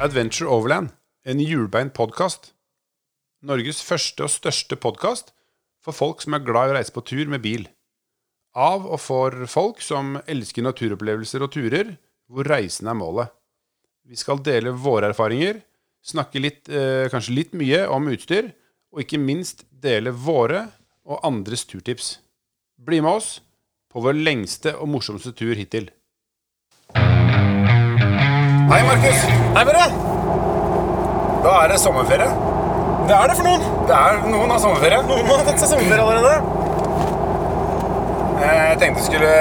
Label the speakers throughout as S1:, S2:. S1: Adventure Overland, en hjulbeint podkast. Norges første og største podkast for folk som er glad i å reise på tur med bil. Av og for folk som elsker naturopplevelser og turer, hvor reisen er målet. Vi skal dele våre erfaringer, snakke litt, eh, kanskje litt mye om utstyr, og ikke minst dele våre og andres turtips. Bli med oss på vår lengste og morsomste tur hittil. Hei, Markus.
S2: Hei, Børre!
S1: Da er det sommerferie.
S2: Det er det for noen.
S1: Det er noen har sommerferie.
S2: Noen har tatt seg sommerferie allerede.
S1: Eh, Jeg tenkte jeg skulle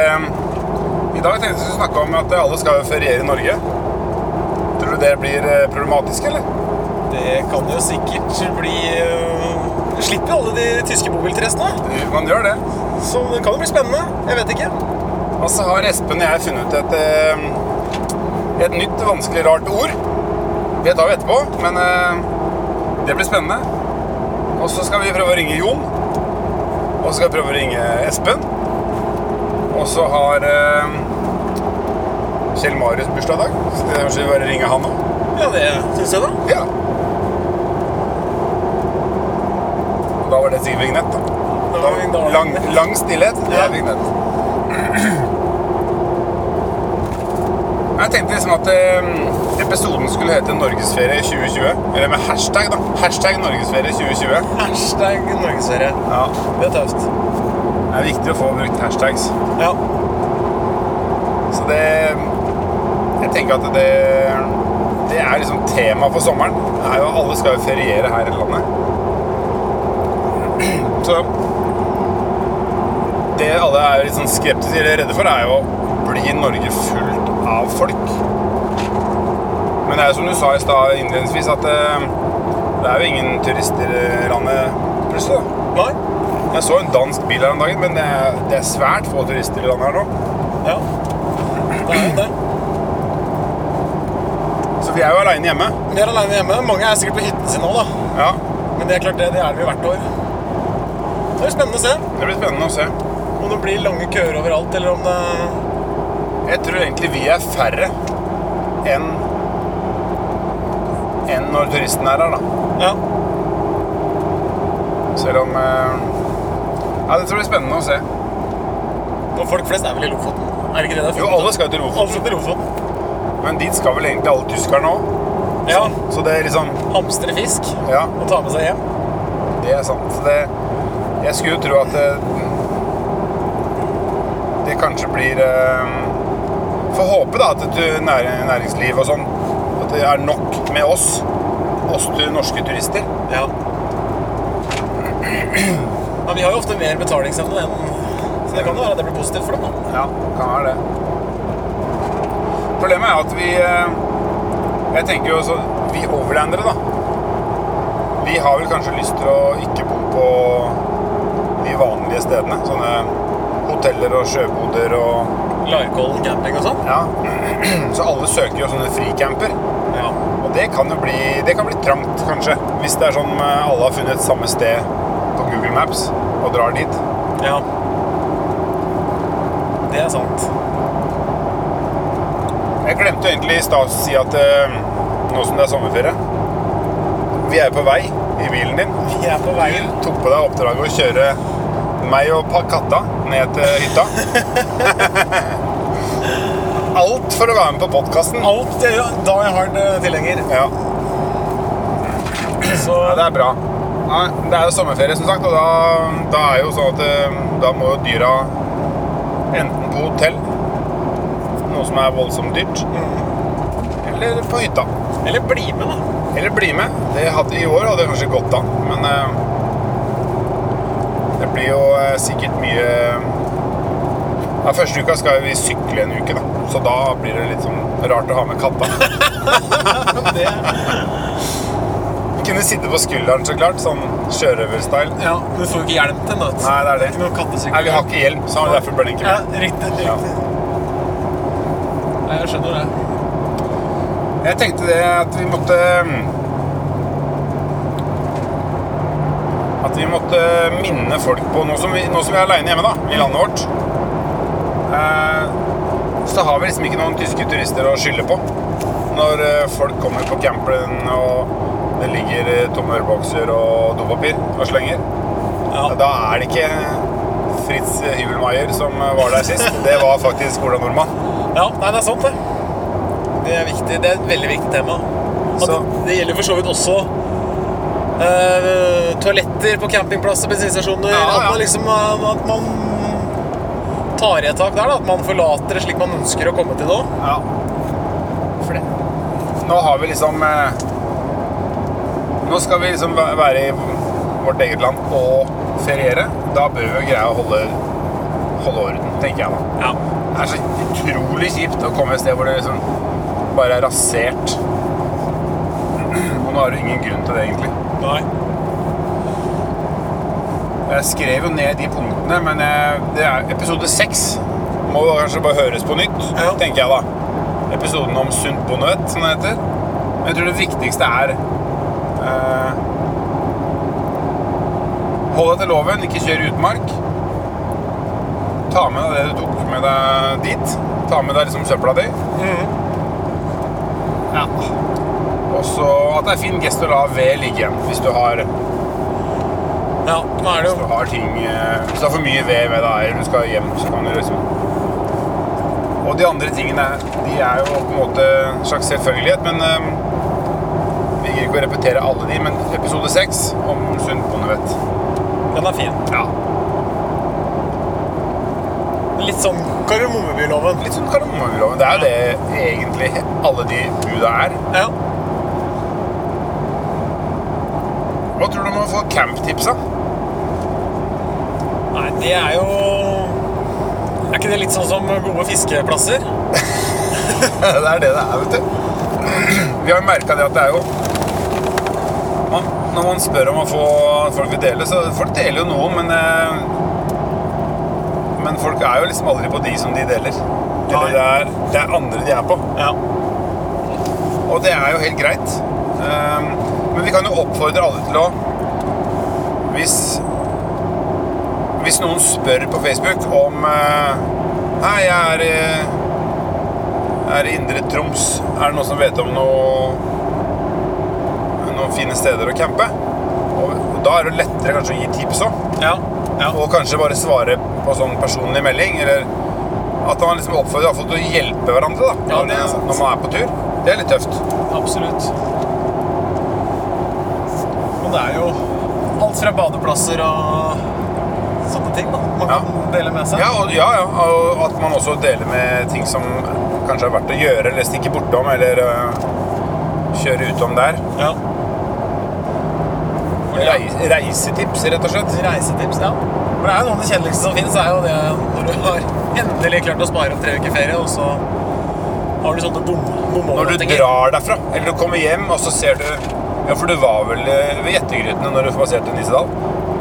S1: I dag tenkte jeg skulle snakke om at alle skal jo feriere i Norge. Tror du det blir eh, problematisk, eller?
S2: Det kan jo sikkert bli øh, Slipper alle de tyske bobiltrestene.
S1: Eh, Man gjør det.
S2: Så det kan jo bli spennende. Jeg vet ikke.
S1: Og så har Espen og jeg funnet ut et, eh, et nytt, vanskelig, rart ord. Det tar vi etterpå, men eh, det blir spennende. Og så skal vi prøve å ringe Jon. Og så skal vi prøve å ringe Espen. Og så har eh, Kjell Marius bursdag i dag, så det kanskje vi bare ringer han òg.
S2: Ja, det syns jeg, da.
S1: Ja. Og da var det sikkert vignett, da.
S2: Det var en dag.
S1: Lang, lang stillhet, det
S2: Ja.
S1: er vignett. Jeg tenkte liksom at eh, episoden skulle hete 'Norgesferie 2020'. Eller med hashtag, da. Hashtag 'Norgesferie 2020'.
S2: Hashtag norgesferie.
S1: Ja.
S2: Det er tøft.
S1: Det er viktig å få brukt hashtags.
S2: Ja.
S1: Så det Jeg tenker at det Det er liksom tema for sommeren. Det er jo Alle skal jo feriere her i landet. Så Det alle er litt sånn skeptiske eller redde for, er jo å bli Norge fullt av folk. Men det er jo som du sa i stad innledningsvis, at eh, det er jo ingen turister i landet plutselig. da.
S2: Nei?
S1: Jeg så en dansk bil her om dagen, men det er, det er svært få turister i landet her nå.
S2: Ja. Det er jo det.
S1: Så vi er jo aleine hjemme.
S2: Vi er aleine hjemme. Mange er sikkert på hytten sin nå, da.
S1: Ja,
S2: Men det er klart, det, det er vi hvert år. Det blir spennende å se
S1: Det blir spennende å se.
S2: om det blir lange køer overalt, eller om det
S1: Jeg tror egentlig vi er færre enn enn når turisten er her, da.
S2: Ja.
S1: Selv om eh, Ja, det tror jeg blir spennende å se.
S2: Og folk flest er vel i Lofoten? Er det ikke det det er?
S1: Jo, alle skal jo til Lofoten,
S2: Alle skal til Lofoten.
S1: men dit skal vel egentlig alle tyskerne òg.
S2: Ja.
S1: Så det er liksom
S2: Hamstre fisk
S1: Ja,
S2: og ta med seg hjem.
S1: det er sant. Så det Jeg skulle jo tro at det, det kanskje blir eh, Får håpe, da, at du, nær, næringsliv og sånn At det er nok med oss, oss til norske turister.
S2: Ja. Men vi har jo ofte mer betalingsevne enn Så det kan jo være at det blir positivt for dem, da.
S1: Ja, kan være det. Problemet er at vi eh, Jeg tenker jo også Vi overlandere, da. Vi har vel kanskje lyst til å ikke bo på de vanlige stedene. Sånne hoteller og sjøboder og
S2: Larkollen camping og sånn.
S1: Ja. Så alle søker jo sånne fricamper.
S2: Ja.
S1: Og det kan jo bli Det kan bli trangt, kanskje. Hvis det er sånn eh, alle har funnet samme sted på Google Maps og drar dit.
S2: ja. Det er sant.
S1: Jeg glemte egentlig i stad å si at eh, nå som det er sommerferie Vi er på vei i bilen din.
S2: Vi er på veien.
S1: Du tok på deg oppdraget å kjøre meg og pa- katta ned til hytta. Alt for å være med på podkasten.
S2: Alt det gjør da jeg har en tilhenger.
S1: Ja,
S2: Så
S1: ja, det er bra. Ja, det er jo sommerferie, som sagt, og da, da er jo sånn at eh, da må jo dyra enten på hotell, noe som er voldsomt dyrt, eller på hytta.
S2: Eller bli med, da.
S1: Eller bli med. Det hadde I år hadde det kanskje gått an, men eh, det blir jo eh, sikkert mye ja, Første uka skal vi sykle en uke, da. så da blir det litt sånn rart å ha med katta.
S2: Det,
S1: Kunne sitte på skulderen, så klart. Sånn sjørøverstyle.
S2: ja, du får jo ikke hjelm til den,
S1: Nei,
S2: da.
S1: det er det.
S2: Ikke noe kattesykkel.
S1: Nei, vi har ikke hjelm, så derfor ble den ikke
S2: Ja,
S1: med.
S2: riktig. riktig.
S1: Ja.
S2: Nei, jeg skjønner det.
S1: Jeg tenkte det at vi måtte mm, At vi måtte minne folk på Nå som vi, nå som vi er aleine hjemme, da, i landet vårt eh, Så har vi liksom ikke noen tyske turister å skylde på. når eh, folk kommer på campen og det ligger eh, tomme ølbokser og dopapir og slenger.
S2: Ja.
S1: Da er det ikke Fritz Hibelmeier som eh, var der sist. Det var faktisk Ola Nordmann.
S2: Ja, nei, det er sant, det. Det er, viktig. Det er et veldig viktig tema. At
S1: Så-
S2: Det gjelder for så vidt også eh, toaletter på campingplasser, bensinstasjoner.
S1: Ja,
S2: At
S1: ja.
S2: man liksom eh, at man tar i et tak der. Da. At man forlater det slik man ønsker å komme til nå.
S1: Ja.
S2: For det.
S1: Nå har vi liksom eh, Nå skal vi liksom væ- være i vårt eget land og feriere. Da bør vi greie å holde, holde orden, tenker jeg da.
S2: Ja.
S1: Det er så utrolig kjipt å komme et sted hvor det liksom bare er rasert. Og nå har du ingen grunn til det, egentlig.
S2: Nei.
S1: Jeg skrev jo ned de punktene, men eh, det er episode seks må jo kanskje bare høres på nytt,
S2: Ja.
S1: tenker jeg da. Episoden om sunt bonnet, som det heter. Men jeg tror det viktigste er eh, Hold deg til loven, ikke kjør i utmark. Ta med deg det du tok med deg dit. Ta med deg liksom søpla di.
S2: Mhm.
S1: Ja. Og så at det er fin gest å la ved ligge igjen hvis du har
S2: Ja, nå er det
S1: hvis
S2: jo
S1: du har ting eh, Hvis du har for mye ved ved deg, eller du skal hjem, så kan du liksom Og de andre tingene, de er jo på en måte en slags selvfølgelighet, men eh, Vi gir ikke å repetere alle de, men episode seks om sunt bondevett.
S2: Den er fin.
S1: Ja.
S2: Litt sånn Kardemommeby-loven.
S1: Litt sånn kardemommeloven. Det er jo det egentlig alle de buda er.
S2: Ja.
S1: Hva tror du om å få camptipsa?
S2: Nei, det er jo Er ikke det litt sånn som gode fiskeplasser?
S1: det er det det er, vet du. Vi har merka det at det er jo man, Når man spør om å få folk vil dele, så folk deler jo noe, men eh, Men folk er jo liksom aldri på de som de deler.
S2: Nei.
S1: Eller det er, det er andre de er på.
S2: Ja.
S1: Og det er jo helt greit. Ehm, men vi kan jo oppfordre alle til å Hvis Hvis noen spør på Facebook om eh, Hei, jeg er i, jeg er i Indre Troms. Er det noen som vet om noe, noen fine steder å campe? Og, og da er det lettere kanskje å gi tips òg.
S2: Ja. ja.
S1: Og kanskje bare svare på sånn personlig melding, eller at man liksom oppfordrer i hvert fall til å hjelpe hverandre da,
S2: Ja,
S1: når,
S2: det er sant.
S1: når man er på tur. Det er litt tøft.
S2: Absolutt. Men det er jo alt fra badeplasser og sånne ting da. man
S1: Ja.
S2: kan dele med seg.
S1: Ja, og, ja, ja, og at man også deler med ting som kanskje er verdt å gjøre, eller stikke bortom, eller øh, kjøre utom der.
S2: Ja. For det er-
S1: Reis, reisetips, rett og slett.
S2: Reisetips, ja. For det er jo noe av det kjedeligste som finnes, er jo det når du har endelig klart å spare opp tre uker ferie, og så har du sånne bom
S1: Når du
S2: bomovernattinger.
S1: drar derfra, eller du kommer hjem, og så ser du Ja, for du var vel øh, ved Gjettegrytene når du passerte Nisedal?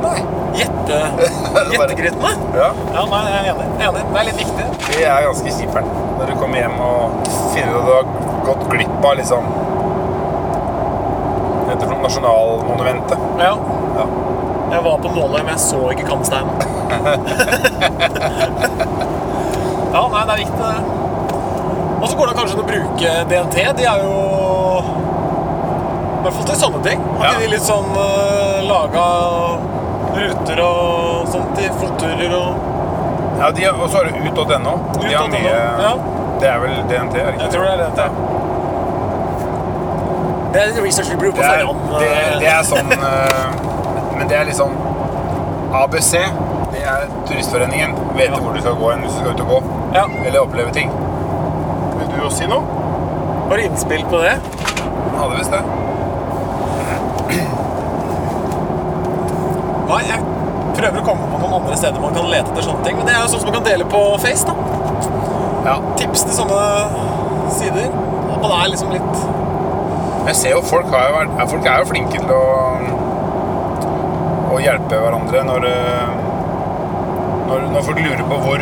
S1: Nei.
S2: Gjette... Gjettegrytene?
S1: Ja,
S2: Ja, nei, jeg er enig. Jeg er enig. Det er litt viktig.
S1: Det er ganske kjipt her. Når du kommer hjem og finner at du har gått glipp av liksom Hva heter det for noe? Nasjonalmonumentet.
S2: Ja.
S1: Ja.
S2: Jeg var på målet, men jeg så ikke kantsteinen. ja, nei, det er viktig, det. Og så går det kanskje an å bruke DNT. De er jo I hvert fall til sånne ting. Har
S1: Ja.
S2: ikke de litt sånn uh, laga ruter og sånt til fotturer og
S1: Ja, de, og så har du ut.no. De har
S2: Ut.no,
S1: mye
S2: ja.
S1: Det er vel DNT, er det ikke?
S2: Jeg tror det er DNT. Det er research vi bruker på
S1: Det er,
S2: forhånd.
S1: det, det er sånn eh, Men det er liksom ABC. Det er Turistforeningen. Vet
S2: Ja.
S1: hvor du skal gå hen hvis du skal ut og gå.
S2: Ja.
S1: Eller oppleve ting. Vil du jo si noe?
S2: Bare innspill på det.
S1: Hadde visst det.
S2: Nei, jeg prøver å komme på noen andre steder man kan lete etter sånne ting. Men det er jo sånn som man kan dele på Face. da.
S1: Ja.
S2: Tips til sånne sider. At man er liksom litt
S1: Jeg ser jo folk, har jo vært, ja, folk er jo flinke til å, å hjelpe hverandre når, eh, når, når folk lurer på hvor,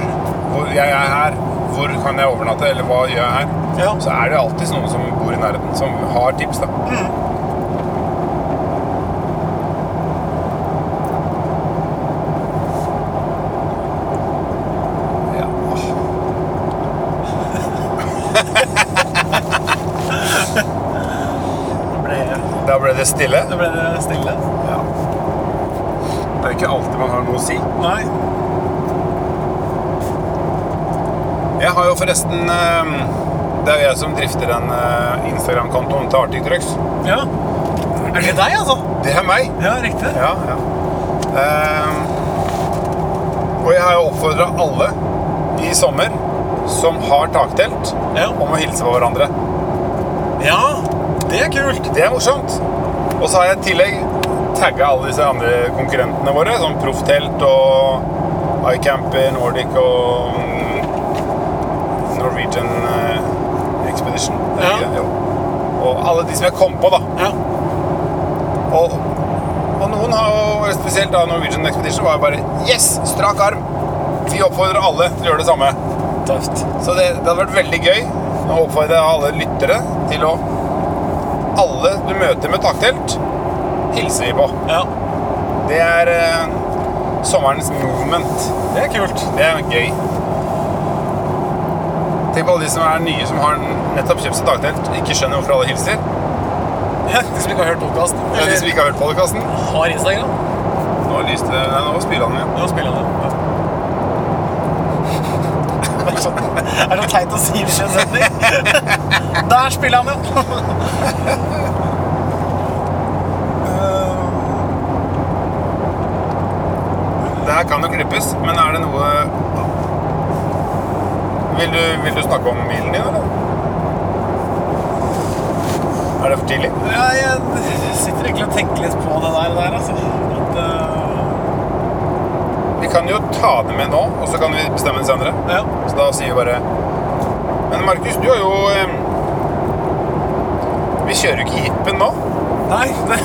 S1: hvor jeg er her, hvor kan jeg overnatte, eller hva gjør jeg her.
S2: Ja.
S1: Så er det alltid noen som bor i nærheten, som har tips. da. Ja. ble det stille.
S2: Da ble det stille.
S1: Ja. Det er ikke alltid man har noe å si.
S2: Nei.
S1: Jeg har jo forresten eh, Det er jo jeg som drifter den eh, Instagram-kontoen til Arctic Trucks.
S2: Ja. Er det deg, altså?
S1: Det er meg!
S2: Ja, riktig.
S1: Ja, ja. Eh, og jeg har jo oppfordra alle i sommer som har taktelt,
S2: Ja.
S1: om å hilse på hverandre.
S2: ja. Det er kult.
S1: Det er morsomt. Og så har jeg i tillegg tagga alle disse andre konkurrentene våre, som Profftelt og iCamper Nordic og mm, Norwegian eh, Expedition. Er det
S2: Ja.
S1: ikke det? Jo. Og alle de som jeg kom på, da.
S2: Ja.
S1: Og, og noen har jo, spesielt da Norwegian Expedition, var jo bare Yes! Strak arm! Vi oppfordrer alle til å gjøre det samme.
S2: Tøft.
S1: Så det, det hadde vært veldig gøy å oppfordre alle lyttere til å Alle du møter med taktelt, hilser vi på.
S2: Ja.
S1: Det er eh, sommerens movement.
S2: Det er kult.
S1: Det er gøy. Tenk på alle de som er nye, som har nettopp kjøpt seg taktelt, ikke skjønner hvorfor alle hilser.
S2: Ja, De som ikke har hørt podkasten.
S1: Det er de som
S2: Eller
S1: ikke har hørt podkasten.
S2: har Instagram.
S1: Nå lyste det Nei, nå spiller han igjen.
S2: Ja, spiller han det. Ja. Det er sånn- Er det teit å si det i en setning? Der spiller han, ja.
S1: Det her kan jo klippes, men er det noe vil du, vil du snakke om bilen din, eller? Er det for tidlig?
S2: Ja, jeg sitter egentlig og tenker litt på det der, der altså. At, eh,
S1: Vi kan jo ta det med nå, og så kan vi bestemme det senere.
S2: ja.
S1: Så da sier vi bare Men Markus, du har jo eh, Vi kjører jo ikke jeepen nå.
S2: Nei, det, det er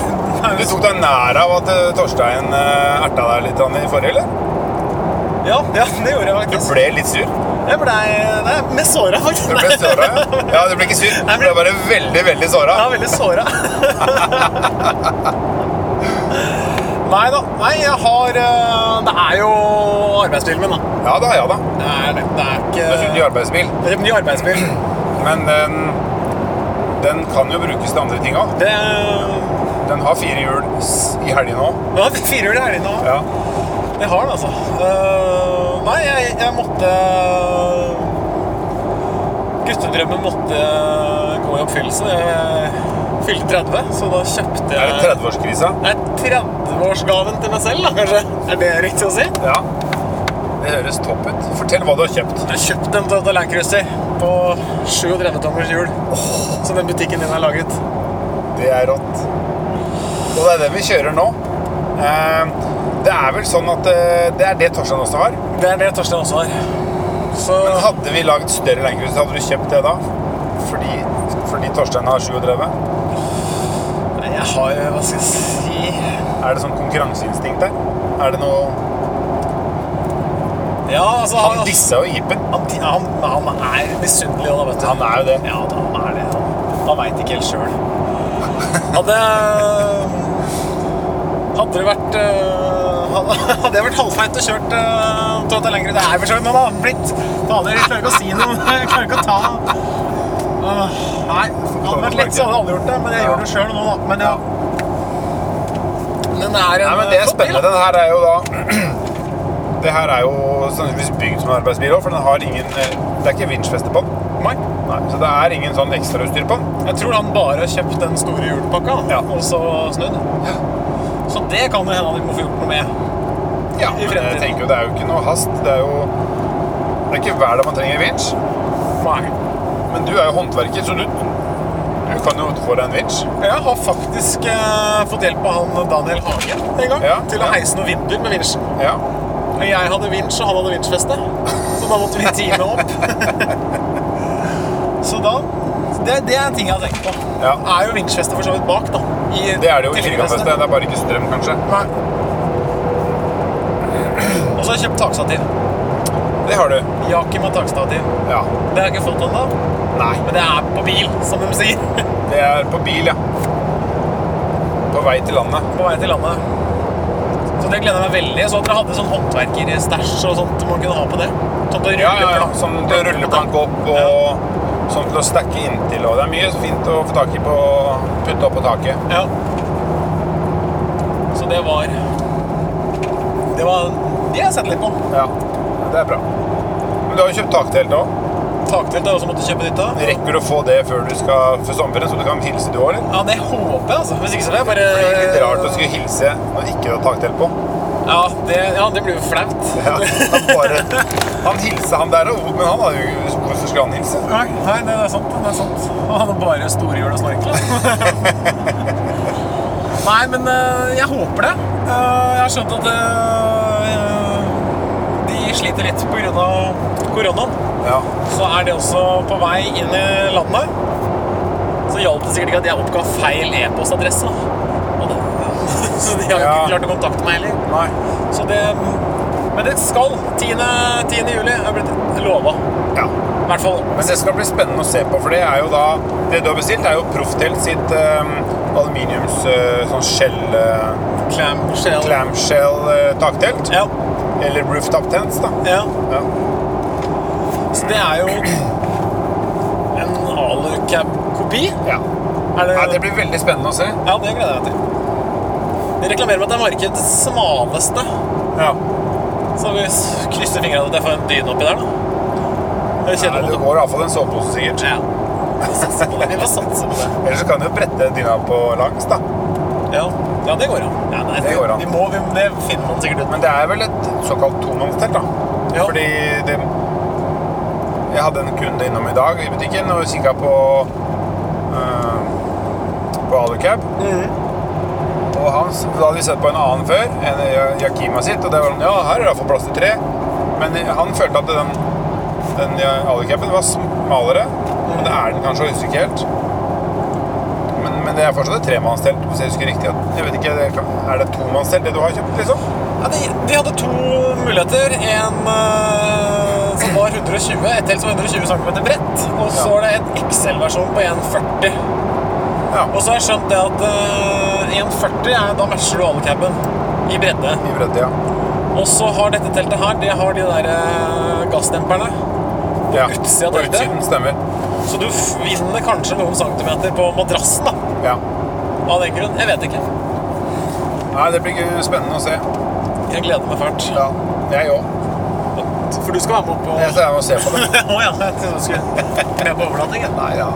S1: Du
S2: jo
S1: tok deg nær av at eh, Torstein eh, erta deg litt grann i forrige, eller?
S2: Ja, ja, det gjorde jeg
S1: Du
S2: faktisk.
S1: ble litt sur?
S2: Jeg ble, nei, jeg ble mest såra, faktisk.
S1: Du ble såra, ja? Ja, du ble ikke sur. Du ble bare veldig, veldig såra.
S2: Jeg er veldig såra. Nei da. Nei, jeg har eh, Det er jo arbeidsbilen min, da.
S1: Ja da, ja da.
S2: Det er, det det er ikke
S1: Du har kjøpt ny arbeidsbil.
S2: Det er en ny arbeidsbil.
S1: Men den, den kan jo brukes til andre ting òg.
S2: Det
S1: Den har fire hjul s- i helgen òg.
S2: Ja, det er firehjul i helgene òg.
S1: Ja.
S2: Det har den, altså. Eh, nei, jeg, jeg måtte eh, Guttedrømmen måtte eh, gå i oppfyllelse. Jeg fylte 30, så da kjøpte
S1: Er
S2: jeg
S1: det 30-årskrisa?
S2: Det er 30-årsgaven til meg selv, da, kanskje. Er det riktig å si?
S1: Ja. Det høres topp ut. Fortell hva du har kjøpt.
S2: Jeg kjøpte en Toyota Land Cruiser på 37-tommers hjul. Som den butikken din har laget.
S1: Det er rått. Og det er det vi kjører nå. Eh, Det er vel sånn at eh, det er det Torstein også har.
S2: Det er det Torstein også har. Så
S1: Men hadde vi lagd større landcruiser, hadde du kjøpt det da? Fordi, fordi Torstein har 37?
S2: Nei, jeg har Hva skal jeg si
S1: Er det sånn konkurranseinstinkt der? Er det noe
S2: Ja, altså
S1: Han dissa jo jeepen.
S2: Han, han, han er misunnelig, da, vet du.
S1: Han er jo det.
S2: Ja, da, han er det. Han, han veit ikke helt sjøl. Hadde eh, Hadde det vært eh, Hadde hadde jeg vært halvfeit og kjørt uh, Toyota lenger Det er vel sånn, men det hadde blitt Fader, jeg klarer ikke å si noe. Jeg klarer ikke å ta Åh, Nei, hadde det vært lett, så hadde jeg aldri gjort det. Men jeg
S1: Ja.
S2: gjør det sjøl nå, da. Men ja. Men det er en
S1: Nei, men Det er
S2: eh, flott bil,
S1: spennende.
S2: da.
S1: Den her er jo da Det her er jo sannsynligvis bygd som en arbeidsbil òg, for den har ingen eh, Det er ikke vinsjfeste på den.
S2: Nei.
S1: Nei, så det er ingen sånn ekstrautstyr på den.
S2: Jeg tror han bare har kjøpt den store hjulpakka
S1: Ja.
S2: og så snudd. Så det kan det hende de må få gjort noe med.
S1: Ja, men
S2: I
S1: jeg
S2: fremtiden.
S1: tenker jo det er jo ikke noe hast. Det er jo Det er ikke hver dag man trenger vinsj.
S2: Nei.
S1: Men du er jo håndverker, så du, du kan jo få deg en vinsj.
S2: Jeg har faktisk eh, fått hjelp av han Daniel Hagen en gang
S1: Ja,
S2: til å
S1: ja.
S2: heise noen vinduer med vinsjen.
S1: Ja.
S2: Og Jeg hadde vinsj, og han hadde vinsjfeste. Så da måtte vi time opp. så da det, det er en ting jeg har tenkt på.
S1: Ja.
S2: Er jo vinsjfeste for så vidt bak, da. I
S1: Det er det jo i
S2: tilleggsfeste.
S1: kirkefeste. Det er bare ikke strøm, kanskje.
S2: Nei. Og så har jeg kjøpt takstativ.
S1: Det har du.
S2: Jakim har takstativ.
S1: Ja.
S2: Det har jeg ikke fått ennå. Nei. Men det er på bil, som de sier.
S1: Det er på bil, ja. På vei til landet.
S2: På vei til landet. Så det gleder jeg meg veldig. Jeg Så at dere hadde sånn håndverkerstæsj og sånt man kunne ha på det. Sånn til å
S1: Ja,
S2: rulle
S1: ja, ja.
S2: plank-
S1: Sånn til å rulle plank opp og sånn til å stakke inntil. Og det er mye fint å få tak i på putte opp på taket.
S2: Ja. men det var Det var det jeg setter litt på.
S1: Ja, det er bra. Men du har jo kjøpt taktelt nå.
S2: Taktelt har jeg også måttet kjøpe nytt av.
S1: Rekker du å få det før du skal før sommerferien, så du kan hilse du òg, eller?
S2: Ja, det håper jeg, altså. Hvis ikke så blir jeg bare
S1: Det blir litt rart å skulle hilse når ikke du har taktelt på.
S2: Ja, det, ja, det blir jo flaut.
S1: Ja, han, bare, han hilsa han der, og- men han hadde jo Hvorfor skulle han hilse?
S2: Nei, nei, det er sant. det er sant. Han hadde bare store hjul og snorkel. nei, men eh, jeg håper det. Eh, jeg har skjønt at eh, de sliter litt pga. koronaen.
S1: Ja.
S2: Så er det også på vei inn i landet. Så hjalp det sikkert ikke at jeg oppga feil e-postadresse. da. Og det- Så de har jo
S1: Ja.
S2: ikke klart å kontakte meg heller.
S1: Nei.
S2: Så det, men det skal. 10. 10. juli er blitt lova.
S1: Ja.
S2: I hvert fall.
S1: Men det skal bli spennende å se på, for det er jo da Det du har bestilt, er jo Proftelt sitt eh, aluminiums eh, sånn skjell eh,
S2: Clam, shell.
S1: Clamshell eh, taktelt.
S2: Ja,
S1: Eller rooftop tents, da.
S2: ja.
S1: Ja.
S2: Så det er jo en alucab-kopi.
S1: ja.
S2: Er det,
S1: Nei, det blir veldig spennende å se.
S2: Ja, det gleder jeg meg til. De reklamerer med at det er markedets smaleste.
S1: Ja.
S2: Så vi s- krysser fingrene at jeg får en dyne oppi der, da. Det er
S1: Nei,
S2: kjedelig.
S1: det
S2: å-
S1: går iallfall en sovepose, sikkert.
S2: Ja. Vi satser på det. Vi får satse på det.
S1: Ellers så kan du jo brette dyna på langs, da.
S2: Ja, ja det går an. Ja, nei,
S1: Det går an.
S2: Vi må, vi, det finner man sikkert ut.
S1: Men det er vel et såkalt tomannstelt, da.
S2: Ja.
S1: Fordi det Jeg hadde en kunde innom i dag i butikken og kikka på eh, På Alucab.
S2: Mm.
S1: Og han, s- da hadde vi sett på en annen før, en Ja- Yakima sitt, og det var sånn Ja, her er det iallfall plass til tre. Men eh, han følte at den, den Ja- Alucaben var smalere. Og det er den kanskje, jeg husker ikke helt. Men, men det er fortsatt et tremannstelt, hvis jeg husker riktig. at- Jeg vet ikke, det kan- Er det tomannstelt det du har kjøpt, liksom?
S2: Ja, de, de hadde to muligheter. En eh, som var 120, et til som var 120 cm bredt. Og så
S1: Ja.
S2: er det en XL-versjon på 140.
S1: Ja.
S2: Og så har jeg skjønt det at eh, 140 er da matcher du alucaben i bredde.
S1: I bredde, ja.
S2: Og så har dette teltet her, det har de der eh, gassdemperne.
S1: Ja,
S2: utsida av
S1: på
S2: teltet.
S1: utsiden stemmer.
S2: Så du f- vinner kanskje noen centimeter på madrassen da,
S1: Ja.
S2: av den grunn. Jeg vet ikke.
S1: Nei, det blir gøy- spennende å se.
S2: Jeg gleder meg fælt.
S1: Ja, jeg òg.
S2: For du skal være med opp og
S1: Jeg skal være med og se på det.
S2: Å ja, jeg trodde du skulle med på overnatting. jeg.
S1: Nei, ja.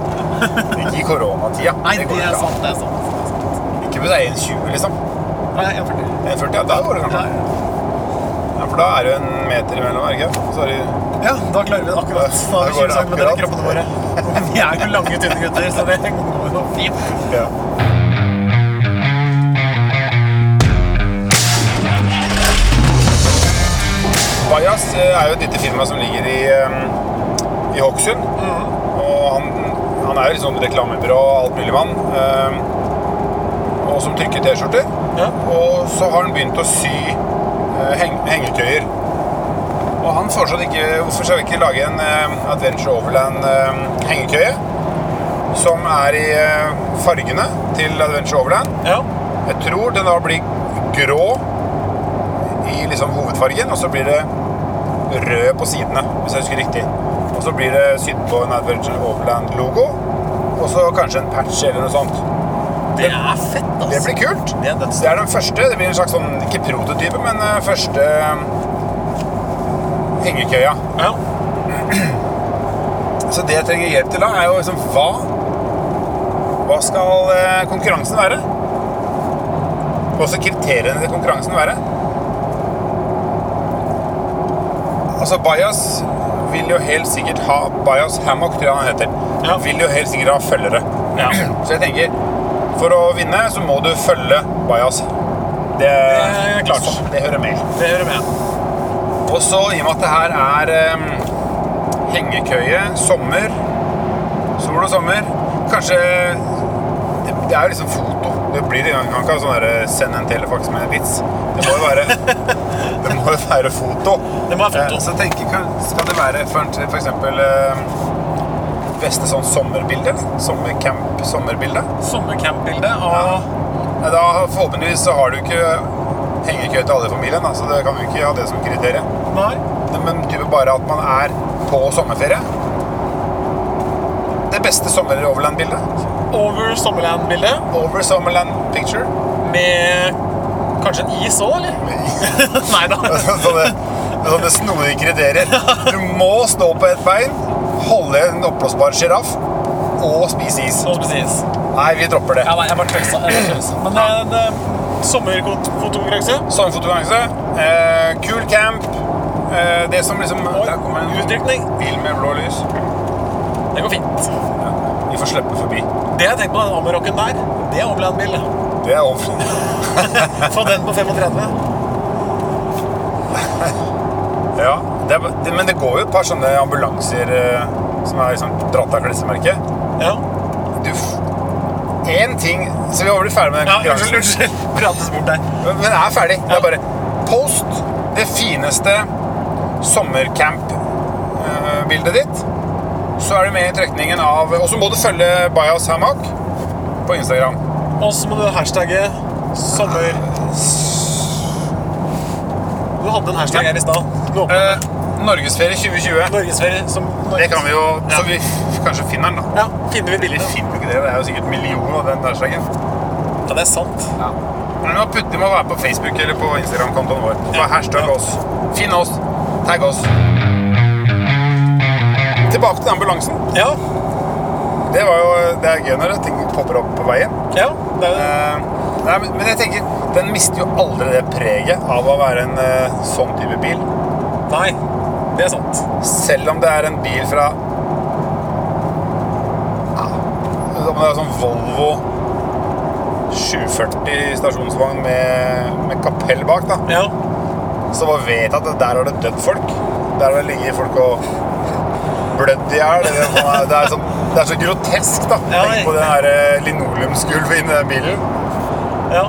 S1: Ikke i koronatida.
S2: Nei,
S1: går
S2: det er
S1: ikke an.
S2: sant. Det er sant.
S1: Ikke hvis det er 1,20, liksom.
S2: Nei, 140.
S1: 1,40, ja, da går det kanskje.
S2: Ja.
S1: Ja, for da er det jo en meter imellom, er det ikke? Sorry.
S2: Ja, da klarer vi det akkurat. Da
S1: Da
S2: er det
S1: går det
S2: 20 cm i
S1: akkurat.
S2: kroppene våre. Vi er jo lange, tynne gutter, så det går jo fint.
S1: Ja. Bajas eh, er jo et lite firma som ligger i, eh, i Hokksund. Og han, han er jo liksom reklamebyrå og alt mulig mann. eh, Og som trykker T-skjorter.
S2: Ja.
S1: Og så har han begynt å sy eh, heng hengetøyer. Og han foreslår ikke Hvorfor skal vi ikke lage en eh, Adventure Overland eh, hengekøye? Som er i eh, fargene til Adventure Overland.
S2: Ja.
S1: Jeg tror den da blir grå i liksom hovedfargen, og så blir det rød på sidene, hvis jeg husker riktig. Og så blir det sydd på en Adventure Overland-logo, og så kanskje en patch eller noe sånt.
S2: Det er fett, altså.
S1: Det blir kult.
S2: Det er dødsfett.
S1: Det er den første. Det blir en slags sånn, ikke prototype, men eh, første eh, hengekøya.
S2: Ja.
S1: Så det jeg trenger hjelp til da, er jo liksom hva Hva skal eh, konkurransen være? Hva skal kriteriene til konkurransen være? Altså, Bajas vil jo helt sikkert ha Bajas Hammock, tror jeg han heter.
S2: Ja.
S1: Vil jo helt sikkert ha følgere.
S2: Ja.
S1: Så jeg tenker For å vinne så må du følge Bajas. Det,
S2: Det er klart.
S1: Det hører med.
S2: Det hører med.
S1: Og så, i og med at det her er em, hengekøye, sommer, sol og sommer Kanskje Det, det er jo liksom foto. Det blir det. Man kan ikke ha sånn derre 'send en telefax med en vits'. Det må jo være, det må jo være foto.
S2: Det må være foto.
S1: Eh, Så tenker jeg, kan- skal det være for, for eksempel um, beste sånn sommerbilde? Sommercamp-sommerbilde?
S2: Sommercamp-bilde av
S1: Nei, Da Forhåpentligvis så har du ikke hengekøye til alle i familien, da, så det kan vi ikke ha det som kriterium.
S2: Nei.
S1: Men type bare at man er på sommerferie. Det beste sommer-overland-bildet.
S2: Over Sommerland-bildet
S1: Over Summerland Picture.
S2: med Kanskje en is òg, eller? Nei da.
S1: sånne, sånne snodige kriterier. Du må stå på ett bein, holde en oppblåsbar sjiraff og spise is.
S2: Sånn presis.
S1: Nei, vi dropper det.
S2: Ja, nei, jeg bare tøysa. jeg bare tøysa. Men det, det sommerfotokonkurranse
S1: Sommerfotokonkurranse. Eh, kul camp. Eh, det som liksom Der kommer en
S2: Utdrikning.
S1: bil med blå lys.
S2: Det går fint.
S1: Vi får slippe forbi.
S2: Det jeg tenker på, den Amarokken der, det er Omland-bil. det.
S1: Det er over.
S2: Få den på 35.
S1: Ja, det er, ba- det, men det går jo et par sånne ambulanser eh, som er liksom dratt av klesmerket.
S2: Ja.
S1: Du f- Én ting Så vi var vel ferdig med den
S2: ja
S1: konkurransen.
S2: unnskyld, unnskyld. Prates bort der.
S1: Men den er ferdig. Det er bare Post det fineste sommercamp-bildet ditt. Så er du med i trekningen av Og så må du følge Bajas Hamak på Instagram.
S2: Og så må du hashtagge sommer... Du hadde en hashtag her i stad. Nå åpner
S1: Eh, Norgesferie 2020.
S2: Norgesferie som
S1: Det kan vi jo Så vi f- kanskje finner den, da.
S2: Ja, finner vi
S1: Vi
S2: bilder.
S1: finner jo ikke det. Det er jo sikkert millioner av den hashtaggen.
S2: Ja, det er sant.
S1: Men nå putter må være på Facebook eller på Instagram-kontoen vår. Bare hashtag
S2: Ja.
S1: oss. Finn oss. Tagg oss. Tilbake til ambulansen.
S2: Ja,
S1: Det, var jo, det er gøy når ting popper opp på veien.
S2: ja. Det er,
S1: Eh, nei, men, men jeg tenker, den mister jo aldri det preget av å være en eh, sånn type bil.
S2: nei, det er sant.
S1: Selv om det er en bil fra Ja, Om det er sånn Volvo 740 stasjonsvogn med, med kapell bak, da.
S2: Ja,
S1: Så man vet at der har det dødd folk. Der har det ligget folk og blødd i hjel. eller hva faen er- Det, er så- det er så grotesk, da.
S2: Ja,
S1: Tenk på det her eh, linoleumsgulvet inni den bilen.
S2: ja.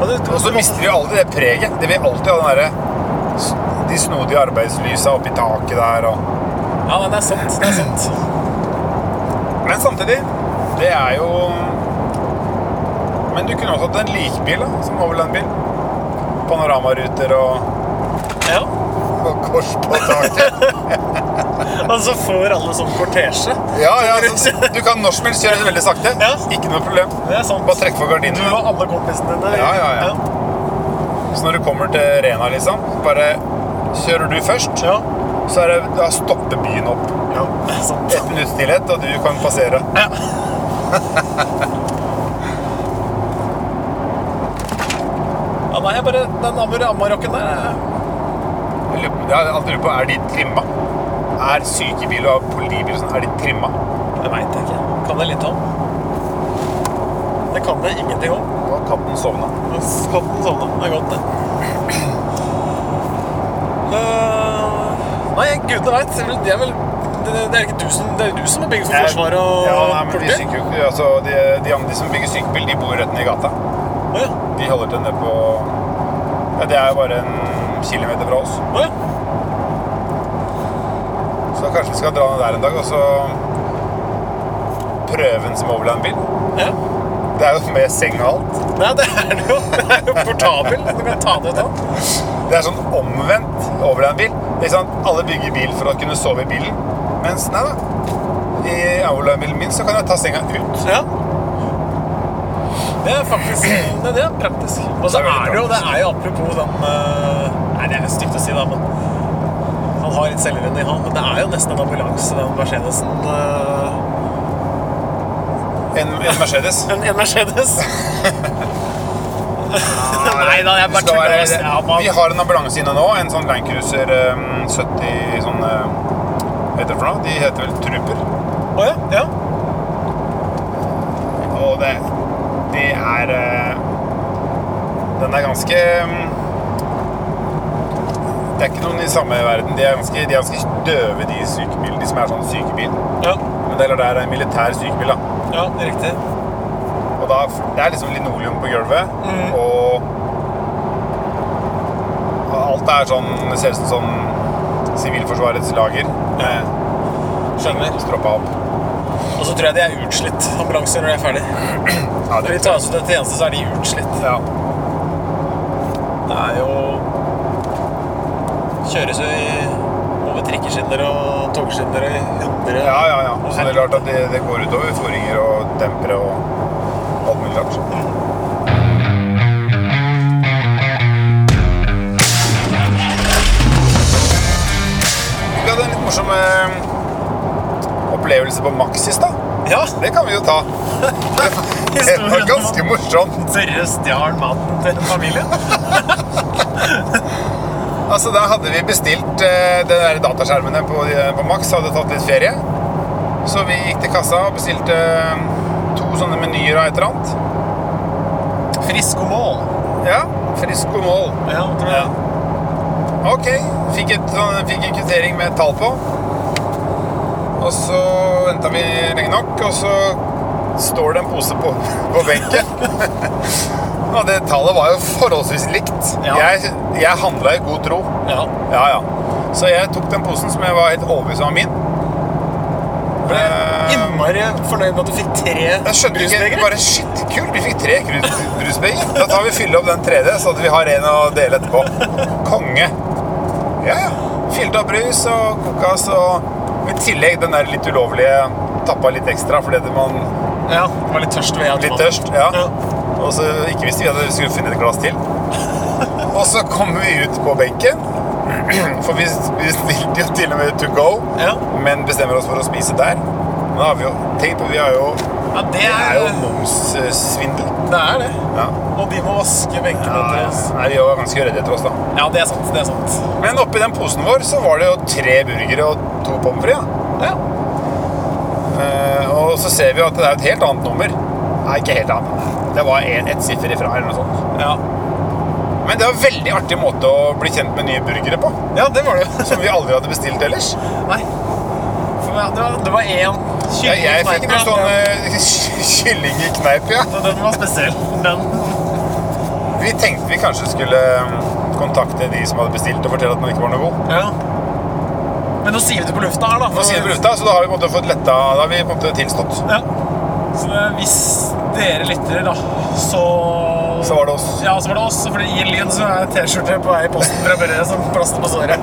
S2: Og det,
S1: Og så mister vi jo aldri det preget. Det vil alltid ha den derre s- De snodige arbeidslysa oppi taket der og
S2: Ja, nei, det er sant. Det er sant.
S1: Men samtidig, det er jo Men du kunne også hatt en likbil, da, som overlandbil. Panoramaruter og,
S2: Ja.
S1: og kors på taket.
S2: Og så får alle sånn kortesje.
S1: Ja, ja, så, du kan når som helst kjøre veldig sakte.
S2: Ja.
S1: Ikke noe problem.
S2: Det er sant.
S1: Bare trekke for
S2: Du
S1: gardinene.
S2: og alle kompisene dine.
S1: Ja, ja, ja. Så når du kommer til Rena, liksom, bare kjører du først,
S2: Ja,
S1: så er det, da stopper byen opp.
S2: ja. Det er sant.
S1: Ett minutts stillhet, og du kan passere.
S2: Ja. Ja, nei, jeg bare, Den Amarokken der eh,
S1: Jeg lurer på- jeg har alltid lurt på, er de trimma? Er sykebil og politibil og sånn, er de trimma?
S2: Jeg veit ikke. Kan det litt om? Det kan det ingenting om.
S1: Nå har katten sovna.
S2: Men Katten sovna. Det er godt, det. Eh, nei, gudene veit. Det, er vel- det er vel det, det er ikke du som, det er jo du som har bygd for Forsvaret og
S1: ja, nei, men de,
S2: politiet?
S1: syker jo ikke, altså, de, de, andre- de som bygger sykebil, de bor rett ned i gata.
S2: Å ja.
S1: De holder til nede på ja, Det er jo bare en kilometer fra oss.
S2: Å ja.
S1: Så kanskje vi skal dra ned der en dag og så prøve en som overlandbil.
S2: ja.
S1: Det er jo med seng og alt.
S2: Nei, det er det jo. Det er jo portabel. Du kan ta det ut av.
S1: Det er sånn omvendt overlandbil. Ikke sant? Alle bygger bil for å kunne sove i bilen. Mens nei da, i overlandbilen min så kan jeg ta senga ut.
S2: Ja. Det er faktisk det, det er praktisk. Og så
S1: Det er veldig
S2: er det jo det er jo apropos den eh, Nei, det er jo stygt å si, da, men han har litt selvironi, han. Men det er jo nesten en ambulanse, den Mercedesen. eh,
S1: En, en Mercedes.
S2: En, en Mercedes. Ah, Nei da, jeg
S1: Vi, skal
S2: bare tuller.
S1: være,
S2: ass. Ja, man-
S1: vi har en ambulanse inne nå. En sånn Land Cruiser eh, 70 sånn eh, Hva heter det for noe? De heter vel Trooper.
S2: Å ja, ja.
S1: Og det, det er eh, Den er ganske mm, Det er ikke noen i samme verden. De er ganske, de er ganske døve, de sykebilene. De som er sånn sykebil.
S2: Ja,
S1: Men det er klart det er en militær sykebil. da.
S2: ja det er riktig.
S1: Og da, Det er liksom linoleum på gulvet.
S2: Mhm.
S1: Og, og alt er sånn Det ser ut som sånn Sivilforsvarets lager. Eh,
S2: Skjønner.
S1: Stroppa opp.
S2: Og så tror jeg de er utslitt, ambulanser, når de er ferdig.
S1: Ja,
S2: Når de tas ut til tjeneste, så er de utslitt.
S1: ja.
S2: Det er jo Kjøres jo i over trikkeskinner og togskinner i hundre
S1: Ja, ja, ja. Så det er klart at det, det går utover foringer og dempere og alt mulig rart. som eh, opplevelse på Maxis, da.
S2: Ja,
S1: Det kan vi jo ta. Det var ganske morsomt.
S2: Dere stjal maten til familien.
S1: Altså, Da hadde vi bestilt eh, de der dataskjermene på, eh, på Max, hadde tatt litt ferie. Så vi gikk til kassa og bestilte eh, to sånne menyer av et eller annet.
S2: Frisk og mål.
S1: Ja, frisk og mål.
S2: Ja, tror jeg.
S1: Ok, fikk, et, sånn- fikk en kvittering med et tall på. Og så venta vi lenge nok, og så står det en pose på, på benken. og det tallet var jo forholdsvis likt.
S2: Ja.
S1: Jeg, jeg handla i god tro.
S2: Ja.
S1: Ja, ja. Så jeg tok den posen som jeg var helt overbevist om var min.
S2: Ble
S1: Eh,
S2: innmari fornøyd med at du fikk tre
S1: Jeg skjønner ikke,
S2: brusbegre.
S1: bare shit, kult, vi fikk tre krus- brusbeger. Da tar vi fylle opp den tredje, så at vi har en å dele etterpå. Konge. Ja, ja. Fylte opp brus og kokas og i tillegg den der litt ulovlige tappa litt ekstra fordi at man
S2: Ja, du var litt tørst ved at
S1: litt
S2: man-
S1: tørst. Ja.
S2: Ja.
S1: Og så ikke visste vi at vi skulle finne et glass til. Og så kommer vi ut på benken, for vi vi bestilte jo til og med to go,
S2: Ja.
S1: men bestemmer oss for å spise der. Men Da har vi jo tenkt på, vi har jo
S2: Ja, det
S1: det
S2: er
S1: er jo momssvindel.
S2: Det er det.
S1: Ja.
S2: Og de må vaske benkene etter oss.
S1: Nei, vi var ganske redde etter oss, da.
S2: Ja, det er sant. Det er sant.
S1: Men oppi den posen vår så var det jo tre burgere og to pommes frites. da.
S2: Ja.
S1: Eh, og så ser vi jo at det er et helt annet nummer. Nei, ikke helt annet. Det var en, et siffer ifra eller noe sånt.
S2: Ja.
S1: Men det var en veldig artig måte å bli kjent med nye burgere på.
S2: ja, det var det jo.
S1: Som vi aldri hadde bestilt ellers.
S2: Nei. For ja, det var- det var én
S1: Jeg, jeg fikk noen
S2: sånn,
S1: sånne kylling i kneip, ja.
S2: Ja, Den var spesiell. Den.
S1: Vi tenkte vi kanskje skulle mm, kontakte de som hadde bestilt og fortelle at den ikke var noe god.
S2: Ja. Men nå sier vi det på lufta her, da.
S1: Nå sier vi det på lufta, så da har vi på en måte fått letta Da har vi på en måte tilstått.
S2: Ja. Så det, hvis dere lytter, da, så
S1: Så var det oss.
S2: Ja, så var det oss. For det gir lyd, så er det T-skjorte på vei i posten fra Børre som plaster på såret.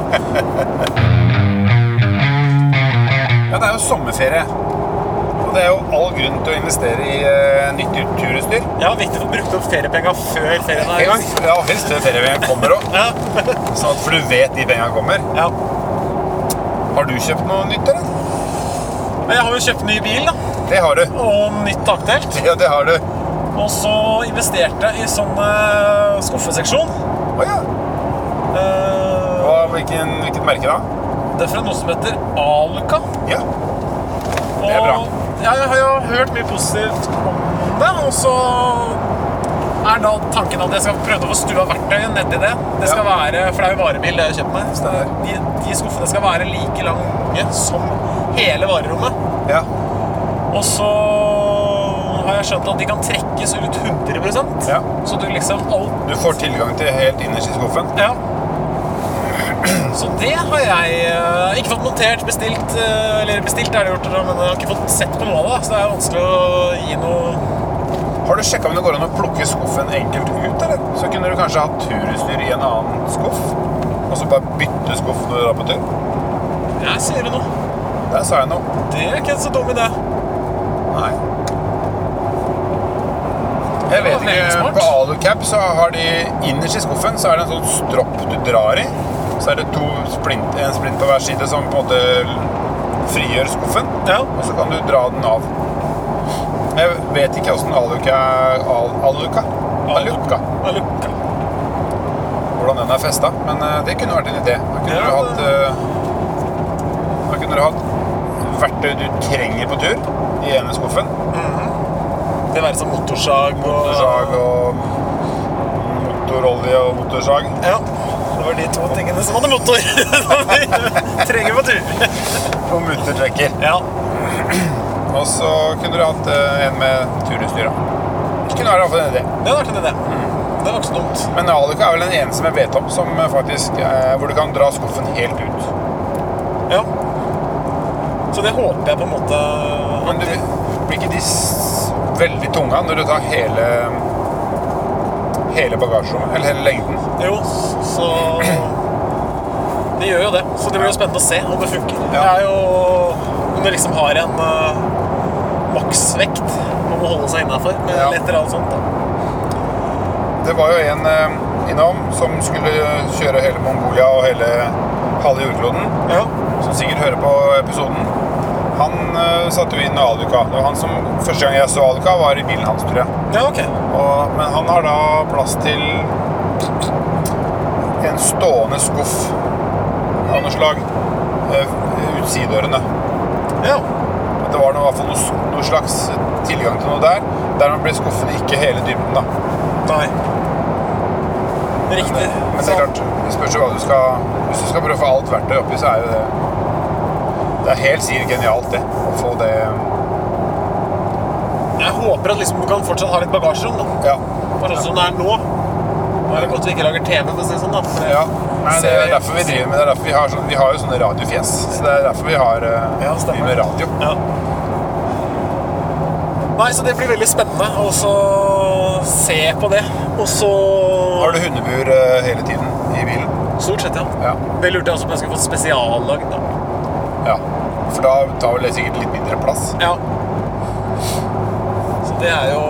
S1: Ja, det er jo sommerferie. Og det er jo all grunn til å investere i eh, nytt turutstyr.
S2: Ja, viktig å få brukt opp feriepenga før ferien er i gang.
S1: Helst, ja, helst før ferien kommer òg,
S2: Ja.
S1: sånn at for du vet de pengene kommer.
S2: ja.
S1: Har du kjøpt noe nytt, eller?
S2: Men jeg har jo kjøpt ny bil, da.
S1: Det har du.
S2: Og nytt takdelt.
S1: Ja, det har du.
S2: Og så investerte jeg i sånn eh, skuffeseksjon.
S1: Å ja.
S2: Eh,
S1: Hva, hvilken, hvilket merke da?
S2: det er fra noe som heter Aluka.
S1: Ja.
S2: Og
S1: er bra.
S2: Jeg har jo hørt mye positivt om det, og så er da tanken at jeg skal prøve å få stua verktøyet nedi det. Det skal være, For det er jo varebil det jeg har kjøpt meg. Så det, de, de skuffene skal være like lange som hele varerommet.
S1: ja.
S2: Og så har jeg skjønt at de kan trekkes ut 100
S1: Ja.
S2: Så du liksom alt
S1: Du får tilgang til helt innerst i skuffen.
S2: Ja. Så det har jeg eh, ikke fått montert, bestilt eh, Eller bestilt er det gjort, men jeg har ikke fått sett på noe av det. Så det er vanskelig å gi noe
S1: Har du sjekka om det går an å plukke skuffen enkelt ut, eller? Så kunne du kanskje hatt turutstyr i en annen skuff. Og så bare bytte skuff når du er på tur.
S2: Jeg sier det nå.
S1: Der sa jeg noe.
S2: Det er ikke en så dum idé.
S1: Nei. Jeg vet
S2: Det var veldig
S1: ikke.
S2: smart.
S1: På Alucap så har de innerst i skuffen så er det en sånn stropp du drar i. Så er det to splint, en splint på hver side som på en måte frigjør skuffen.
S2: Ja.
S1: Og så kan du dra den av. Jeg vet ikke åssen Aluca Al, Aluca? Aluca.
S2: Aluka.
S1: Hvordan den er festa. Men eh, det kunne vært en idé. Da kunne
S2: Ja,
S1: du hatt eh, Da kunne du hatt verktøy du trenger på tur i ene skuffen.
S2: Det være som motorsag og
S1: motorsag og motorolje og motorsag.
S2: Ja. Det var de to tingene som hadde motor. Vi Trenger på tur.
S1: Og muttertrekker.
S2: Ja.
S1: Og så kunne du hatt eh, en med turutstyr. da. Kunne være iallfall en idé.
S2: Det hadde vært en idé. Det var ikke så dumt.
S1: Men Aluka er vel den eneste jeg vet om som eh, faktisk, eh, hvor du kan dra skuffen helt ut.
S2: Ja. Så det håper jeg på en måte
S1: Men du blir ikke de s- veldig tunga når du tar hele hele bagasjerommet, eller hele lengden.
S2: Jo, så Det gjør jo det. Så det blir jo spennende å se om det funker.
S1: Ja.
S2: Det er jo Om du liksom har en eh, maksvekt man må holde seg innafor med
S1: Ja.
S2: litt eller annet sånt. da.
S1: Det var jo en eh, innom som skulle kjøre hele Mongolia og hele halve jordkloden,
S2: Ja.
S1: som sikkert hører på episoden, han eh, satte jo inn Aluka. Det var han som, første gang jeg så Aluka, var i bilen hans, tror jeg.
S2: ja, ok.
S1: Og, men han har da plass til en stående skuff av noe slag eh, ut sidørene.
S2: Ja.
S1: Det var noe, i hvert fall noe, s- noe slags tilgang til noe der. Dermed ble skuffen ikke hele dybden, da.
S2: Nei. Riktig.
S1: Men det er klart, det spørs jo hva du skal Hvis du skal prøve å få alt verktøy oppi, så er jo det Det er helt sikkert genialt, det. Å få det
S2: Jeg håper at liksom, du kan fortsatt ha litt bagasjerom, da.
S1: Ja.
S2: For sånn som det er nå. Nå er det godt vi ikke lager TV, for å si det sånn, da. For det-
S1: ja. Nei, det er derfor vi driver med det. Det er derfor vi har, sånn, vi har jo sånne radiofjes. Så det er derfor vi har eh,
S2: Ja, stemmer.
S1: mye med radio.
S2: Ja. Nei, så det blir veldig spennende å så se på det. Og så
S1: Har du hundebur eh, hele tiden i bilen?
S2: Stort sett, ja.
S1: Ja.
S2: Det lurte jeg også på om jeg skulle fått spesiallagd, da.
S1: ja. For da tar vel det sikkert litt mindre plass.
S2: Ja. Så det er jo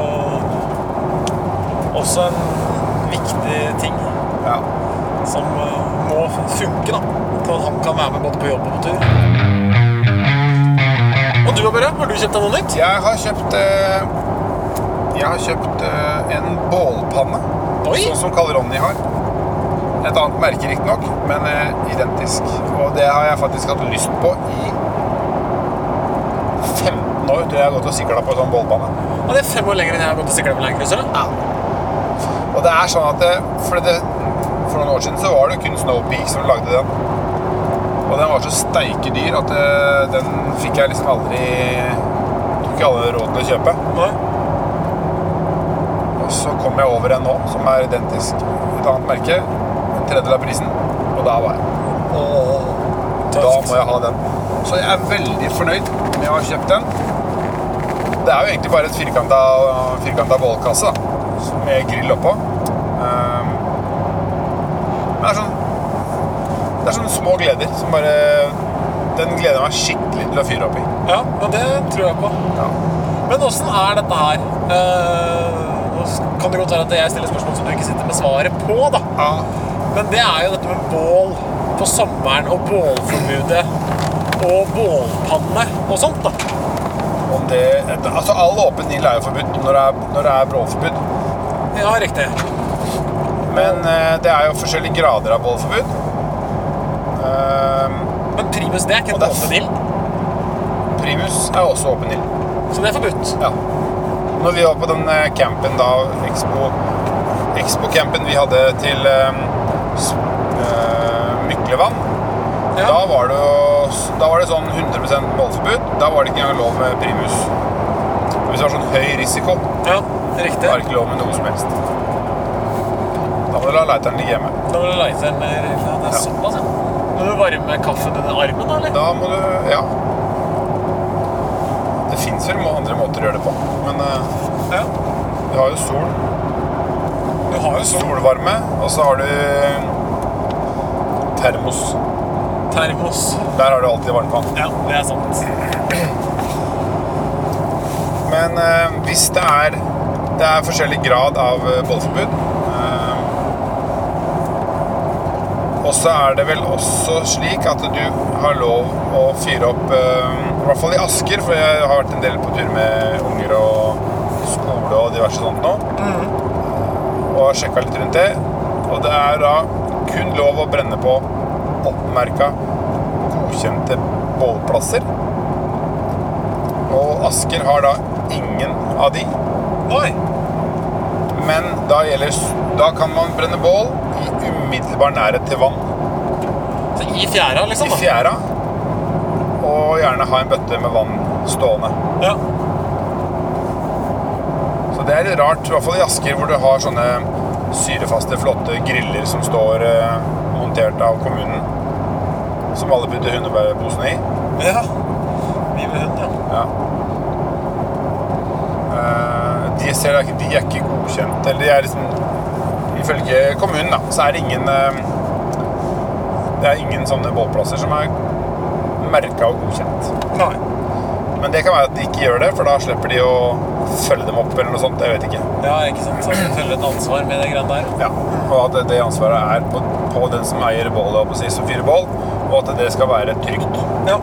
S2: også en viktig ting
S1: Ja.
S2: som eh, må funke, da. For at han kan være med både på jobb og på tur. Og du, Børre, har du kjøpt deg noe nytt?
S1: Jeg har kjøpt eh, Jeg har kjøpt eh, en bålpanne.
S2: Oi!
S1: Sånn som Karl Ronny har. Et annet merke riktignok, men eh, identisk. Og det har jeg faktisk hatt lyst på i 15 år, tror jeg jeg har gått og sikla på en sånn bålpanne.
S2: Ja, det er fem år lenger enn jeg har gått og sikla på Langkrysset. Ja.
S1: Og det er sånn at det, for, det, for noen år siden så var det kun Snowpeak som lagde den. Og den var så steikedyr at eh, den fikk jeg liksom aldri Tok ikke alle råd til å kjøpe. Og så kom jeg over en nå som er identisk. Et annet merke. En tredjedel av prisen. Og da var jeg Da må jeg ha den. Så jeg er veldig fornøyd med å ha kjøpt den. Det er jo egentlig bare et firkanta, firkanta bålkasse da, med grill oppå. Ehm, Men det er sånn Det er sånne små gleder som bare Den gleder jeg meg skikkelig til å fyre opp i.
S2: Ja, men det tror jeg på.
S1: Ja.
S2: Men åssen er dette her? Eh, nå kan det godt være at jeg stiller spørsmål som du ikke sitter med svaret på, da.
S1: Ja.
S2: Men det er jo dette med bål på sommeren og bålforbudet og bålpanne og sånt, da.
S1: Om det, altså All åpen ild er jo forbudt når det er, når det er bråforbud.
S2: Ja, riktig.
S1: Men eh, det er jo forskjellige grader av bålforbud. Ehm,
S2: Men primus, det er ikke
S1: Og
S2: en
S1: det er f-
S2: bålpedill,
S1: Primus er også åpen ild.
S2: så det er forbudt.
S1: Ja. Når vi var på den eh, campen da, Expo, Expo-campen vi hadde til eh, s- eh, Myklevann,
S2: Ja.
S1: da, var det jo, s- da var det sånn 100 målforbud. Da var det ikke engang lov med primus. Og Hvis det var sånn høy risiko,
S2: Ja,
S1: da
S2: riktig.
S1: var det ikke lov med noe som helst. Da må du la leiteren ligge hjemme.
S2: Da var det lighteren eller ja, eh, Det er
S1: Ja.
S2: såpass, ja. Må du varme kaffen under armen, da, eller?
S1: Da må du Ja. Det fins vel må- andre måter å gjøre det på, men eh,
S2: Ja.
S1: vi har jo sol.
S2: Du har jo sånn
S1: Solvarme, og så har du eh, termos.
S2: termos.
S1: Der har du alltid varmtvann.
S2: Ja, det er sant.
S1: Men eh, hvis det er Det er forskjellig grad av eh, bålforbud. eh, og så er det vel også slik at du har lov å fyre opp eh, I hvert fall i Asker, for jeg har vært en del på tur med unger og skole og diverse sånt nå. eh, Og har sjekka litt rundt det. Og det er da kun lov å brenne på oppmerka, godkjente bålplasser. Og Asker har da ingen av de.
S2: Oi!
S1: Men da, gjelder, da kan man brenne bål i umiddelbar nærhet til vann.
S2: Så I fjæra, liksom?
S1: I
S2: da?
S1: fjæra. Og gjerne ha en bøtte med vann stående.
S2: Ja.
S1: Så det er litt rart, i hvert fall i Asker, hvor du har sånne syrefaste, flotte griller som står eh, montert av kommunen. Som alle putter hundebærposene i.
S2: ja. Vi med hund, ja.
S1: Ja. Eh, de, ser, da ikke- de er ikke godkjent. Eller de er liksom Ifølge kommunen, da, så er det ingen eh, Det er ingen sånne bålplasser som er merka og godkjent.
S2: Nei.
S1: Men det kan være at de ikke gjør det, for da slipper de å følge dem opp eller noe sånt. Jeg vet ikke.
S2: Ja, ikke sant. Så du følger et ansvar med det greiene der.
S1: Ja. Og at det ansvaret er på, på den som eier bålet, holdt jeg på å si, som fyrer bål, og og at det skal være trygt.
S2: Ja.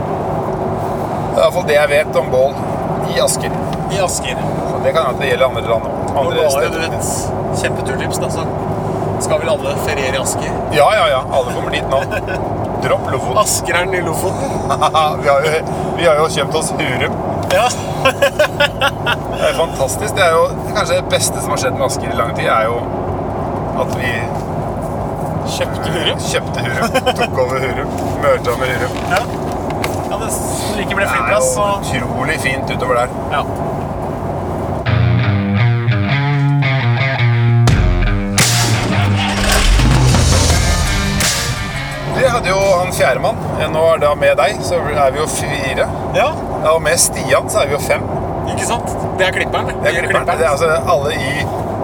S1: Det er i hvert fall det jeg vet om bål i Asker.
S2: I Asker.
S1: Så det kan hende at det gjelder andre land også.
S2: Og
S1: Andre
S2: bare
S1: steder.
S2: et kjempeturtips, da, så skal vel alle feriere i Asker.
S1: Ja, ja, ja. Alle kommer dit nå. Dropp Lofoten.
S2: Asker er den nye Lofoten.
S1: vi, har jo, vi har jo kjøpt oss Hurum.
S2: Ja.
S1: Det er fantastisk. Det er jo kanskje det beste som har skjedd med Asker i lang tid, er jo at vi eh,
S2: Kjøpte Hurum.
S1: kjøpte Hurum. Tok over Hurum. Mørta med Hurum.
S2: Ja. ja, det altså- s- like ble
S1: Det er
S2: flyplass,
S1: jo
S2: og
S1: utrolig fint utover der.
S2: ja.
S1: Vi hadde jo han fjerdemann. Nå er det med deg, så er vi jo fire.
S2: ja.
S1: Ja, og med Stian så er vi jo fem.
S2: Ikke sant? Det er klipperen.
S1: Det er, klipperen. det er altså alle i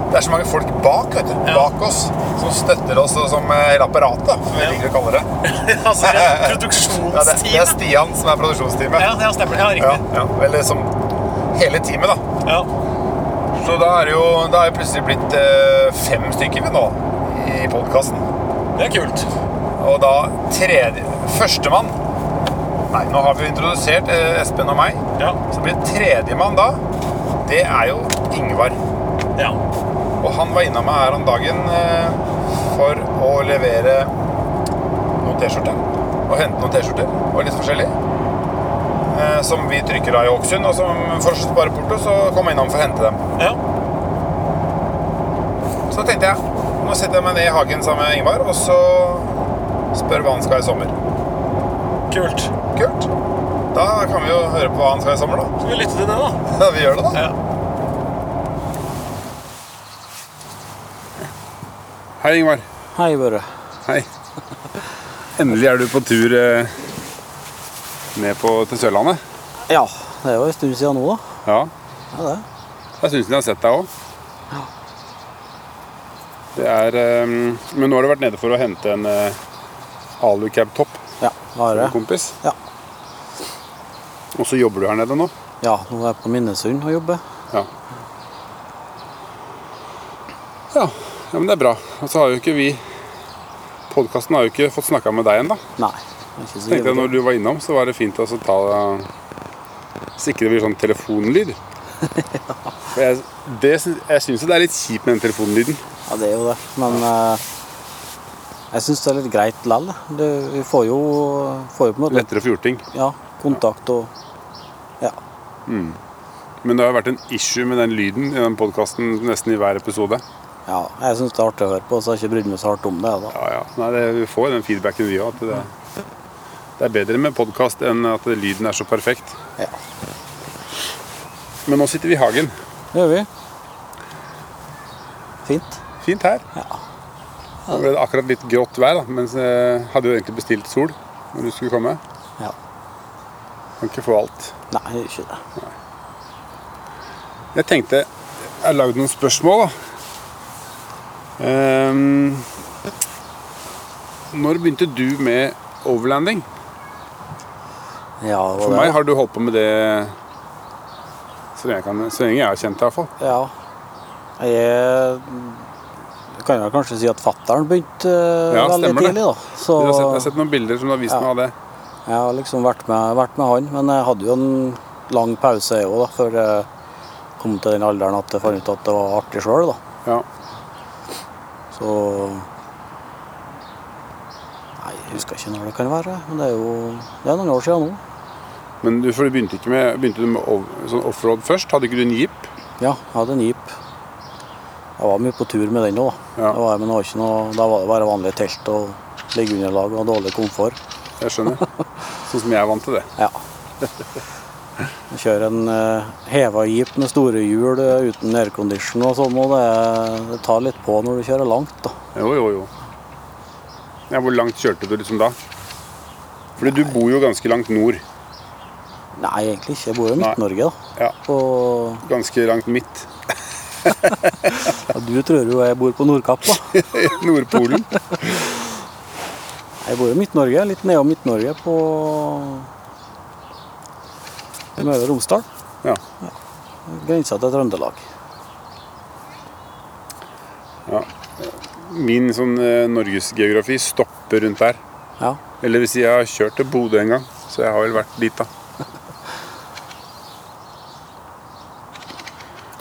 S1: det er så mange folk bak vet du,
S2: Ja.
S1: bak oss som støtter oss og som eh, apparat, da, som vi
S2: Ja.
S1: liker å kalle det.
S2: altså,
S1: Ja,
S2: det er
S1: det, det er
S2: produksjonsteamet.
S1: Stian som er produksjonsteamet.
S2: Ja, det er stemmer. Ja,
S1: Ja,
S2: riktig.
S1: ja. Eller som hele teamet, da.
S2: Ja.
S1: Så da er det jo da er det plutselig blitt eh, fem stykker vi nå i podkasten.
S2: Det er kult.
S1: Og da tredje Førstemann Nei, nå har vi introdusert eh, Espen og meg.
S2: Ja.
S1: Så blir tredjemann da Det er jo Ingvar.
S2: ja.
S1: Og han var innom meg her om dagen eh, for å levere noen T-skjorter. Og hente noen T-skjorter og litt forskjellig. Eh, som vi trykker av i Hokksund, og som fortsatt bare porto, så kom jeg innom for å hente dem.
S2: ja.
S1: Så tenkte jeg, nå setter jeg meg ned i hagen sammen med Ingvar, og så spør hva han skal i sommer.
S2: Kult. Skal
S1: Kult. Da kan vi jo høre på hva han skal i sommer, da.
S2: vi lytte til det, da?
S1: Ja, vi gjør det, da.
S2: Ja.
S1: Hei, Ingvar.
S3: Hei, Børre.
S1: Hei. Endelig er du på tur eh, ned på, til Sørlandet.
S3: Ja, det er jo en stund siden nå, da.
S1: Ja.
S3: Ja, det.
S1: Det er stund siden jeg har sett deg òg. Det er eh, Men nå har du vært nede for å hente en eh, alucab-topp for
S3: Ja, hva er
S1: en
S3: det?
S1: kompis.
S3: Ja.
S1: Og så jobber du her nede nå.
S3: ja, nå er jeg på Minnesund og jobber.
S1: Ja. Ja, ja men det er bra. Og så har jo ikke vi Podkasten har jo ikke fått snakka med deg ennå.
S3: Nei, det er ikke så
S1: Tenkte jeg
S3: givet.
S1: når du var innom, så var det fint å så ta Sikre det blir sånn telefonlyd. For jeg, det, syns- jeg syns jo det er litt kjipt med den telefonlyden.
S3: Ja, det er jo det. Men eh, jeg syns det er litt greit lell. Det- Vi får jo, får jo på en måte
S1: Lettere å få gjort ting.
S3: ja, kontakt og Ja.
S1: Men det har vært en issue med den lyden i den podkasten nesten i hver episode.
S3: ja jeg syns det er artig å høre på, så jeg har ikke brydd meg så hardt om det. da.
S1: Ja, ja. Nei, det, vi får jo den feedbacken vi òg. Det, det er bedre med podkast enn at lyden er så perfekt.
S3: Ja.
S1: Men nå sitter vi i hagen.
S3: Det gjør vi. Fint.
S1: Fint her. Nå ble det akkurat litt grått vær, da, men jeg hadde jo egentlig bestilt sol når du skulle komme.
S3: Ja.
S1: Kan ikke få alt.
S3: Nei, det er ikke det.
S1: Jeg tenkte Jeg har lagd noen spørsmål, da. Ehm, når begynte du med overlanding?
S3: Ja, det
S1: For
S3: var
S1: meg
S3: det.
S1: har du holdt på med det så lenge jeg, kan, så lenge jeg har kjent deg, iallfall.
S3: Ja. Jeg jeg kan vel kanskje si at fattern begynte eh,
S1: Ja,
S3: veldig
S1: stemmer det.
S3: tidlig, da. Så
S1: Jeg, har sett noen bilder som du har vist
S3: Ja.
S1: meg av det.
S3: jeg har liksom vært med, vært med han. Men jeg hadde jo en lang pause jeg òg, da, før jeg kom til den alderen at jeg fant ut at det var artig sjøl, da.
S1: Ja.
S3: Så Nei, jeg husker ikke når det kan være. Men det er jo det er noen år siden nå.
S1: Men du, for du begynte, ikke med, begynte du med ov- sånn offroad først? Hadde ikke du en jeep?
S3: Ja, jeg hadde en jeep. Jeg var mye på tur med den òg, da.
S1: Ja.
S3: Det var jeg, men det var ikke noe, da var det bare vanlig telt og liggeunderlag og dårlig komfort.
S1: Jeg skjønner. Sånn som jeg er vant til det.
S3: Ja. Jeg kjører en uh, heva jeep med store hjul eh, uten aircondition og sånn, og det, det tar litt på når du kjører langt, da.
S1: Jo, jo, jo. Ja, hvor langt kjørte du liksom da? Fordi du bor jo ganske langt nord.
S3: Nei, egentlig ikke. Jeg bor jo i
S1: Nei.
S3: Midt-Norge, da.
S1: Ja,
S3: Og
S1: Ganske langt midt.
S3: ja, du tror jo jeg bor på Nordkapp, da.
S1: Nordpolen.
S3: Jeg bor i Midt-Norge, litt nedom Midt-Norge på Møre og Romsdal.
S1: Ja.
S3: Grensa til Trøndelag.
S1: Min sånn eh, norgesgeografi stopper rundt der.
S3: Ja.
S4: Eller hvis jeg har kjørt til Bodø en gang, så jeg har vel vært dit, da.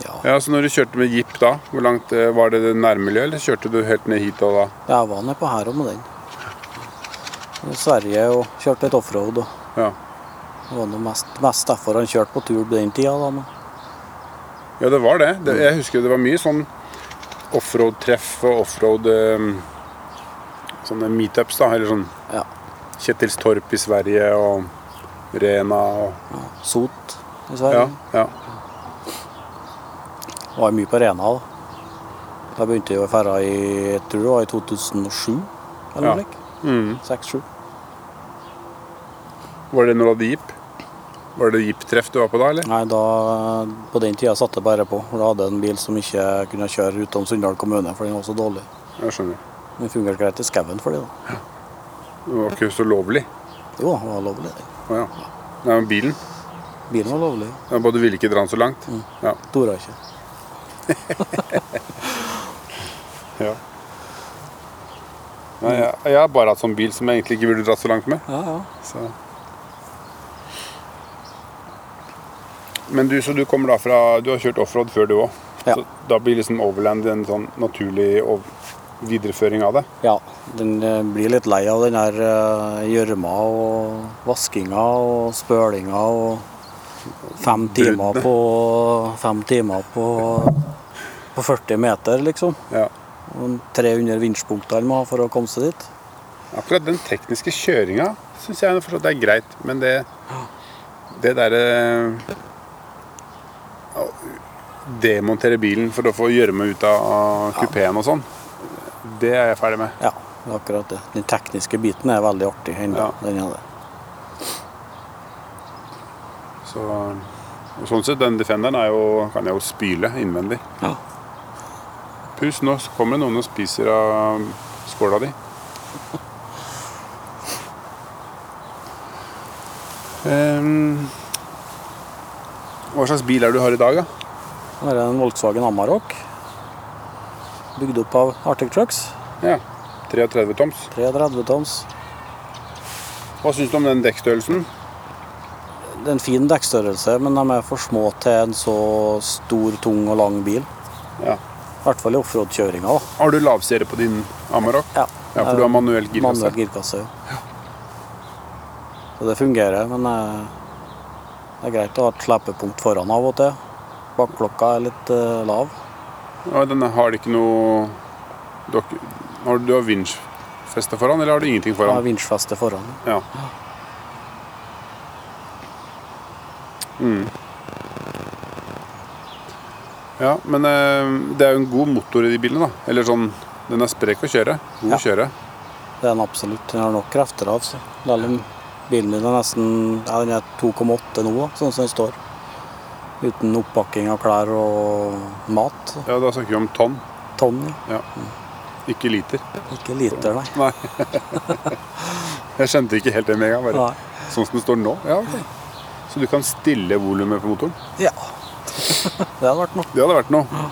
S3: Ja.
S4: Ja, Så Altså, når du kjørte med jeep da, hvor langt eh, var det det nærmiljøet, eller kjørte du helt ned hit og da?
S3: Jeg var nede på her og med den. I Sverige og kjørte litt offroad. og
S4: Ja.
S3: Det var noe mest, mest derfor han kjørte på tur på den tida. Da. men-
S4: ja, det var det. det. Jeg husker det var mye sånn offroad-treff og offroad eh, Sånne meetups, da. Eller sånn
S3: Ja.
S4: Kjetilstorp i Sverige og Rena og
S3: Sot i
S4: Ja.
S3: Sverige.
S4: ja.
S3: Var mye på Rena. Da Da begynte jeg å ferde i jeg tror det var i 2007 eller
S4: Ja.
S3: noe slikt.
S4: Mm.
S3: 6-7.
S4: Var det når du hadde jeep? Var det jeep-treff du var på da, eller?
S3: Nei, da, på den tida satt jeg bare på. for Da hadde jeg en bil som ikke kunne kjøre utom Sunndal kommune, for den var så dårlig.
S4: Jeg skjønner.
S3: Den fungerte greit i skauen for det, da.
S4: Det var ikke så lovlig.
S3: Jo, det var lovlig. det.
S4: Å ja. Nei, men bilen.
S3: Bilen var lovlig.
S4: Ja, Bare du ville ikke dra den så langt? Ja.
S3: Torde ikke.
S4: ja. Nei, jeg, jeg har bare hatt sånn bil som jeg egentlig ikke ville dratt så langt med.
S3: Ja, ja.
S4: Så. Men du, så du kommer da fra Du har kjørt offroad før, du òg.
S3: Ja.
S4: Da blir liksom overland en sånn naturlig ov- videreføring av det?
S3: Ja, den eh, blir litt lei av den der eh, gjørma og vaskinga og spølinga og fem timer på, fem timer på, på 40 meter, liksom.
S4: Ja.
S3: Og 300 vinsjpunkter han må ha for å komme seg dit.
S4: Akkurat den tekniske kjøringa syns jeg forstått er greit, men det Det derre å Demontere bilen for å få gjørme ut av kupeen og sånn, det er jeg ferdig med.
S3: Ja, det er akkurat det. Den tekniske biten er veldig artig ennå.
S4: Ja.
S3: Den er det.
S4: Så, og sånn sett, den Defenderen er jo, kan jeg jo spyle innvendig.
S3: Ja.
S4: Pus, nå kommer det noen og spiser av um, skåla di. Ehm, hva slags bil er det du har i dag, da?
S3: Her er en Volkswagen Amarok. Bygd opp av Arctic Trucks.
S4: Ja, 33 toms.
S3: 33 toms.
S4: Hva syns du om den dekkstørrelsen?
S3: Det er en fin dekkstørrelse, men de er for små til en så stor, tung og lang bil.
S4: Ja.
S3: I hvert fall i offroad-kjøringa. da.
S4: Har du lavserie på din Amarok?
S3: Ja.
S4: Ja, for du har manuell girkasse.
S3: Manuell girkasse. ja. Så det fungerer, men eh, det er greit å ha et slepepunkt foran av og til. Bakklokka er litt eh, lav.
S4: Ja, den har det ikke noe Du har, ikke- har, du- du har vinsjfeste foran, eller har du ingenting
S3: Jeg har
S4: foran?
S3: vinsjfeste foran.
S4: Ja. Mm. Ja, men eh, det er jo en god motor i de bilene, da. Eller sånn Den er sprek å kjøre. God å kjøre.
S3: Det er den absolutt. Den har nok krefter av seg. Selv om bilen min er nesten ja, den er 2,8 nå, da, sånn som den står. Uten oppakking av klær og mat.
S4: Ja, da snakker vi om tonn,
S3: Tonn, ja.
S4: ikke liter.
S3: ikke liter, nei.
S4: Nei. Jeg skjønte ikke helt det med en gang. Bare.
S3: Nei.
S4: Sånn som det står nå? Ja, ok. Så du kan stille volumet på motoren?
S3: Ja. Det hadde vært noe.
S4: Det hadde vært noe.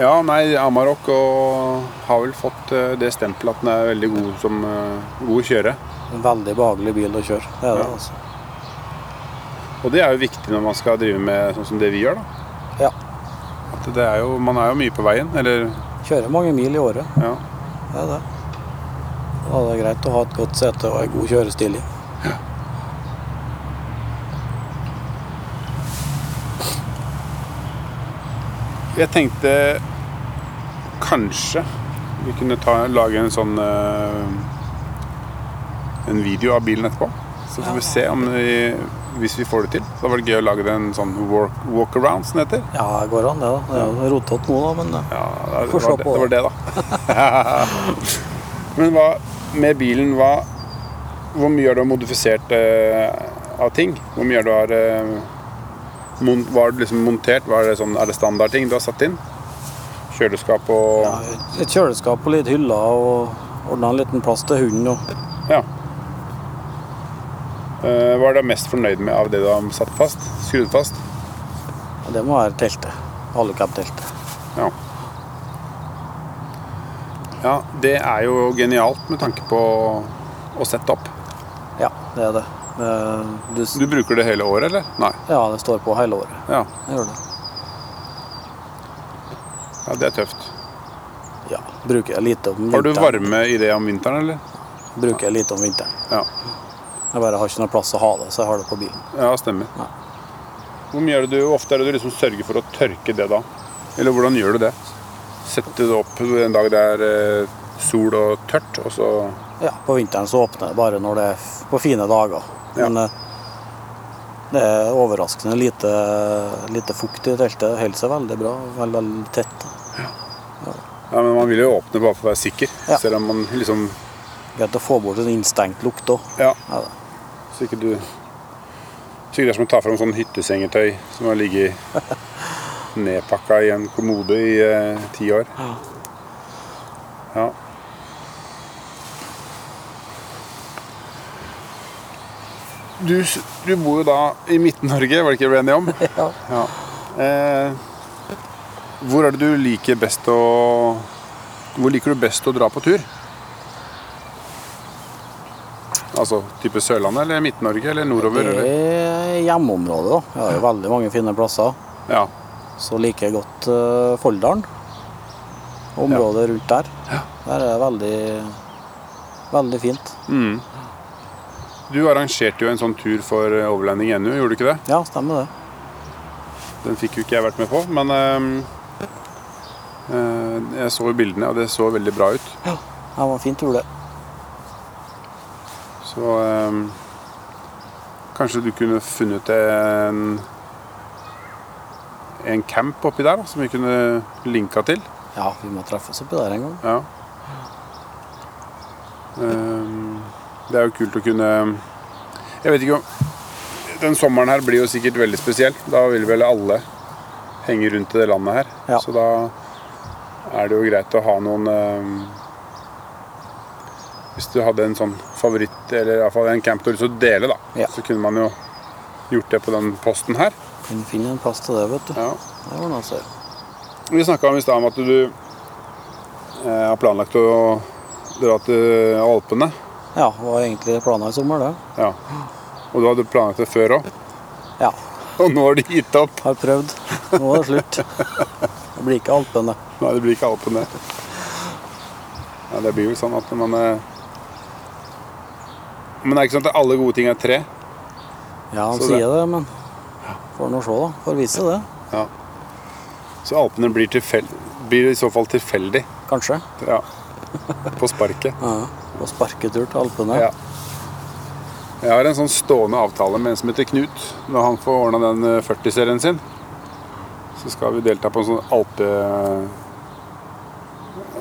S4: Ja, nei, Amarok og har vel fått eh, det stempelet at den er veldig god som eh, god å kjøre.
S3: En veldig behagelig bil å kjøre. Det er det,
S4: Ja.
S3: altså.
S4: Og det er jo viktig når man skal drive med sånn som det vi gjør, da.
S3: Ja.
S4: At det er jo, man er jo mye på veien, eller
S3: Kjører mange mil i året.
S4: ja.
S3: Det er det. Da er det greit å ha et godt sete og en god kjørestiling.
S4: Jeg tenkte kanskje vi kunne ta, lage en sånn eh, En video av bilen etterpå. Så får vi se om vi, hvis vi får det til. Så hadde det vært gøy å lage en sånn walk, walkaround, som det heter.
S3: Ja, det går an, det. da. Det er jo rotete nå, da, men eh,
S4: Ja, det,
S3: Får
S4: det,
S3: se
S4: var, det,
S3: på
S4: det var det, da. Men hva med bilen hva, Hvor mye har du modifisert eh, av ting? Hvor mye har du har eh, mon, Hva har du liksom montert? Hva er det sånn, er det standardting du har satt inn? Kjøleskap og
S3: ja, et kjøleskap og litt hyller og ordna en liten plass til hunden. og
S4: Ja. Eh, hva er du mest fornøyd med av det du har satt fast? Skrudd fast?
S3: Ja, Det må være teltet. Alucab-teltet.
S4: Ja. Ja, det er jo genialt med tanke på å sette opp.
S3: Ja, det er det. Eh, Du, s-
S4: Du bruker det hele året, eller? Nei.
S3: ja, det står på hele året.
S4: Ja,
S3: Det gjør det.
S4: ja det er tøft.
S3: Ja, bruker jeg lite om vinteren.
S4: Har du varme i det om vinteren, eller?
S3: Bruker jeg lite om vinteren.
S4: Ja,
S3: Jeg bare har ikke noe plass å ha det, så jeg har det på bilen.
S4: ja stemmer.
S3: Ja.
S4: Hvor mye er det du, hvor ofte er det du liksom sørger for å tørke det, da? Eller hvordan gjør du det? Setter du det opp en dag det er eh, sol og tørt, og så
S3: Ja, på vinteren så åpner det bare når det er f- på fine dager.
S4: Ja.
S3: Men eh, det er overraskende lite, lite fukt i teltet. Det holder seg veldig bra. Veldig, veldig tett.
S4: Ja, men man vil jo åpne bare for å være sikker,
S3: Ja.
S4: selv om man liksom
S3: Greit å få bort en innstengt lukt òg.
S4: Ja,
S3: Ja, da.
S4: så ikke du Sikkert det er som å ta fram sånn hyttesengetøy som har ligget nedpakka i en kommode i eh, ti år. Ja. Du, s- du bor jo da i Midt-Norge, var det ikke vi ble enige om?
S3: Ja.
S4: Ja. Eh, hvor er det du liker best å Hvor liker du best å dra på tur? Altså type Sørlandet eller Midt-Norge eller nordover?
S3: Det
S4: Eller?
S3: er hjemmeområdet, da. Jeg har jo veldig mange fine plasser.
S4: Ja.
S3: Så liker jeg godt eh, Folldalen. Området rundt der. Der er det veldig, veldig fint.
S4: Mm. Du arrangerte jo en sånn tur for eh, Overlanding NU, gjorde du ikke det?
S3: Ja, stemmer det.
S4: Den fikk jo ikke jeg vært med på, men ehm, eh, jeg så jo bildene, og det så veldig bra ut.
S3: Det var en fin tur, det.
S4: Så ehm, kanskje du kunne funnet en, en camp oppi der da, som vi kunne linka til.
S3: Ja, vi må treffes oppi der en gang.
S4: Ja. Ehm, det er jo kult å kunne Jeg vet ikke om Den sommeren her blir jo sikkert veldig spesiell. Da vil vel alle henge rundt i det landet her.
S3: Ja.
S4: Så da er det jo greit å ha noen ehm, Hvis du hadde en sånn favoritt, eller iallfall en camp du har lyst til å dele, da,
S3: Ja.
S4: så kunne man jo gjort det på den posten her.
S3: Kan finne en plass til det, vet du.
S4: Ja.
S3: Det var noe å se.
S4: Vi snakka om i stad om at du eh, har planlagt å dra til Alpene.
S3: Ja, det var egentlig planen i sommer, det.
S4: Ja. Og du hadde planlagt det før òg,
S3: Ja,
S4: og nå har du gitt opp.
S3: har prøvd. Nå er det slutt. Det blir ikke Alpene.
S4: Nei, det blir ikke Alpene. Ja, det blir jo sånn at man eh, Men det er ikke sånn at alle gode ting er tre.
S3: Ja, han
S4: Så det-
S3: sier det, men får nå se, da. Får vise det.
S4: Ja. Så Alpene blir, tilfel blir i så fall tilfeldig.
S3: Kanskje.
S4: Ja. På sparket.
S3: Ja. Og sparketur til Alpene.
S4: Ja. Jeg har en sånn stående avtale med en som heter Knut. Når han får ordna den eh, 40-serien sin, så skal vi delta på en sånn alpe...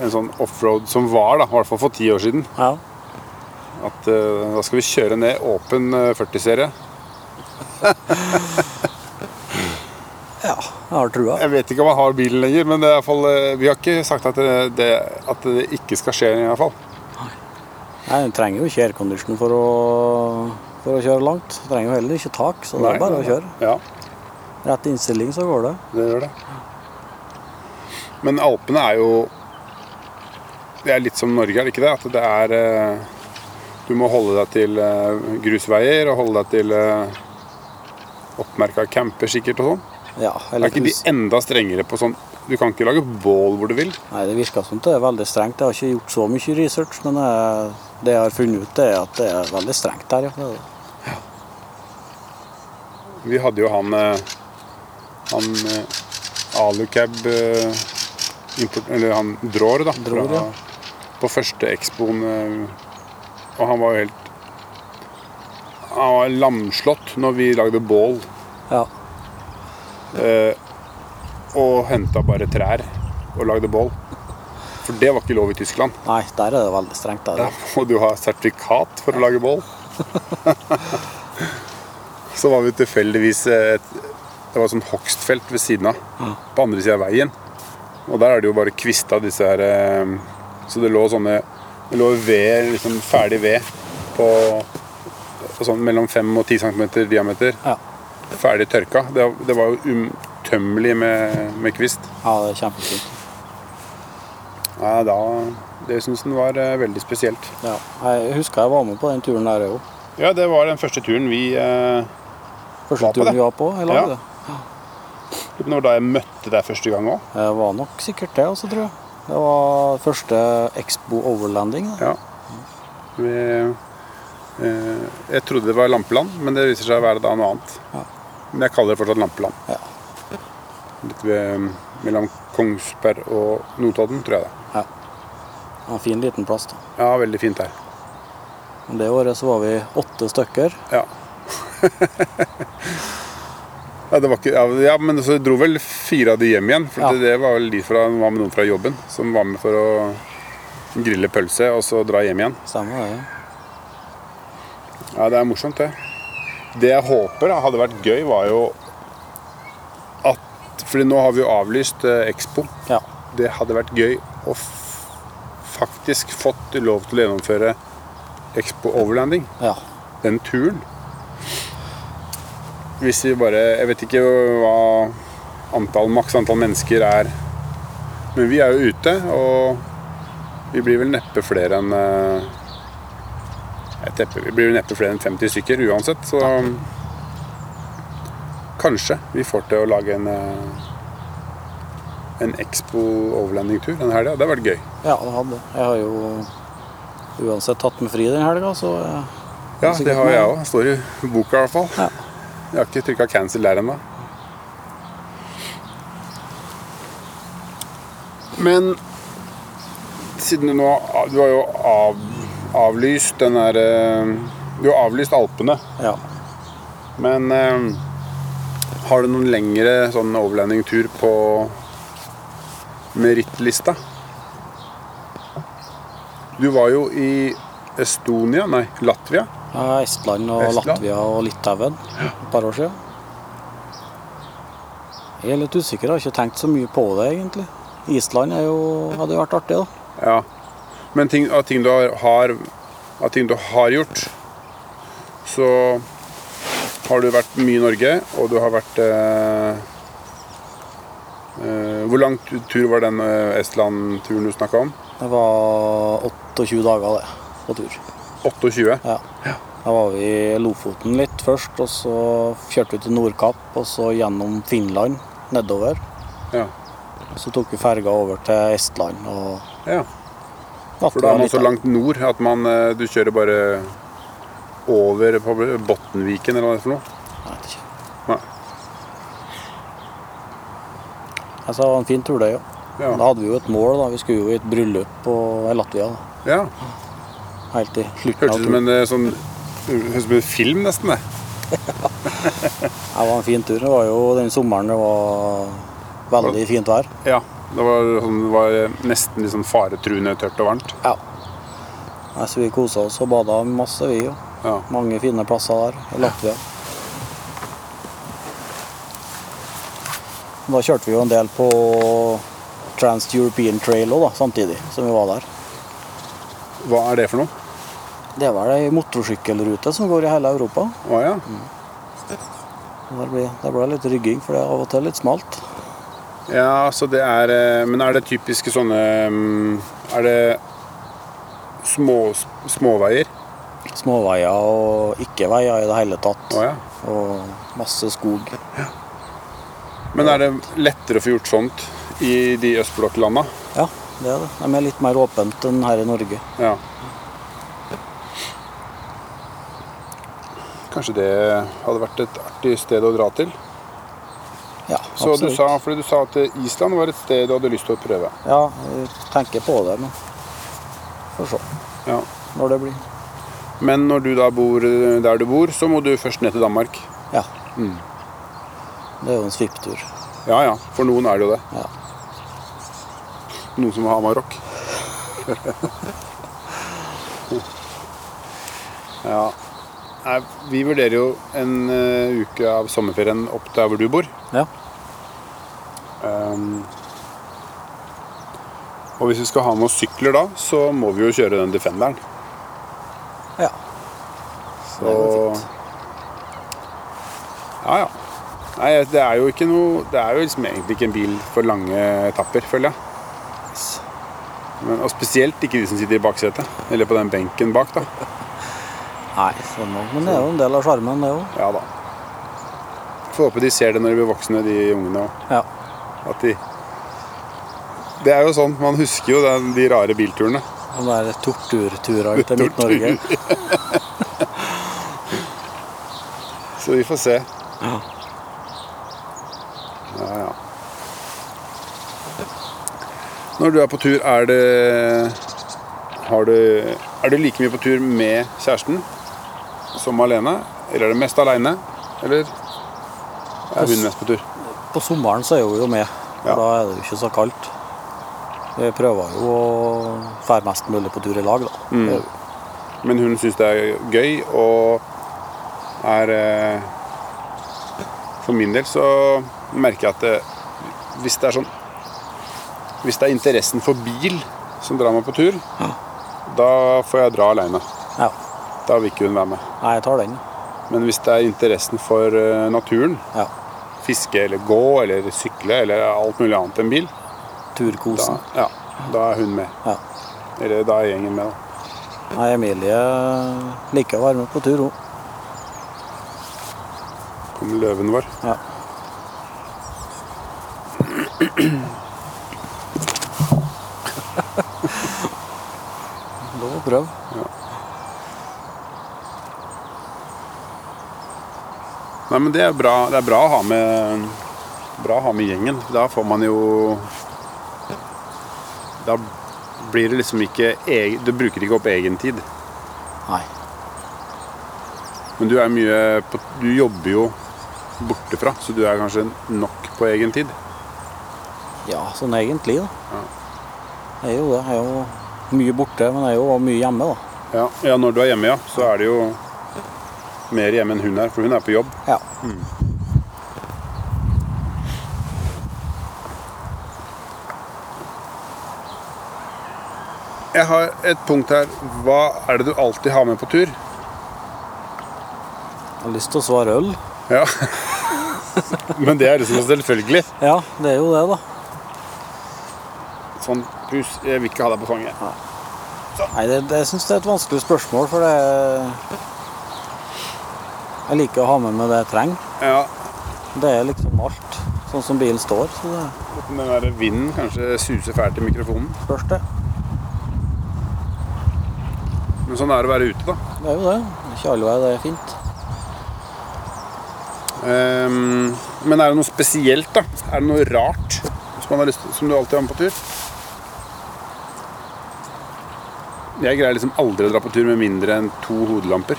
S4: En sånn offroad som var, da, i hvert fall for ti år siden.
S3: Ja.
S4: At eh, da skal vi kjøre ned åpen eh, 40-serie.
S3: ja. Jeg har trua.
S4: Jeg vet ikke om han har bilen lenger, men det er i hvert fall, eh, vi har ikke sagt at det, det, at det ikke skal skje. i hvert fall.
S3: Nei, Du trenger jo ikke aircondition for å, for å kjøre langt. Du trenger jo heller ikke tak, så det
S4: Nei,
S3: er bare
S4: nei,
S3: å kjøre.
S4: Ja,
S3: Rett innstilling, så går det.
S4: det gjør det. Men Alpene er jo Det er litt som Norge, er det ikke det? At det er eh, Du må holde deg til eh, grusveier og holde deg til eh, oppmerka camper sikkert og sånn.
S3: Ja,
S4: Er
S3: eller
S4: ikke de
S3: hus-
S4: enda strengere på sånn Du kan ikke lage bål hvor du vil.
S3: Nei, Det virker som det er veldig strengt. Jeg har ikke gjort så mye research, men eh, det jeg har funnet ut, det er at det er veldig strengt der. ja. Det er det.
S4: Vi hadde jo han eh, Han eh, Alucab eh, import, Eller han Drår, da.
S3: Dror,
S4: fra-
S3: ja.
S4: På første expoen. eh, Og han var jo helt Han var lamslått når vi lagde bål
S3: Ja,
S4: og henta bare trær og lagde bål. For det var ikke lov i Tyskland.
S3: Nei, der er det veldig strengt. Der.
S4: Der må du ha sertifikat for å lage bål. Så var vi tilfeldigvis eh, et, Det var et sånt hogstfelt ved siden av. På andre sida av veien. Og der er det jo bare kvista disse her eh, Så det lå sånne Det lå ved, liksom ferdig ved på, på sånn mellom 5 og 10 cm diameter.
S3: Ja.
S4: Ferdig tørka. Det, det var jo utømmelig med, med kvist.
S3: ja, det er kjempefint.
S4: Nei, da Det syns han var eh, veldig spesielt.
S3: Ja. Jeg husker jeg var med på den turen der òg.
S4: Ja, det var den første turen vi eh, Var
S3: Første
S4: på det?
S3: turen vi var på i lag.
S4: Ja.
S3: det.
S4: Lurer på om det var da jeg møtte deg første gang òg.
S3: Det var nok sikkert det, altså, tror jeg. Det var første Expo Overlanding. Det.
S4: Ja. Vi, eh, jeg trodde det var Lampeland, men det viser seg å være da noe annet.
S3: Ja.
S4: Men jeg kaller det fortsatt Lampeland.
S3: Ja.
S4: Litt ved, mellom Kongsberg og Notodden, tror jeg det.
S3: Det var En fin liten plass. da.
S4: Ja, veldig fint her.
S3: Og Det året så var vi åtte stykker.
S4: Ja. ja, det var ikke, ja, ja, men så dro vel fire av de hjem igjen. For
S3: Ja.
S4: det, det var vel de fra, var med noen fra jobben som var med for å grille pølse og så dra hjem igjen.
S3: Stemmer det.
S4: Ja, det er morsomt, det. Det jeg håper da, hadde vært gøy, var jo at fordi nå har vi jo avlyst eh, Expo.
S3: Ja.
S4: Det hadde vært gøy å f faktisk fått lov til å gjennomføre Expo Overlanding.
S3: ja.
S4: den turen. Hvis vi bare Jeg vet ikke hva antall, maks antall mennesker er. Men vi er jo ute, og vi blir vel neppe flere enn eh, Jeg tepper, Vi blir vel neppe flere enn 50 stykker uansett, så Kanskje vi får til å lage en eh, en Expo overlandingtur den helga. Det hadde vært gøy.
S3: Ja, det hadde det. Jeg har jo uansett tatt meg fri den helga, så eh,
S4: Ja,
S3: Sikkert
S4: det har
S3: med-
S4: jeg òg. Står i boka i hvert fall.
S3: Ja.
S4: Jeg har ikke trykka 'cancel' der ennå. Men siden du nå Du har jo av, avlyst den der eh, Du har avlyst Alpene,
S3: ja.
S4: men eh, har du noen lengre sånn overlandingtur på merittlista? Du var jo i Estonia, nei, Latvia.
S3: Ja, Estland og
S4: Estland.
S3: Latvia og Litauen et par år siden. Jeg er litt usikker, jeg har ikke tenkt så mye på det egentlig. Island er jo, hadde jo vært artig, da.
S4: Ja. Men ting, av, ting du har, har, av ting du har gjort, så har du vært mye i Norge, og du har vært eh, eh, Hvor lang tu- tur var den eh, Estland-turen du snakka om?
S3: Det var 28 dager det, på tur.
S4: 28?
S3: Ja. Da var vi i Lofoten litt først, og så kjørte vi til Nordkapp, og så gjennom Finland nedover.
S4: Ja.
S3: Og Så tok vi ferga over til Estland og
S4: ja.
S3: Latvia.
S4: For da er man
S3: litt
S4: så
S3: av-
S4: langt nord at man, eh, du kjører bare over på Bottenviken eller hva det er for noe.
S3: Nei, jeg vet ikke.
S4: Nei.
S3: Altså, det var en fin tur, det, ja.
S4: Ja.
S3: Da hadde vi jo et mål, da. Vi skulle jo i et bryllup på i Latvia. Da.
S4: ja.
S3: Helt i slutten av
S4: Hørtes ut som
S3: turen.
S4: en eh, sånn, hørtes ut som en film, nesten. det.
S3: Det var en fin tur. Det var jo den sommeren det var veldig fint vær.
S4: Ja, det var, sånn, det var nesten litt sånn faretruende tørt og varmt.
S3: Ja. Nei, så vi kosa oss og bada masse, vi. jo.
S4: Ja.
S3: Mange fine plasser der i Latvia. Da kjørte vi jo en del på Trans-European Trail også da, samtidig som vi var der.
S4: Hva er det for noe?
S3: Det er vel ei motorsykkelrute som går i hele Europa.
S4: Å ja.
S3: Der ble, der ble det litt rygging, for det er av og til litt smalt.
S4: ja, så det er eh, Men er det typiske sånne mm, Er det små, småveier?
S3: Småveier og ikke veier i det hele tatt.
S4: Å ja.
S3: Og masse skog.
S4: Men er det lettere å få gjort sånt i de østblokklanda?
S3: Ja, det er det. De er litt mer åpent enn her i Norge.
S4: Ja. Kanskje det hadde vært et artig sted å dra til.
S3: Ja,
S4: Så du
S3: absolutt.
S4: sa, fordi du sa at Island var et sted du hadde lyst til å prøve.
S3: Ja, jeg tenker på det, men får se
S4: Ja.
S3: når det blir.
S4: Men når du da bor eh, der du bor, så må du først ned til Danmark.
S3: Ja.
S4: Mm.
S3: Det er jo en svipptur.
S4: Ja ja, for noen er det jo det.
S3: Ja.
S4: Noen som har Amarok. ja. Nei, vi vurderer jo en eh, uke av sommerferien opp der hvor du bor.
S3: ja.
S4: Ehm, og hvis vi skal ha med oss sykler da, så må vi jo kjøre den Defenderen.
S3: Ja.
S4: Så Ja ja. Nei, det er jo ikke noe Det er jo liksom egentlig ikke en bil for lange etapper, føler jeg. Men, og spesielt ikke de som sitter i baksetet. Eller på den benken bak, da.
S3: Nei, sånn nok. Men det er jo en del av sjarmen, det òg.
S4: Ja da. Får håpe de ser det når de blir voksne, de ungene òg.
S3: Ja.
S4: At de Det er jo sånn. Man husker jo den, de rare bilturene.
S3: Den der torturturene til Midt-Norge.
S4: Så vi får se.
S3: Ja.
S4: Ja, ja. Når du er på tur, er det Har du Er du like mye på tur med kjæresten som alene? Eller er det mest alene? Eller er hun mest på tur?
S3: På sommeren så er hun jo med.
S4: Ja.
S3: Da er det jo ikke så kaldt. Vi prøver jo å fære mest mulig på tur i lag, da.
S4: Mm.
S3: Det-
S4: Men hun syns det er gøy og er eh, For min del så merker jeg at det, hvis det er sånn Hvis det er interessen for bil som drar meg på tur, da får jeg dra aleine.
S3: Ja.
S4: Da vil ikke hun være med.
S3: Nei, jeg tar den.
S4: Men hvis det er interessen for eh, naturen,
S3: Ja.
S4: fiske eller gå eller sykle eller alt mulig annet enn bil, da,
S3: Turkosen.
S4: ja, da er hun med.
S3: Ja.
S4: Eller da er gjengen med, da.
S3: Nei, Emilie liker å være med på tur, hun.
S4: Kommer løven vår.
S3: Ja. Lov å prøve.
S4: Nei, men det er bra, det er bra, å, ha med, bra å ha med gjengen. Da får man jo Da blir det liksom ikke eg- Du bruker ikke opp egen tid.
S3: Nei.
S4: Men du er mye på, Du jobber jo bortefra, så du er kanskje nok på egen tid.
S3: Ja, sånn egentlig, da. Jeg er jo det. Jeg er jo mye borte, men jeg er jo også mye hjemme, da.
S4: Ja, ja når du er hjemme, ja, så er det jo mer hjemme enn hun er, for hun er på jobb.
S3: Ja.
S4: Jeg har et punkt her. Hva er det du alltid har med på tur?
S3: Jeg har lyst til å svare øl.
S4: Ja. Men det er liksom selvfølgelig.
S3: Ja, det er jo det, da.
S4: Sånn pus, jeg vil ikke ha deg på fanget.
S3: Nei, det, det, jeg syns det er et vanskelig spørsmål, for det Jeg liker å ha med meg det jeg trenger.
S4: Ja,
S3: Det er liksom alt, sånn som bilen står. Så det
S4: Den der vinden kanskje suser fælt i mikrofonen.
S3: spørs, det.
S4: Men sånn er det å være ute, da.
S3: Det er jo det. Ikke alle veier det er fint.
S4: Ehm, men er det noe spesielt, da? Er det noe rart som, man har lyst til, som du alltid har med på tur? Jeg greier liksom aldri å dra på tur med mindre enn to hodelamper.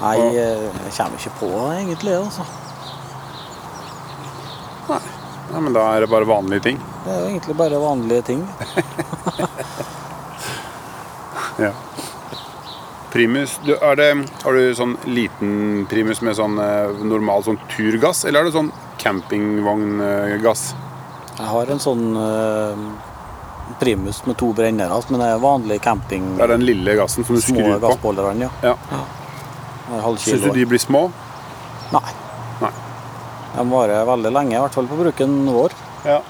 S3: Nei, eh, jeg kommer ikke på det egentlig, altså.
S4: Ja, men da er det bare vanlige ting.
S3: Det er jo egentlig bare vanlige ting.
S4: Ja. Primus, du, er det, har du sånn liten primus med sånn eh, normal sånn turgass, eller er det sånn campingvogngass?
S3: Jeg har en sånn eh, primus med to brennere, altså, men det er vanlig camping.
S4: Det er den lille gassen som du
S3: Små
S4: skrur på.
S3: gassbeholderne, ja.
S4: Ja.
S3: Det er Halv
S4: Syns du
S3: kilo.
S4: de blir små?
S3: Nei.
S4: Nei.
S3: De varer veldig lenge, i hvert fall på bruken vår.
S4: Ja.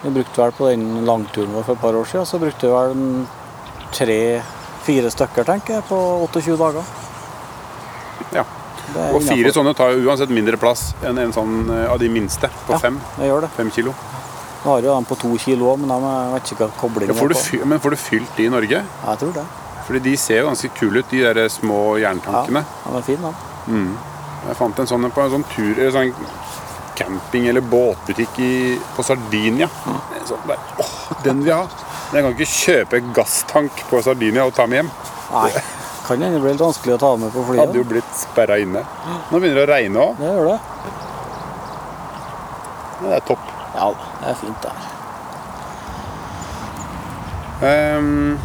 S3: Vi brukte vel på den langturen vår for et par år siden, så brukte vi vel en tre-fire stykker, tenker jeg, på 28 dager.
S4: Ja.
S3: Det er
S4: Og fire
S3: innenfor.
S4: sånne tar jo uansett mindre plass enn en sånn eh, av de minste på
S3: Ja.
S4: fem.
S3: Det gjør det.
S4: Fem kilo.
S3: Vi har jo dem på to kilo òg, men de er- vet ikke hva
S4: Ja,
S3: koblingen
S4: får du
S3: er på.
S4: fy- men får du fylt de i Norge?
S3: Jeg tror det.
S4: Fordi de ser jo ganske kule ut, de der små
S3: Ja,
S4: jerntankene.
S3: de er fine, de.
S4: Jeg fant en sånn en på en sånn tur eller sånn camping- eller båtbutikk i, på Sardinia. En Sånn der, åh, den vil jeg ha! Men jeg kan ikke kjøpe gasstank på Sardinia og ta med hjem.
S3: Nei. Kan hende det blir litt vanskelig å ta med på
S4: Hadde jo
S3: flyet.
S4: blitt sperra inne. Nå begynner det å regne òg.
S3: Det gjør det.
S4: Det er topp.
S3: Ja, det er fint der.
S4: Ehm,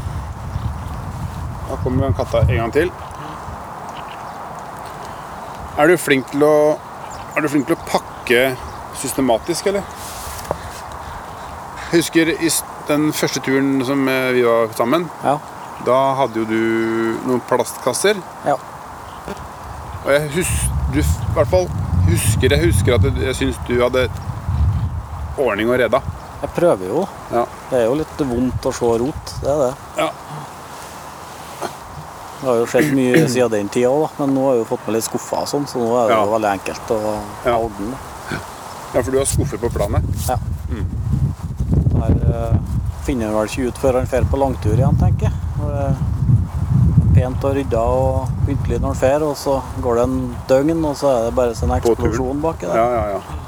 S4: da kommer den katta en gang til. Er du flink til å, er du flink til å pakke systematisk, eller? Jeg husker i s- den første turen som eh, vi var sammen.
S3: Ja.
S4: Da hadde jo du noen plastkasser.
S3: ja.
S4: Og jeg hus- du, f- i hvert fall husker jeg husker at jeg syns du hadde ordning og redda.
S3: Jeg prøver jo.
S4: Ja.
S3: Det er jo litt vondt å se rot, det er det.
S4: Ja.
S3: Det har jo skjedd mye siden den tida òg, men nå har jeg jo fått meg litt skuffa og sånn, så nå er det
S4: Ja.
S3: jo veldig enkelt å
S4: Ja.
S3: holde den.
S4: Ja, for du har skuffer på planet?
S3: Ja. Der eh, finner han vel ikke ut før han drar på langtur igjen, tenker jeg. Når det er pent og rydda og pyntelig når han drar, og så går det en døgn, og så er det bare sånn
S4: På tur.
S3: eksplosjon baki der.
S4: Ja, ja, ja.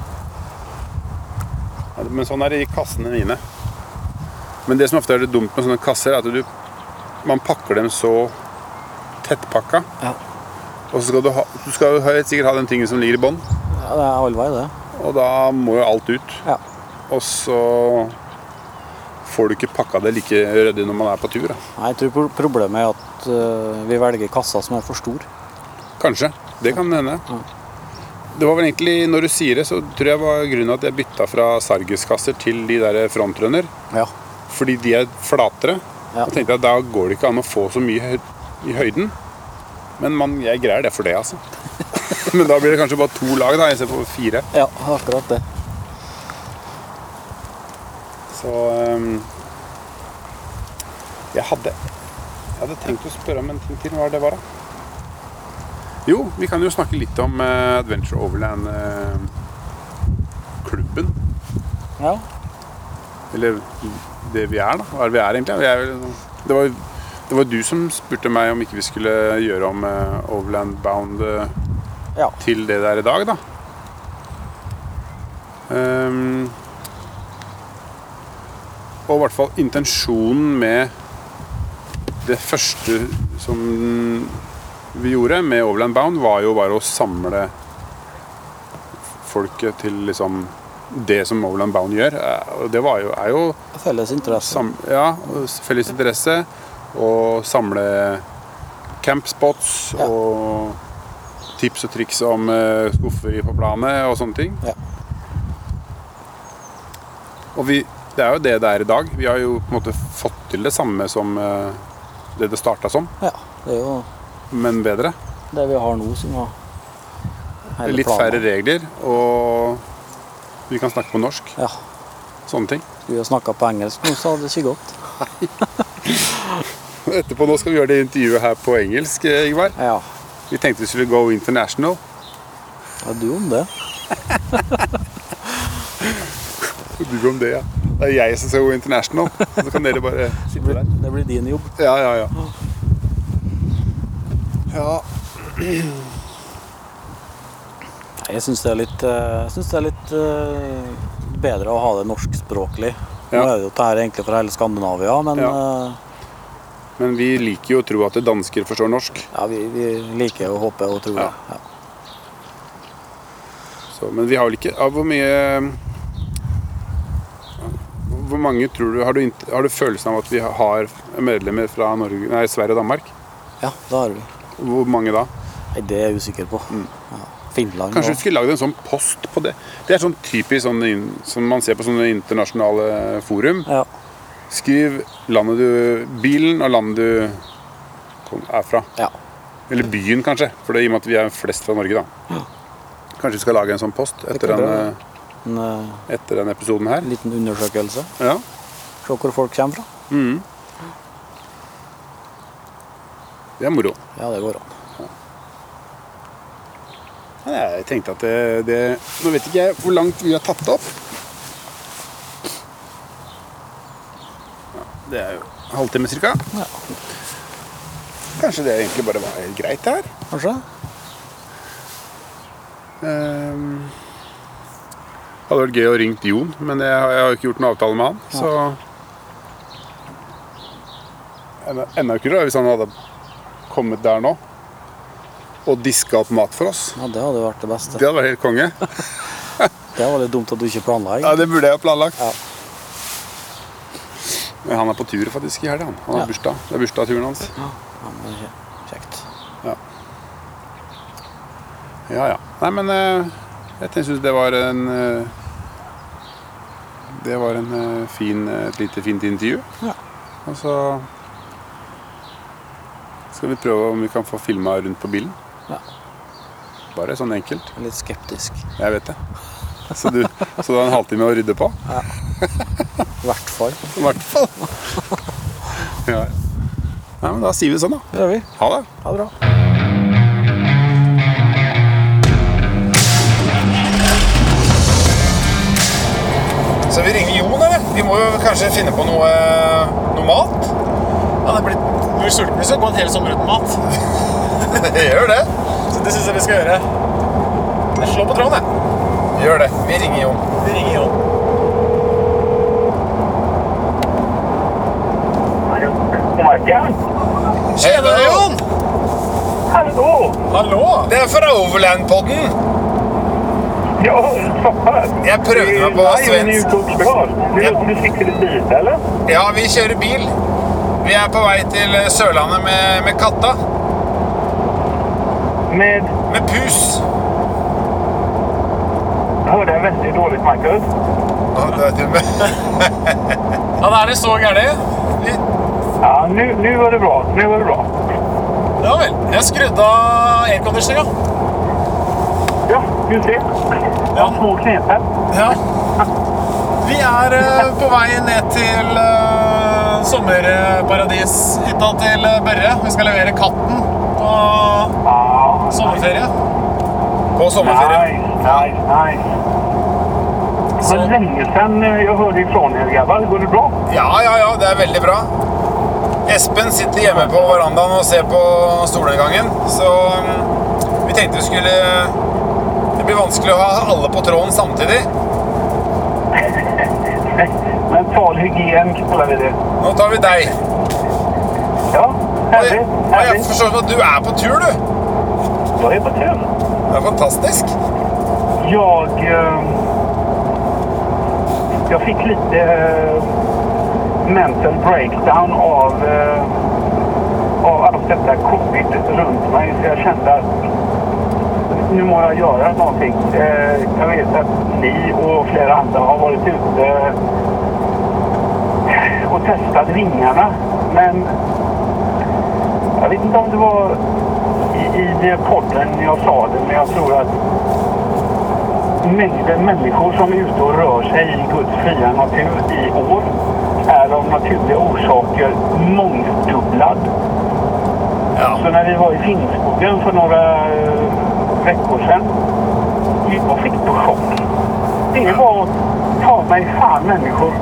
S4: Ja, Men sånn er det i kassene mine. Men det som ofte er det dumt med sånne kasser, er at du, man pakker dem så tettpakka.
S3: Ja.
S4: Og så skal du, ha, du skal jo helt sikkert ha den tingen som ligger i bånn,
S3: Ja, det er allvei, det.
S4: og da må jo alt ut.
S3: Ja.
S4: Og så får du ikke pakka det like ryddig når man er på tur. Da.
S3: Nei, Jeg tror pro- problemet er at eh, vi velger kasser som er for store.
S4: Kanskje. Det kan hende. Det var vel egentlig, Når du sier det, så tror jeg var grunnen at jeg bytta fra Sargus-kasser til de der frontrunner.
S3: Ja.
S4: Fordi de er flatere.
S3: Ja.
S4: Da tenkte jeg at da går det ikke an å få så mye høy i høyden. Men man, jeg greier det for det, altså. Men da blir det kanskje bare to lag da, istedenfor fire.
S3: ja, akkurat det.
S4: Så ehm, jeg hadde Jeg hadde tenkt å spørre om en ting til. Hva var det var, da? Jo, vi kan jo snakke litt om eh, Adventure eh, Overland-klubben.
S3: Ja.
S4: Eller det vi er, da. Hva er det vi er egentlig? Vi er vel, det, var, det var du som spurte meg om ikke vi skulle gjøre om eh, Overland Bound eh,
S3: Ja.
S4: til det der i dag, da. Ehm, og i hvert fall intensjonen med det første som vi gjorde med Overland Bound, var jo bare å samle folket til liksom det som Overland Bound gjør. Eh, Og det var jo, er jo
S3: Felles interesse.
S4: sam, ja, felles interesse og samle campspots
S3: Ja.
S4: og tips og triks om eh, skuffer på planet og sånne ting.
S3: Ja.
S4: Og vi, det er jo det det er i dag. Vi har jo på en måte fått til det samme som eh, det det starta som,
S3: Ja. Det er jo
S4: men bedre.
S3: det vi har nå som har hele
S4: Litt
S3: planen.
S4: færre regler, og vi kan snakke på norsk.
S3: Ja.
S4: Sånne ting.
S3: Skulle vi ha snakka på engelsk nå, så hadde det ikke gått.
S4: Etterpå nå skal vi gjøre det intervjuet her på engelsk, eh, Ingvar.
S3: Ja.
S4: Vi tenkte vi skulle go international.
S3: Ja, du om det.
S4: Du om det, ja. Det er jeg som skal gå international. Så kan dere bare
S3: Det
S4: sitte
S3: blir,
S4: der.
S3: det blir din jobb.
S4: Ja, ja, ja. Ja,
S3: Nei, Jeg syns det er litt, eh, jeg synes det er litt eh, bedre å ha det norskspråklig. Nå
S4: Ja.
S3: er det jo dette her egentlig fra hele Skandinavia, men
S4: Ja.
S3: eh,
S4: Men vi liker jo å tro at dansker forstår norsk.
S3: ja, vi, vi liker å håpe og tro det.
S4: Ja.
S3: Ja.
S4: Så, men vi har vel ikke ja, Hvor mye Hvor mange tror du Har du, int- har du følelsen av at vi har medlemmer fra Norge, nei, Sverige og Danmark?
S3: ja, det har vi.
S4: Hvor mange da?
S3: Nei, det er jeg usikker på. Ja. Finland
S4: Mm. Kanskje vi
S3: også.
S4: skulle lagd en sånn post på det? Det er sånn typisk sånn in- som man ser på sånne internasjonale forum.
S3: Ja.
S4: Skriv landet du, bilen og landet du kom- er fra.
S3: ja.
S4: Eller byen, kanskje. For det er i og med at vi er flest fra Norge, da. Kanskje vi skal lage en sånn post etter,
S3: kan
S4: den,
S3: bra.
S4: eh,
S3: En eh,
S4: etter den episoden her.
S3: liten undersøkelse.
S4: Ja.
S3: Se hvor folk kommer fra.
S4: Det er moro.
S3: Ja, det går an.
S4: Nei, Jeg tenkte at det, det Nå vet ikke jeg hvor langt vi har tatt det opp. Ja, det er jo en halvtime cirka.
S3: Ja.
S4: Kanskje det egentlig bare var helt greit, det her.
S3: Kanskje?
S4: Ehm, hadde vært gøy å ringt Jon, men jeg, har- jeg har jo ikke gjort noen avtale med han. Så Enda- Enda kulere hvis han hadde kommet der nå og diska opp mat for oss.
S3: Ja, Det hadde jo vært det beste.
S4: Det hadde vært helt konge.
S3: Det var litt dumt at du ikke planla.
S4: Ja,
S3: egentlig.
S4: Det burde jeg ha planlagt.
S3: Ja.
S4: Men Han er på tur faktisk i helga. Han, han har
S3: Ja.
S4: bursdag. Det er bursdagsturen hans.
S3: Ja, men kje- Kjekt.
S4: Ja, ja. Nei, men eh, jeg tenkte- synes det var en eh, Det var en eh, fin, eh, et lite fint intervju.
S3: Ja.
S4: Og så skal vi prøve om vi kan få filma rundt på bilen.
S3: Ja.
S4: Bare sånn enkelt.
S3: Jeg er Litt skeptisk.
S4: Jeg vet det.
S1: Så du, så du har en halvtime å rydde på?
S3: I hvert fall.
S1: I hvert fall. Ja. Nei, men da sier vi det sånn, da.
S3: Det gjør vi.
S1: Ha det.
S3: Ha det bra.
S1: Så vi ringer Jon, eller? Vi må jo kanskje finne på noe, eh, noe mat?
S2: Hadde blitt hvor sulten hvis vi hadde gått hele sommeren uten sånn mat.
S1: Gjør det.
S2: Så det syns jeg vi skal gjøre. Jeg slår på tråden, jeg.
S1: Gjør det. Vi ringer Jon.
S2: Vi ringer Jon.
S5: Hallo!
S1: Tjena, Jon!
S2: Hallo!
S1: Det er fra Overland-podden.
S5: Ja, vad fan!
S1: Jeg prøvde meg på
S5: Det är en
S1: svensk.
S5: utgångsplan. Det
S1: Ja.
S5: låter som du sitter i bil, eller?
S1: Ja, vi kjører bil. Vi er på vei til Sørlandet med, med katta.
S5: Med...
S1: Med pus.
S5: Hörde jag väldigt dåligt, Marcus?
S1: Å, det er dumme.
S2: Ja, det er det så gærent.
S5: Ja, nu, nu var det bra. Nu var det bra.
S2: Ja vel. Jeg skrudde av airconditioninga.
S5: Ja, just det. Jag har små knep här.
S2: Ja. Vi er eh, på vei ned til eh, sommerparadishytta til eh, Børre. Vi skal levere katten på
S5: Ah,
S2: sommerferie.
S1: På sommerferie.
S5: Nice, nice, nice.
S2: Så,
S5: Det var länge sedan eh, jag hörde ifrån er grabbar. Går det bra?
S1: Ja, ja, ja. Det er veldig bra. Espen sitter hjemme på verandaen og ser på solnedgangen. Så mm, vi tenkte vi skulle Det blir vanskelig å ha alle på tråden samtidig.
S5: Mental hygien kallar vi det.
S1: Nå tar vi deg.
S5: Ja,
S1: Og jeg,
S5: härligt,
S1: og jeg
S5: härligt.
S1: forstår at du er på tur, du.
S5: Jag är på tur.
S1: Det er fantastisk.
S5: Jag... eh, Jag fick lite eh, mental breakdown av, eh, av allt detta covid runt mig. Så jag kände att nu må jag göra någonting. Eh, Jag vet att ni och flera andra har varit ute eh, och testat vingarna. Men jag vet inte om det var i, i podden jag sa det, men jag tror att mängden människor som är ute och rör sig i Guds fria natur i år är av naturliga orsaker mångdubblad.
S1: Ja.
S5: Så när vi var i Finnskogen för några eh, veckor sedan, jag fick på chock. Det var ta mig fan människor.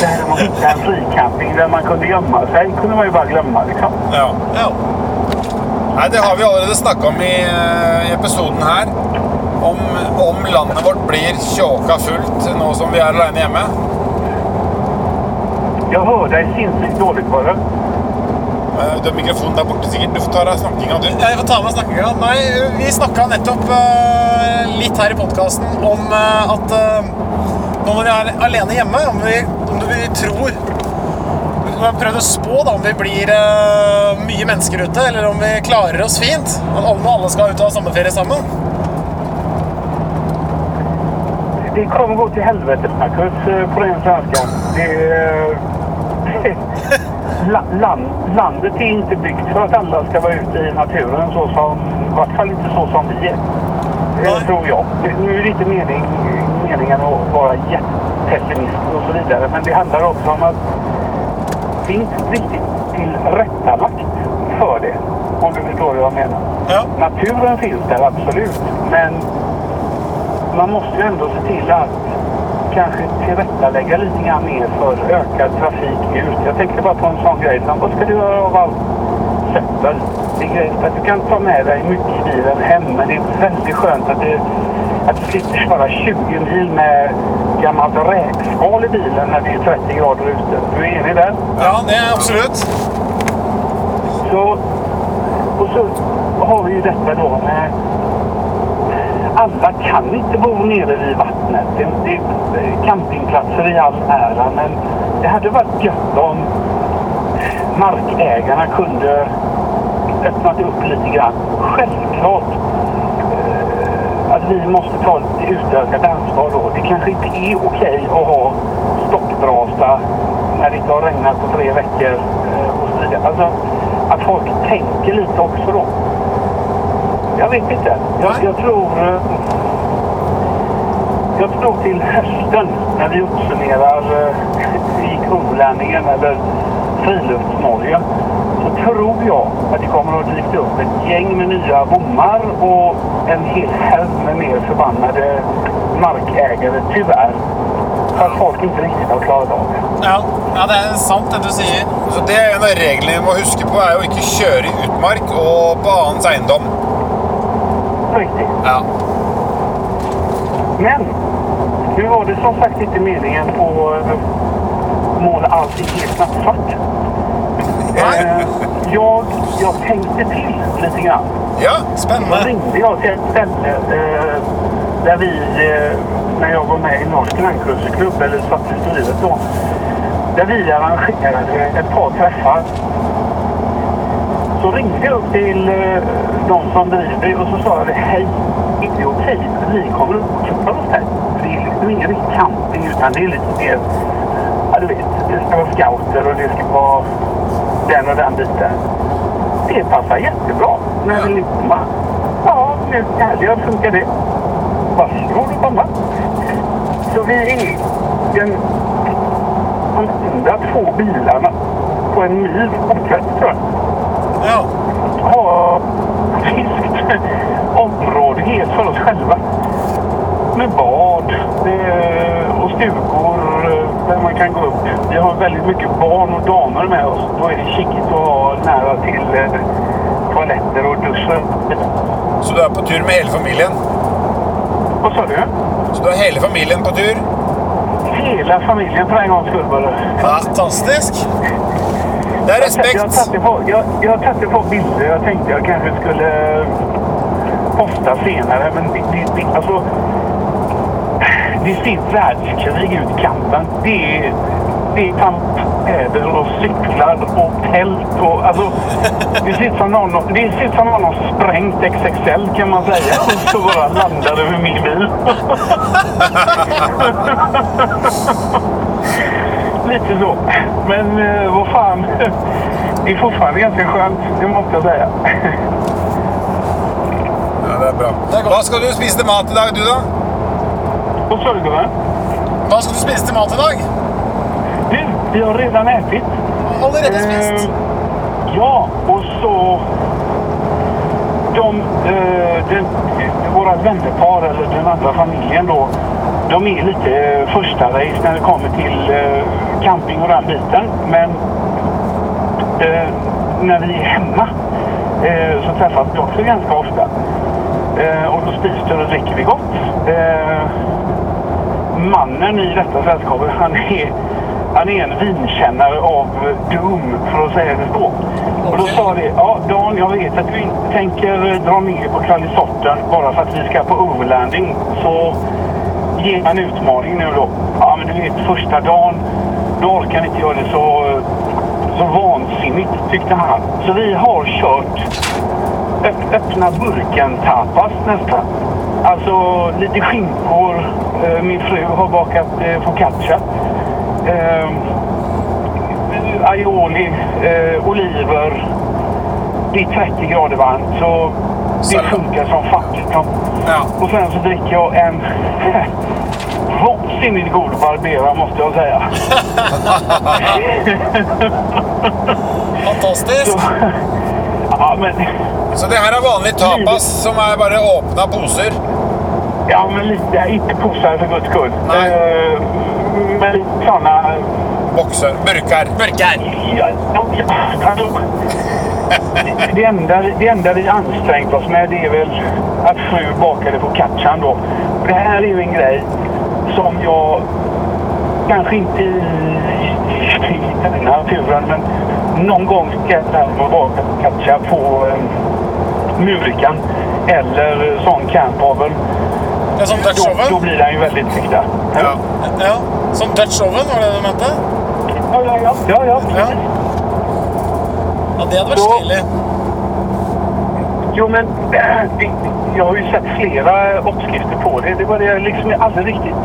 S5: Det här med att hitta en fricamping där man kunde gömma sig kunde man ju bara glömma liksom.
S1: ja.
S2: ja.
S1: Nei, det har vi allerede snakka om i eh, episoden her. Om, om landet vårt blir tjåka fullt nå som vi er aleine hjemme.
S5: Jag hör dig sinnessjukt dårligt var det.
S1: Eh, Du har mikrofonen der borte, sikkert. Du får ta deg snakkinga, du.
S2: Jeg får ta med snakkinga. Nei, vi snakka nettopp eh, litt her i podkasten om eh, at eh, nå når vi er alene hjemme, om vi, om vi tror Vi har prøvd å spå da, om vi blir eh, mye mennesker ute, eller om vi klarer oss fint. At alle, alle skal ut og ha sommerferie sammen.
S5: Det kommer gå till helvete Marcus, eh, på den svenskan. Det, eh, la, land, landet är inte byggt för att alla ska vara ute i naturen så som, i vart fall inte så som vi är.
S2: Nej.
S5: Det tror jag. Det- Nu är det inte mening, meningen att vara jättepessimist och så vidare, men det handlar också om att det är inte riktigt tillrättalagt för det. Om du förstår vad jag menar.
S2: Ja.
S5: Naturen finns där, absolut. Men man måste ju ändå se till att kanske tillrättalägga lite grann mer för ökad trafik ut. Jag tänkte bara på en sån grej som, vad ska du göra av allt köttet? Det är grejen att du kan ta med dig mycket i bilen hem, men det är väldigt skönt att du, att du slipper köra 20 mil med gammalt räkskal i bilen när det är 30 grader ute. Du är enig där?
S2: Ja, det er absolutt.
S5: Så, och så har vi ju detta då med... Alla kan inte bo nere vid vattnet. Det, det, campingplatser i all ära, men det hade varit gött om markägarna kunde öppnat upp lite grann. Självklart eh, att vi måste ta ett utökat ansvar då. Det kanske inte är okej att ha stoppbrasa när det inte har regnat på tre veckor eh, och så vidare. Alltså, att folk tänker lite också då. Jag vet inte. Jag,
S2: Nej.
S5: jag tror... eh, Jag tror till hösten när vi uppsummerar eh, i Kronlänningen eller Friluftsnorge så tror jag att det kommer att dyka upp ett gäng med nya bommar och en hel haug med mer förbannade markägare, tyvärr. För att folk inte riktigt har klarat av det.
S2: Ja, ja, det er sant det du sier.
S1: Så det er en av reglene vi må huske på, er å ikke kjøre i utmark og på annens eiendom.
S5: Riktigt.
S1: Ja.
S5: Men nu var det som sagt inte meningen att eh, måla allting helt nattsvart. Eh, jag, jag tänkte till lite grann.
S1: Ja.
S5: Då
S2: Spennende.
S5: ringde jag till ett ställe eh, där vi, eh, när jag var med i Norsk Landcruiserklubb, eller Svartfisteriet då, där vi arrangerade ett par träffar. Så ringde jag upp till eh, de som driver och så sa jag hej, är det okej? Vi kommer upp och klippa oss här. För det är liksom ingen riktig camping utan det är lite mer, ja du vet, det ska vara scouter och det ska vara den och den biten. Det passar jättebra. Men vill ni komma? Ja, nu härliga funkar det. Varsågod och komma. Så vi är den enda två bilarna på en mil borträtt tror jag
S2: Ja.
S5: ha friskt område helt för oss själva. Med bad eh, och stugor eh, där man kan gå upp. Vi har väldigt mycket barn och damer med oss. Då är det chickigt att ha nära till eh, toaletter og duscher.
S1: Så du er på tur med hele familien?
S5: Vad sa du?
S1: Så du har hele familien på tur?
S5: Hela familjen för en gångs skull bara.
S2: Fantastisk.
S1: Det er
S5: Jag har
S1: respekt.
S5: tagit på, jag, jag har tagit på bilder. Jag tänkte jag kanske skulle eh, posta senare. Men det, det, det, alltså, det ser världskrig ut i kampen. Det är, det är tampäder och cyklar och tält. Och, alltså, det ser ut som någon, det ser ut som någon har sprängt XXL kan man säga. Och så bara landade över min bil. Lite så. Men eh, vad fan. Det är fortfarande ganska skönt, det måste jag säga.
S1: Ja, det er bra. Hva skal du spise til mat i dag, du da?
S5: Vad sa du gubben?
S2: Hva skal du spise til mat i dag?
S5: Du, vi har redan ätit.
S2: Allerede spist.
S5: Eh, ja, och så... De, eh, den, våra vännerpar, eller den andra familjen då, de är lite eh, första race när det kommer till eh, camping och den biten. Men eh, när vi är hemma eh, så träffas vi också ganska ofta. Eh, och då spiser och dricker vi gott. Eh, mannen i detta sällskapet, han är, han är en vinkännare av Doom, för att säga det så. Och då sa det, ja Dan, jag vet att du inte tänker dra ner på kvalisorten bara för att vi ska på overlanding. Så ge mig en utmaning nu då. Ja, men du vet, första dagen, då orkar inte jag det så, så vansinnigt, tyckte han. Så vi har kört Öpp- öppna burken-tapas nästan. Alltså lite skinkor. Eh, Min fru har bakat eh, focaccia. Eh, aioli, eh, oliver. Det är 30 grader varmt så det
S1: Sallad.
S5: funkar som fan.
S1: Ja.
S5: Och sen så dricker jag en vansinnigt god barbera måste jeg säga.
S2: Fantastisk.
S5: Ja, men,
S1: Så det her er vanlig tapas, som er bare åpna poser.
S5: ja, men lite, inte pussar för guds skull.
S1: Nej.
S5: Eh, Men lite sådana
S1: Bokser. Burker.
S2: Burger.
S5: Ja, ja, ja, hallå. Det enda, det enda vi ansträngt oss med det är väl att fru bakade på katchan då. Och Det här är ju en grej som jag kanske inte i, i den här turen men någon gång ska jag lära mig baka katcha på eh, Murikan eller eh, sånn sån campoven.
S2: Ja, som Dutch
S5: Då, då
S2: oven?
S5: blir den ju väldigt äkta.
S1: Ja.
S2: Ja. Som Dutch oven, var det det du mente?
S5: Ja, ja, ja. ja, ja.
S2: Ja. Ja, det hadde vært
S5: Ja.
S2: stilig.
S5: Jo, men äh, det, jag har ju sett flera eh, uppskrifter på det. Det var det jag liksom aldrig riktigt...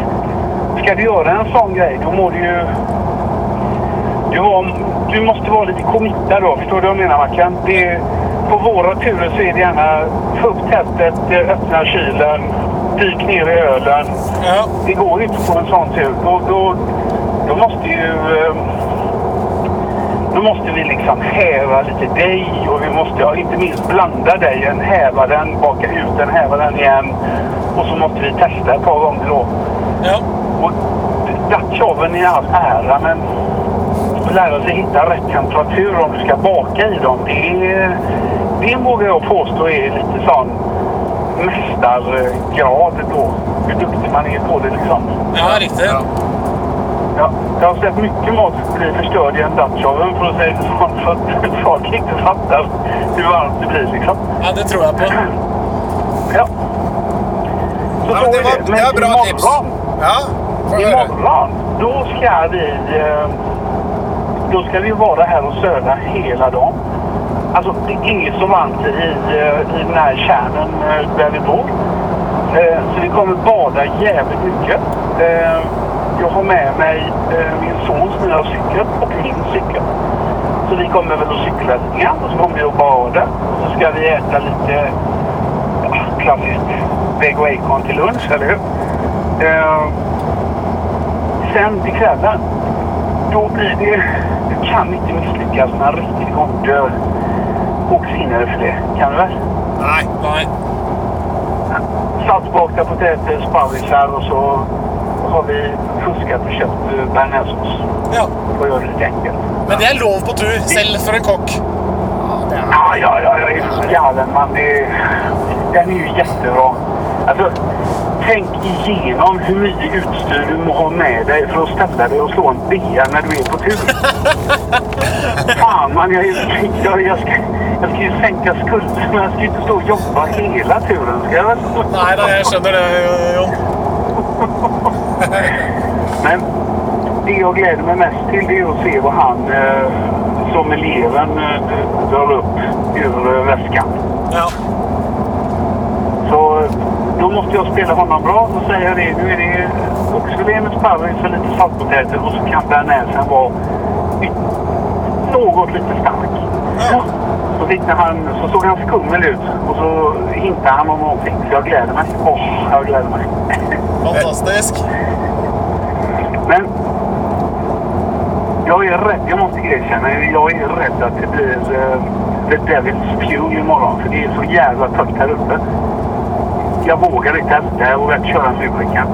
S5: Ska du göra en sån grej, då må du ju... Du, har, du måste vara lite committad då, förstår du vad jag menar Mackan? Det, på våra turer så är det gärna få upp tältet, eh, öppna kylen, dyk ner i ölen.
S2: Ja.
S5: Det går inte på en sånn sån tur. Då, då, då måste ju... eh, Då måste vi liksom häva lite dig och vi måste ja, inte minst blanda dejen, häva den, baka ut den, häva den igen. Och så måste vi testa ett par gånger då.
S2: Ja.
S5: Och Dutchoven i all ära, men att lära sig hitta rätt temperatur om du ska baka i dem, det, är- det vågar jag påstå sånn är lite sån mästargrad då. Hur duktig man är på det liksom.
S2: ja, riktigt.
S1: Ja.
S5: Ja, jag har sett mycket mat bli förstörd i en Dutchoven för att säga det sånt, för att folk inte fattar hur varmt det blir liksom.
S2: Ja, det tror jag på.
S5: Ja. Så
S1: Ja,
S5: så
S1: men det,
S5: är
S1: var, det var bra tips.
S5: imorgon-
S1: Ja, får du høre.
S5: Imorgon, då ska vi... eh, Då ska vi vara här och söda hela dagen. Alltså, det är så varmt i, eh, i den här kärnan eh, där vi bor. Eh, Så vi kommer bada jävligt mycket. Eh, Jag har med mig eh, min sons nya cykel och min cykel. Så vi kommer väl att cykla lite grann och så kommer vi att bada. Och så ska vi äta lite ja, klassiskt vägg och Acon till lunch, eller hur? Eh, sen till kvällen, då blir det... Du kan inte misslyckas med en riktigt god öl. Och sinare för det, kan du väl?
S1: Nei.
S2: Nei.
S5: Saltbakta potäter, sparrisar och så har vi fuskat och köpt eh, bearnaisesås
S2: Ja.
S5: och gör det lite enkelt.
S2: Men det er lov på tur, selv for en kokk.
S5: Ja, ja, ja, ja, ja. galen man. Det, den är ju jättebra. Alltså, tänk igenom hur mycket utstyr du må ha med dig för att ställa dig och slå en bea när du är på tur. Fan man, jag, är- jag, jag, ska, jeg ska ju sänka skulden. men Jag ska ju inte stå och jobba hela turen. Ska jag väl?
S2: Nei da, jeg skjønner det, Jon.
S5: Men det jag gläder mig mest till det är att se vad han eh, som eleven eh, drar upp ur eh, väskan.
S2: Ja.
S5: Så då måste jag spela honom bra och säga det. Nu är det oxfilé med sparris och lite saltpotäter och så kan bearnaisen vara yt- något lite stark. Ja. Så, tittade han, så såg han skummel ut och så hintade han om någonting. Så jag gläder mig. Åh, jag gläder mig.
S2: Fantastisk.
S5: Men jag är rädd, jag måste erkänna, jag är rädd att det blir uh, The Devil's Fuel imorgon. För det är så jävla tufft här uppe. Jag vågar inte elda, jag vågar inte köra mubrikan.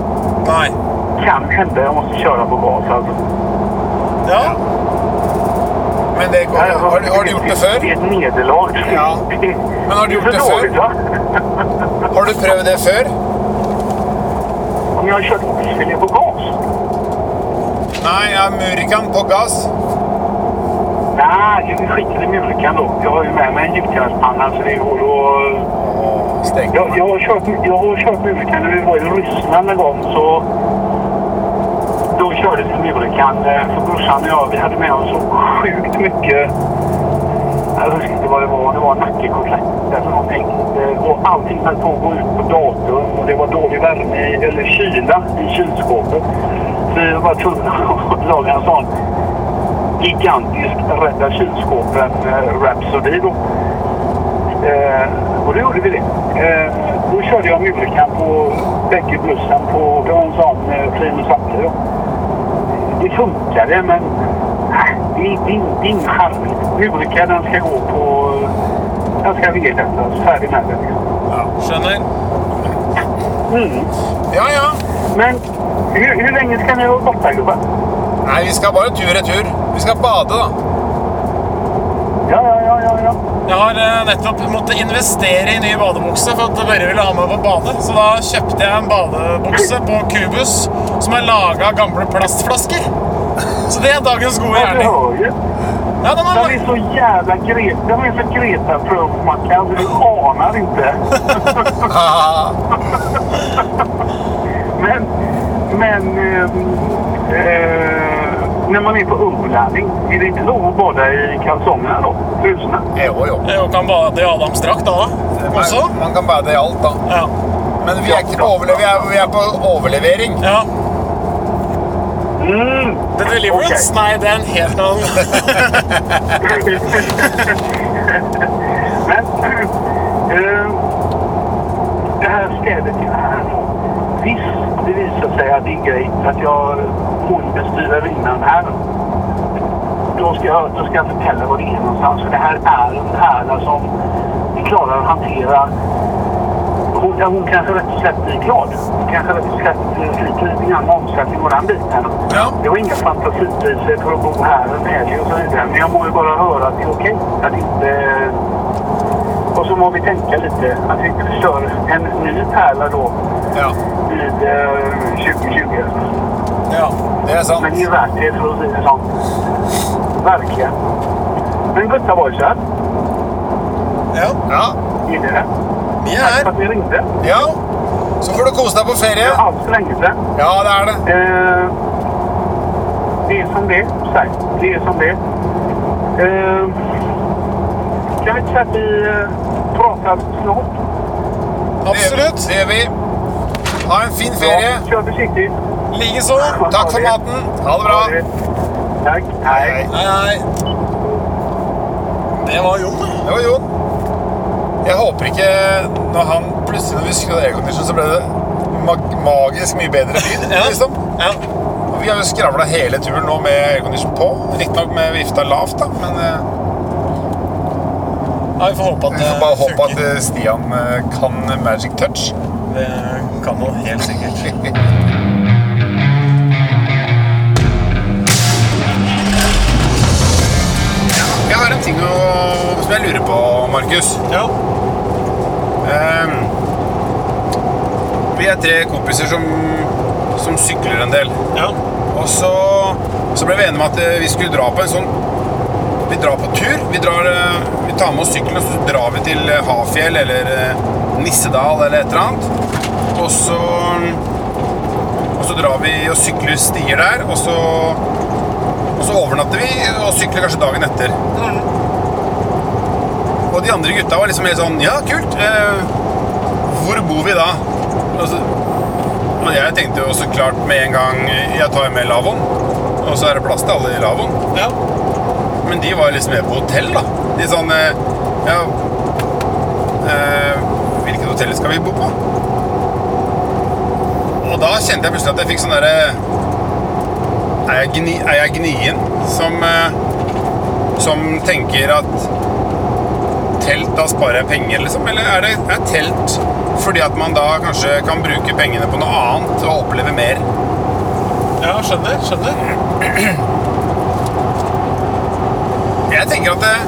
S2: Nei.
S5: Kan hända jag måste köra på gas alltså.
S2: Ja.
S1: Men det går.
S5: Jag
S1: Har, du- har du gjort det før?
S5: Det är ett nederlag.
S1: Ja. Men har du gjort det
S5: för?
S1: förr?
S5: dåligt, va?
S1: Har du prøvd det før?
S5: Om jag har kört oxfilé på gas?
S1: Nei, jeg har Murikan på gass.
S5: Nej, vi skiter i mubrikan då. Jag har ju med mig en gjutjärnspanna så det går att
S1: Åh, Stek.
S5: Jag, jag har kört, jag har kört Murikan när vi var i Ryssland en gång. Så då kördes Murikan. eh, För brorsan och jag, vi hade med oss så sjukt mycket. Jag vet inte vad det var. Det var nackekotletter eller någonting. Eh, Och allting höll på att gå ut på datorn. Och det var dålig värme, i- eller kyla, i kylskåpet. Så vi var tvungna att laga en sån gigantisk Rädda kylskåpen-rhapsody då. Eh, och då gjorde vi det. Eh, då körde jag Murikan på bägge bussen på det var en sån eh, Primus Atle då. Det funkade men nej, det är din, din charm. Murikan den ska gå på... Den ska vedeldas. Färdig med den. liksom.
S2: Skjønner.
S5: Mm.
S1: Ja, ja.
S5: Men hur, hur länge ska ni vara borta gubbar?
S1: Nei, vi skal bare tur-retur. Vi skal bade, da.
S5: Ja, ja, ja, ja, ja.
S2: Jeg har eh, nettopp måttet investere i ny badebukse for at Børre ville ha meg på badet. Så da kjøpte jeg en badebukse på Cubus som er laga av gamle plastflasker. Så det er dagens gode
S5: ja du
S2: gjerning.
S5: hör ju.
S2: Ja, den
S5: De
S2: er,
S5: är så jävla Greta. De är så Greta-proof man kan. Du anar inte. Men, men ehm, eh, när man är på uppladdning, är det inte lov att bada i kalsongerna då? Frusna?
S1: Jo, jo.
S2: jeg kan bade i Adams drakt da, da. Også.
S1: Man, man kan bade i alt, da.
S2: Ja.
S1: Men vi er ikke på, overle vi er, vi er på overlevering.
S2: ja.
S5: Mm.
S2: The Deliverance?
S5: Ok.
S2: Nei, det er en helt annen.
S5: men eh, det här stället, jag är här på. så att säga att det är grej att jag hornbestyrar innan här. Då ska, jag, då ska jag förtälla var det är någonstans. För det här är en härda som vi klarar att hantera. Hon, ja, hon kanske rätt och slätt blir glad. Hon kanske rätt och slätt eh, sliter lite grann med omsättning och den biten.
S1: Ja.
S5: Det var inga fantasipriser för att bo här en helg och så vidare. Men jag må ju bara höra att det är okej. Att inte och så må vi tänka lite att vi inte förstör en ny pärla då
S1: Ja.
S5: vid eh, 2020.
S1: ja, det er sant.
S5: Men det är värt det för att säga det sånt. Verkligen. Men gutta boysar,
S2: Ja,
S1: Ja,
S5: gillar det.
S2: vi er
S5: Tack
S2: her.
S5: för att ni ringde.
S1: ja. Så får du kose deg på
S5: Det
S1: ferie.
S5: var allt för länge sedan.
S1: Ja, det er det.
S5: Eh, det är som det är, sagt. Det är som det är. eh, Kan vi inte säga att vi eh, pratar snart?
S2: Absolutt.
S1: Det gjør vi. Ha en fin ferie.
S5: Kör försiktigt.
S2: Likeså.
S1: Takk for maten. Ha det bra.
S5: Ha det. Tack. Hej.
S1: Hei.
S2: Hei, hei. Det var Jon, da.
S1: Det var Jon. Jeg håper ikke når han plutselig når vi skrudde av aircondition, så ble det mag magisk mye bedre lyd. liksom.
S2: Ja.
S1: Vi har jo skravla hele turen nå med aircondition på. Riktignok med vifta lavt, da, men eh,
S2: ja, vi får håpe at
S1: vi
S2: det
S1: får bare håpe at
S2: funker.
S1: eh, Stian eh, kan magic touch.
S2: Det kan man helt sikkert.
S1: Jeg har en ting å, som jeg lurer på, Markus.
S2: Ja.
S1: Ehm, vi er tre kompiser som, som sykler en del.
S2: Ja.
S1: Og så, så ble vi enige om at eh, vi skulle dra på en sånn Vi drar på tur. Vi, drar, eh, vi tar med oss sykkelen og så drar vi til eh, Hafjell eller eh, Nissedal eller et eller annet. Og så, og så drar vi og sykler stier der, og så, og så overnatter vi og sykler kanskje dagen etter. Og de andre gutta var liksom helt sånn Ja, kult. Eh, hvor bor vi da? Altså, Og så, og jeg tenkte jo så klart med en gang Jeg tar med lavvoen, og så er det plass til alle i lavvoen.
S2: ja.
S1: Men de var liksom med på hotell, da. De sånn eh, Ja eh, Hvilket hotell skal vi bo på? Og da kjente jeg plutselig at jeg fikk sånn derre er, jeg gni- er jeg gnien som, eh, som tenker at telt, da sparer jeg penger, liksom? Eller er det er telt fordi at man da kanskje kan bruke pengene på noe annet og oppleve mer?
S2: ja, skjønner. Skjønner.
S1: Jeg tenker at det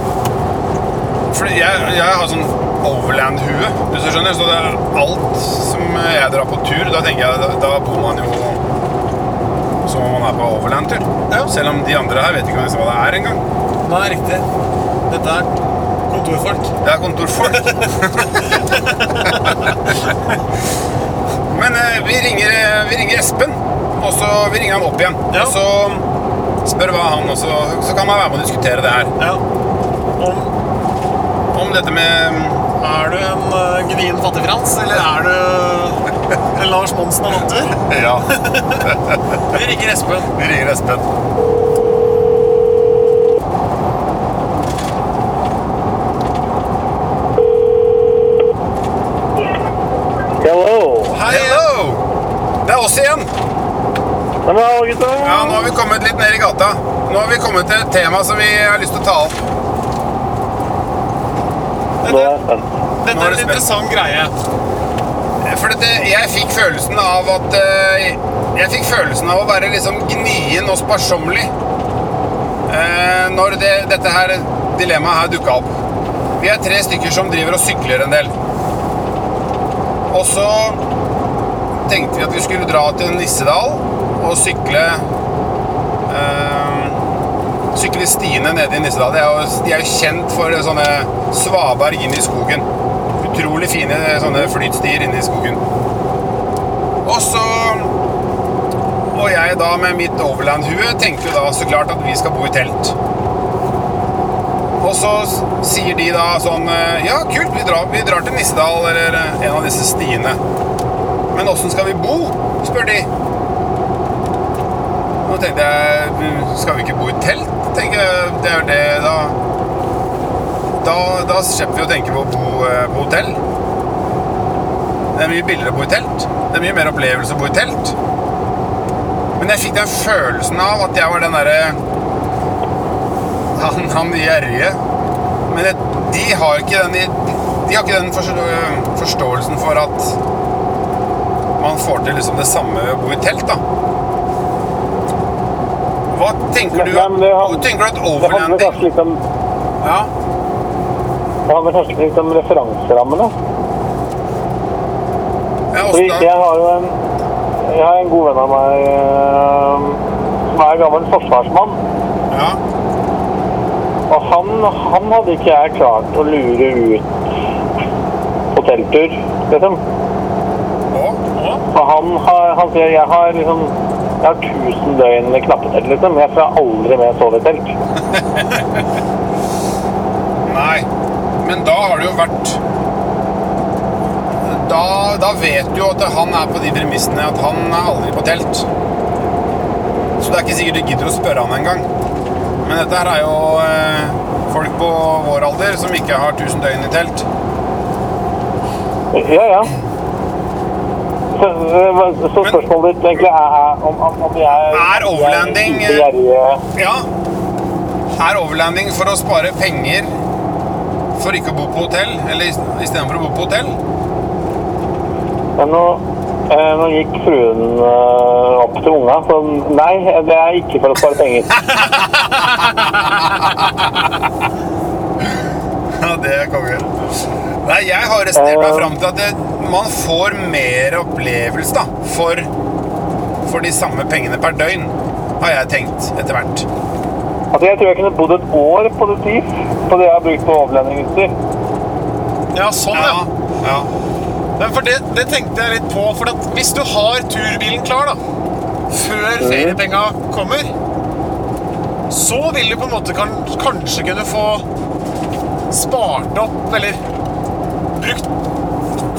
S1: Fordi jeg, jeg har sånn overland-hue, hvis du skjønner. Så det er alt som jeg drar på tur, da tenker jeg da, da bor man jo som om man er på overland-tur.
S2: Ja.
S1: Selv om de andre her vet ikke nesten hva det er engang.
S2: Nei, riktig. Dette er kontorfolk.
S1: Det er kontorfolk. Men eh, vi, ringer, eh, vi ringer Espen, og så vi ringer han opp igjen.
S2: Ja.
S1: Og så spør hva han også Så kan man være med og diskutere det her.
S2: Ja. Om
S1: Om dette med
S2: er du en eh, gnien fattigfrans, eller er du en Lars Monsen av Nattur?
S1: Ja.
S2: Vi ringer Espen.
S1: Vi ringer Espen.
S6: Hello.
S1: Hei! Hello! Det er oss igjen!
S6: Men hallå gutta.
S1: Ja, Nå har vi kommet litt ned i gata. Nå har vi kommet til et tema som vi har lyst til å ta opp.
S6: Nå är jag spänd.
S2: Dette
S1: Nå er det
S2: er en
S1: Espen.
S2: interessant greie.
S1: For dette, jeg fikk følelsen av at eh, Jeg fikk følelsen av å være liksom gnien og sparsommelig eh, når det, dette her dilemmaet her dukka opp. Vi er tre stykker som driver og sykler en del. Og så tenkte vi at vi skulle dra til Nissedal og sykle eh, Sykle stiene nede i Nissedal. De er jo, de er jo kjent for sånne svaberg inn i skogen. Utrolig fine sånne flytstier inne i skogen. Og så Og jeg da med mitt Overland-hue tenkte jo da så klart at vi skal bo i telt. Og så s- sier de da sånn eh, Ja, kult, vi drar, vi drar til Nissedal eller eh, en av disse stiene. Men åssen skal vi bo? spør de. Nå tenkte jeg "Mm, Skal vi ikke bo i telt? Tenker jeg, Det er jo det da Da, da slipper vi å tenke på å bo eh, på hotell. Det er mye billigere å bo i telt. Det er mye mer opplevelse å bo i telt. Men jeg fikk den følelsen av at jeg var den derre Han, han gjerrige. Men det, de har ikke den i- De har ikke den forstå- forståelsen for at man får til liksom det samme ved å bo i telt, da. Hva tenker du
S5: Nei, men det
S1: at,
S5: han-
S1: tenker du at
S5: Det handler
S1: overlanding
S5: kanskje litt om,
S1: ja.
S5: det handler kanskje litt om referanserammene.
S1: Ja,
S5: Fordi
S1: åssen da?
S5: jeg har jo en, jeg har en god venn av meg eh, som er gammel forsvarsmann.
S1: Ja.
S5: Og han, han hadde ikke jeg klart å lure ut på telttur, liksom.
S1: Og?
S5: Og han, har, han sier jeg har liksom jeg har 1000 døgn med knappetelt, liksom. Jeg skal aldri mer sove i telt.
S1: Nei. Men da har det jo vært da, da vet du jo at han er på de premissene at han er aldri på telt. Så det er ikke sikkert du gidder å spørre han engang. Men dette her er jo eh, folk på vår alder som ikke har 1000 døgn i telt.
S5: Ja, ja. Så, så- så spørsmålet ditt egentlig er, er om, om, om jeg
S1: Er overlanding, eh?
S5: jeg er ikke gjerrig.
S1: Ja. Er overlanding for å spare penger for ikke å bo på hotell? Eller istedenfor å bo på hotell?
S5: Men nå, eh, nå gikk fruen eh, opp til unga, så nei, det er ikke for å spare penger.
S1: Ja, det er konge. Nei, jeg har resonnert meg fram til at det, man får mer opplevelse da, for, for de samme pengene per døgn, har jeg tenkt etter hvert.
S5: Altså, jeg tror jeg kunne bodd et år på det tif, på det jeg har brukt på overlendingutstyr.
S2: Ja, sånn, ja.
S1: Ja, ja.
S2: Men for det, det tenkte jeg litt på. For at hvis du har turbilen klar da, før feriepenga kommer, så vil du på en måte kan, kanskje kunne få spart opp eller brukt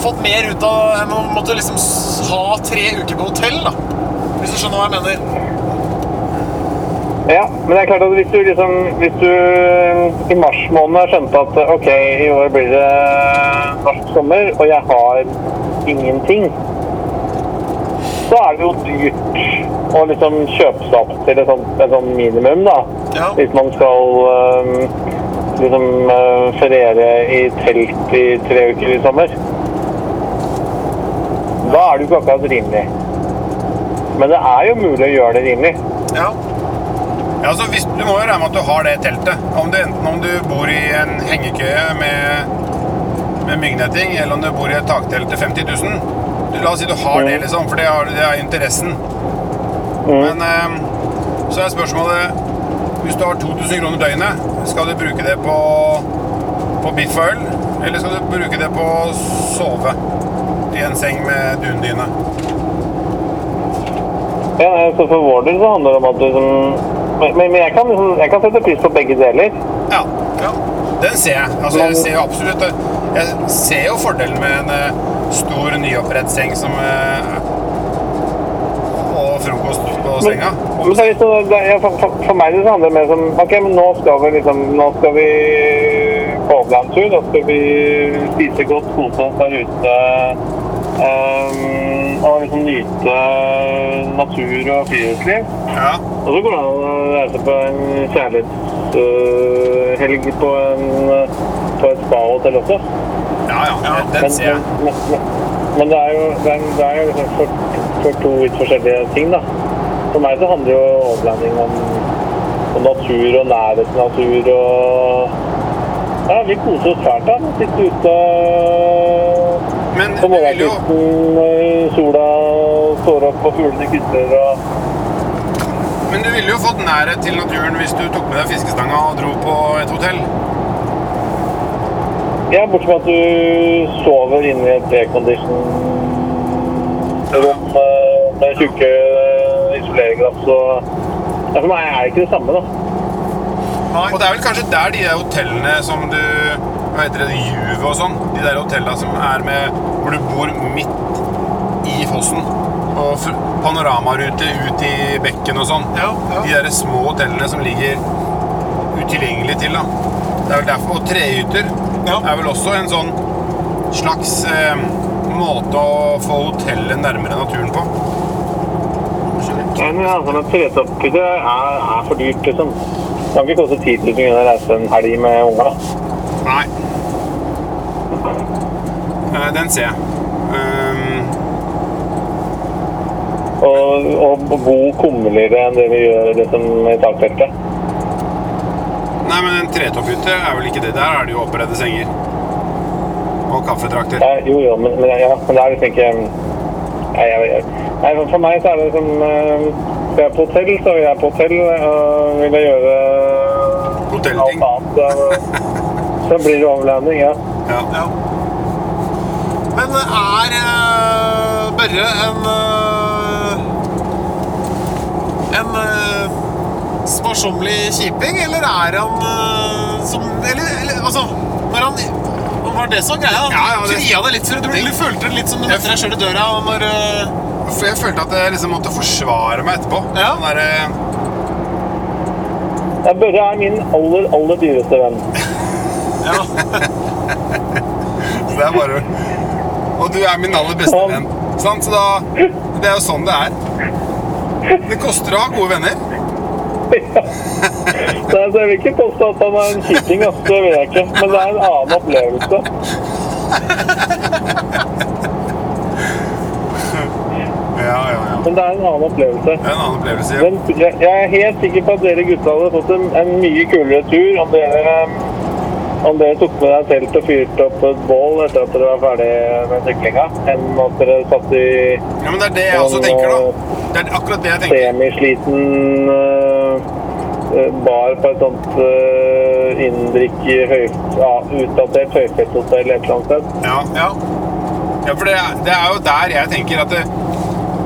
S2: Fått mer ut av enn å måtte liksom s- ha tre uker på hotell, da. Hvis du skjønner hva jeg mener.
S5: Ja, men det er klart at hvis du liksom Hvis du eh, i mars måned skjønte at eh, ok, i år blir det eh, norsk sommer, og jeg har ingenting, så er det jo dyrt å liksom kjøpe seg opp til et sånt, et sånt minimum, da.
S2: Ja.
S5: Hvis man skal øhm, liksom øh, feriere i telt i tre uker i sommer. Da er det jo ikke akkurat rimelig. Men det er jo mulig å gjøre det rimelig.
S2: Ja.
S1: Ja, altså, hvis, du må jo regne med at du har det teltet. Om du, enten om du bor i en hengekøye med, med myggnetting, eller om du bor i et taktelt til 50 000. Du, la oss si du har det, liksom, for det, har, det er interessen. Men eh, så er spørsmålet Hvis du har 2000 kroner døgnet, skal du bruke det på, på biff og øl? Eller skal du bruke det på å sove i en seng med dundyne?
S5: Ja, nei, så For vår del så handler det om at du liksom Men, men men jeg, kan liksom, jeg kan sette pris på begge deler.
S1: Ja. ja. Den ser jeg. Altså, jeg ser jo absolutt Jeg ser jo fordelen med en eh, stor, nyopprettet seng som eh, Og frokost på
S5: Men,
S1: senga.
S5: men så er det litt sånn, det, er- ja, for, for, for meg så handler det mer som Ok, men nå skal vi liksom Nå skal vi på overlandtur. Nå skal vi spise godt, kose oss der ute. ehm, og liksom nyte natur og friluftsliv.
S1: Ja.
S5: Og så går det an å reise på en kjærlighetshelg på, en- på et spahotell også.
S1: Ja, ja, Den ser jeg.
S5: men, men, men det er jo, det er, det er jo liksom for, for to vidt forskjellige ting, da. For meg så handler jo overlanding om, om natur og nærhet til natur og Ja, vi koser oss fælt da. Sitte ute
S1: Men
S5: på
S1: du vil jo
S5: morgenkvisten i sola, står opp og fuglene kysser og
S1: Men du ville jo fått nærhet til naturen hvis du tok med deg fiskestanga og dro på et hotell.
S5: Ja, bortsett fra at du sover inne i et precondition-rom eh, med tjukke eh, isoleringsglass, så ja, For meg er det ikke det samme, da.
S1: Og det er vel kanskje der de der hotellene som du Hva heter det? Juve og sånn. De der hotellene som er med Hvor du bor midt i fossen. Og fr- panoramarute ut i bekken og sånn.
S2: Ja, ja.
S1: De der små hotellene som ligger utilgjengelig til, da. Det er vel derfor. Og trehytter
S2: Ja.
S1: er vel også en sånn slags eh, måte å få hotellet nærmere naturen på.
S6: En tresopphytte altså, er, er for dyrt, liksom. Det kan ikke koste 10 000 kroner å reise en helg med unga.
S1: Nei. Eh, Den ser jeg. Ehm,
S6: Og, og bo kummerligere enn det vi gjør liksom, i takfeltet.
S1: Nei, men en tretopphytte er vel ikke det. Der er det jo oppredde senger. Og kaffetrakter.
S6: Ja, jo, jo, men, men, ja, men det er liksom ikke Nei, jeg, jeg, nei for- for meg så er det liksom eh, Skal jeg på hotell, så vil jeg på hotell. Og vil jeg gjøre
S1: Hotellting.
S6: alt annet, så, så blir det overlanding, ja.
S1: Ja.
S2: Ja. Men er eh, Børre en eh, En uh, sparsommelig kjiping, eller er han eh, som eller, eller, altså Når han Var det som var greia? Han
S1: Ja, ja, det-
S2: Fria deg litt, for du, du følte det litt som du møtte deg sjøl i døra når eh,
S1: For jeg følte at jeg liksom måtte forsvare meg etterpå.
S2: Ja.
S1: Den eh, derre
S6: Ja, Børre er min aller, aller dyreste venn.
S1: Det er bare Og du er min aller beste venn. Sant? Så da Det er jo sånn det er. Det koster å ha gode venner.
S6: Så jeg så jeg vil ikke påstå at han er en kikking, altså, det vil jeg ikke. Men det er en annen opplevelse.
S1: Ja, ja, ja.
S6: Men det er en annen opplevelse.
S1: Det er en annen opplevelse.
S6: Men jeg jeg er helt sikker på at dere gutta hadde fått en, en mye kulere tur om dere, eh, om dere tok med deg telt og fyrte opp et bål etter at dere var ferdig med syklinga, enn at dere satt i
S1: Ja, men det er det jeg også tenker, da. Det er akkurat det jeg tenker.
S6: eh, semisliten eh, eh, bar på et sånt uh, inndrikk i høy, ja, utdatert høyfjellshotell et eller annet sted.
S1: Ja, ja. ja for det, er- det er jo der jeg tenker at det,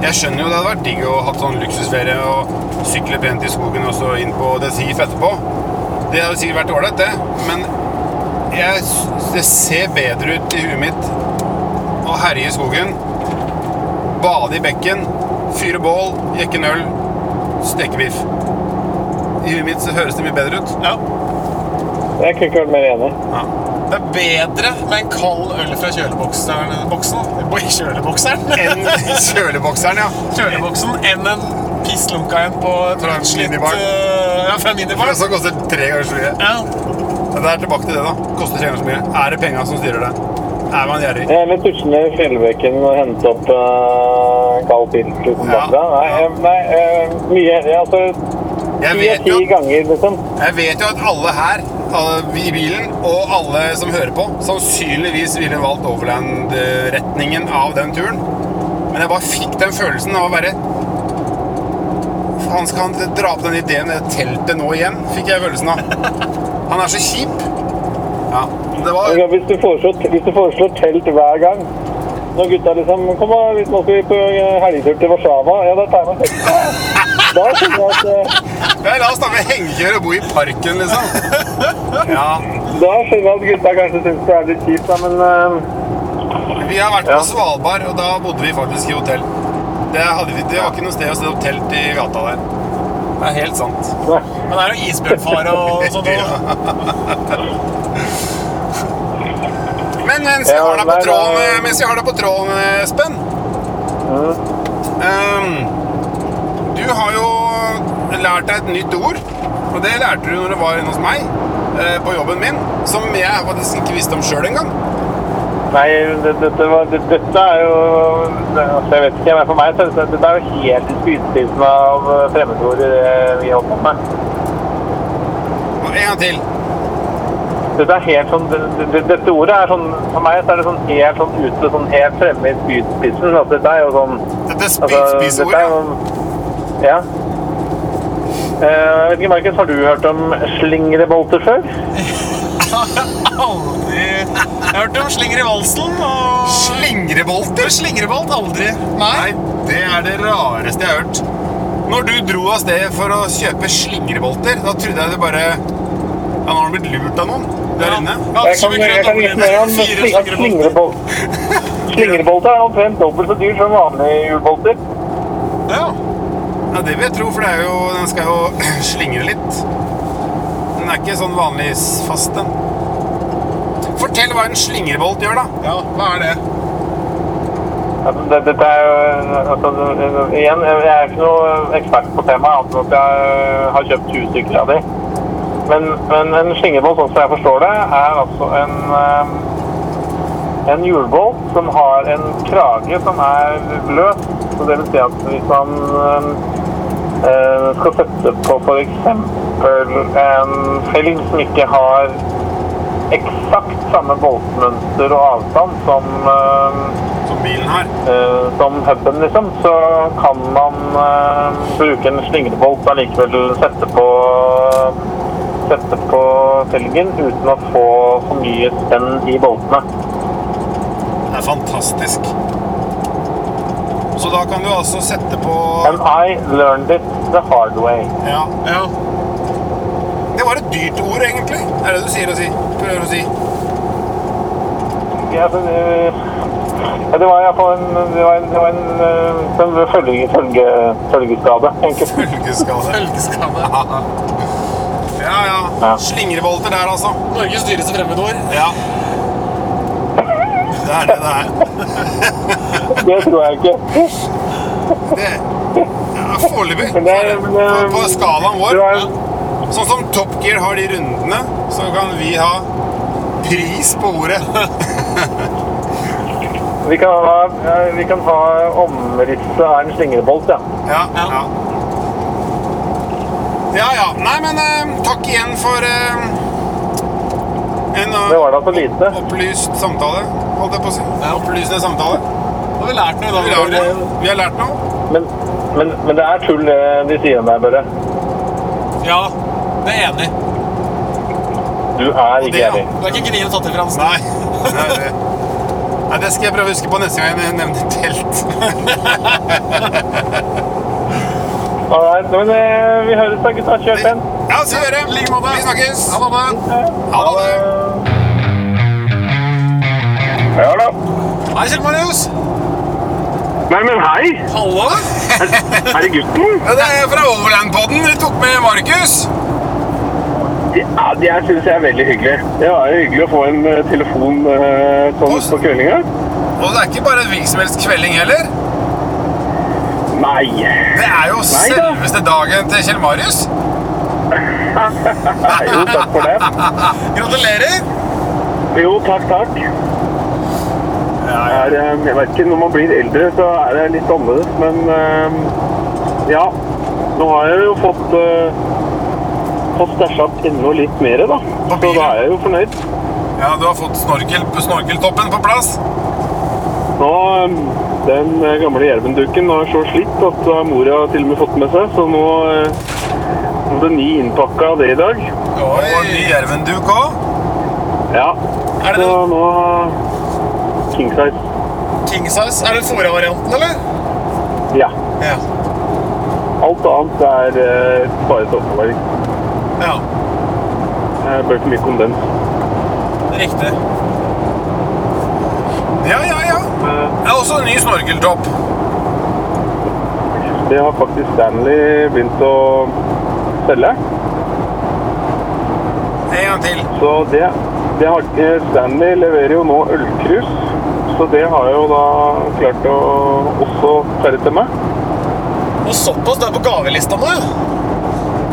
S1: Jeg skjønner jo det hadde vært digg å ha sånn luksusferie og sykle pent i skogen og så inn på The Thief etterpå. Det hadde sikkert vært ålreit, det. Men jeg, s- det ser bedre ut i huet mitt å herje i skogen, bade i bekken, fyre bål, jekke en øl, steke biff. I huet mitt så høres det mye bedre ut.
S2: Ja.
S6: Jeg kunne ikke vært mer enig.
S2: Det er bedre med en kald øl fra kjølebokseren boksen, Oi, kjølebokseren.
S1: Enn kjølebokseren, ja.
S2: Kjøleboksen enn en pisslunka en på et
S1: Fra en
S2: utslitt,
S1: minibar.
S2: eh, Ja, fra
S1: For
S2: en minibar.
S1: det som koster tre ganger så mye.
S2: Ja.
S1: Men det er tilbake til det, da. Koster tre ganger så mye. Er det penga som styrer det? Er man gjerrig?
S6: Jeg vil tusje ned Eh, i fjellbekken og hente opp eh, kald pils uten
S1: Ja,
S6: bakgrunn. Nei,
S1: ja.
S6: eh, nei eh, mye heller. Altså
S1: Jeg
S6: ti av
S1: vet,
S6: ti
S1: jo,
S6: ganger, liksom.
S1: jeg vet jo at alle her, alle vi i bilen og alle som hører på, sannsynligvis ville valgt Overland-retningen av den turen. Men jeg bare fikk den følelsen av å være Faen, skal han dra opp den ideen i det teltet nå igjen? Fikk jeg følelsen av. Han er så kjip. Ja. Det var
S6: Hvis du, foreslår, hvis du foreslår telt hver gang når gutta liksom Kom da, hvis nå skal vi på eh, helgetur til Warszawa. Ja, da tar jeg meg telt. Da skjønner jeg at eh,
S1: Ja, La oss ta med hengekjør og bo i parken, liksom. Ja.
S6: Da skjønner jeg at gutta kanskje syns det er litt kjipt, da, men eh,
S1: Vi har vært
S6: Ja.
S1: på Svalbard, og da bodde vi faktisk i hotell. Det, hadde vi, det var ikke noe sted å sette opp telt i gata der. Det er helt sant.
S2: Men det er jo isbjørnfare og sånt òg.
S1: Men mens jeg
S6: Ja,
S1: har deg på
S6: nei,
S1: tråden,
S6: da-
S1: eh, mens jeg har deg på tråden, eh, Espen Ehm, Du har jo lært deg et nytt ord, og det lærte du når du var inne hos meg eh, på jobben min, som jeg faktisk ikke visste om sjøl engang.
S6: Nei, det, dette, var, det, dette er jo det- altså, Jeg vet ikke, men for meg så er dette, dette er jo helt i spydspissen av eh, fremmedord i det vi holder på med.
S1: Og En gang til.
S6: Dette er helt sånn, det, det, dette ordet er sånn For meg så er det sånn helt sånn ute, sånn helt fremme i spydspissen. Altså, dette er jo sånn
S1: Dette
S6: altså,
S1: spydspiseordet.
S6: dette er sånn, Ja. Eh, Jeg vet ikke, Markus, har du hørt om slingrebolter før?
S2: Aldri Jeg hørte om slinger i valsen og
S1: Slingrebolter?
S2: Slingrebolt? Aldri. Nei.
S1: Nei, det er det rareste jeg har hørt. Når du dro av sted for å kjøpe slingrebolter, da trodde jeg det bare Ja, nå har han blitt lurt av noen der inne.
S6: Jeg kan, jeg kan informere om
S2: Fire
S6: sli- at
S2: slingrebolt.
S6: slingrebolt. Slingrebolt er omtrent dobbelt så dyr som vanlige hjulbolter.
S2: Ja.
S1: Ja, det vil jeg tro, for det er jo, den skal jo slingre litt. Den er ikke sånn vanlig fast, den. Fortell hva en slingrebolt gjør, da.
S2: ja, hva er det?
S6: Altså, det, dette er jo altså, det- Igjen, jeg er ikke noe eh, ekspert på temaet, annet enn at jeg eh, har kjøpt 20 stykker av de. Men, men en slingebål, sånn som jeg forstår det, er altså en eh, en hjulbål som har en krage som er løs. Så det vil si at hvis man eh, eh, skal sette på f.eks. en felg som ikke har eksakt samme boltmønster og avstand som eh,
S1: Som bilen har.
S6: eh, som puben, liksom, så kan man eh, bruke en slingrebolt og likevel sette på sette på felgen uten å få for mye spenn i boltene.
S1: Det er fantastisk. Så da kan du altså sette på
S6: And I learned it the hard way.
S1: Ja. Det var et dyrt ord, egentlig. Er det du sier å si? Prøver å si.
S6: Ja, altså, eh, ja, det var iallfall en, det var en, det var en, eh, en følge, følge, følgeskade, egentlig.
S1: Følgeskade.
S2: Følgeskade.
S1: Ja, ja.
S6: Ja.
S1: Slingrebolter der, altså.
S2: Norges dyreste fremmedord.
S1: Ja. Det er det det er.
S6: Det tror jeg ikke.
S1: Det ja, Foreløpig.
S6: Men det er- men,
S1: På,
S6: eh,
S1: på skalaen
S6: Det
S1: vår.
S6: var,
S1: Sånn som Top Gear har de rundene, så kan vi ha pris på ordet.
S6: vi kan ha, eh, vi kan ha omrisset av en slingrebolt, ja.
S1: Ja, ja. Ja, ja. Nei, men eh, takk igjen for eh, en eh,
S6: Det var da for lite.
S1: opplyst samtale, holdt jeg på å si. Opplysende samtale.
S2: Nå har vi lært noe
S1: Vi har,
S2: i dag. Børre.
S1: lært- vi har lært noe.
S6: Men, men, men det er tull det de sier om deg, Børre.
S2: Ja, det er jeg enig. i.
S6: Du er ikke
S1: ja.
S6: enig.
S2: Du er ikke gnien tatt i fransk.
S1: Nei. Nei, det- Nei, det skal jeg prøve å huske på neste gang jeg nevner telt.
S6: Alright, men eh, vi høres da, gutta. Kjør den.
S1: Ja, så gjør det. Vi snakkes. Ha det. Ha det.
S6: Ja da.
S2: Hei, Kjell Marius.
S6: Nei, men hei!
S2: Hallo.
S6: Er det gutten?
S1: Ja, Det er fra Overland-podden. Vi tok med Markus.
S6: Ja, Det her syns jeg er veldig hyggelig. Det var jo hyggelig å få en eh, telefon eh, sånn på kveldinga.
S1: Og det er ikke bare en hvilken som helst kvelding heller.
S6: Nei.
S1: Det er jo
S6: Nei da.
S1: selveste dagen til Kjell Marius.
S6: Nei, Jo, takk for det.
S1: Gratulerer.
S6: Jo, takk, takk. Det Er, eh, jeg vet ikke, når man blir eldre, så er det litt annerledes, men eh, ja. Nå har jeg jo fått eh, fått stæsja opp enda litt mer, da. Så da er jeg jo fornøyd.
S1: Ja, du har fått snorkel, snorkeltoppen på plass.
S6: Nå, eh, Den eh, gamle jervendukken har så slitt at eh, mora har til og med fått med seg, så nå eh, kom det ni innpakka av det i dag.
S1: Oi. Og ny jervenduk òg.
S6: Ja.
S2: Er det
S6: Så
S2: den
S6: nå King size.
S2: king size? Er det Fora-varianten, eller?
S6: Ja.
S2: Ja.
S6: Alt annet er eh, bare toppbevaring.
S2: ja.
S6: Jeg bør ikke mye kondens.
S2: Riktig.
S1: Ja, ja, ja.
S6: Eh,
S1: Det er også en ny snorkeltopp.
S6: Det har faktisk Stanley begynt å selge.
S1: En gang til.
S6: Så det, det har, eh, Stanley leverer jo nå ølkrus, så det har jeg jo da klart å også selge til meg.
S2: Og såpass, det er på gavelista nå, ja.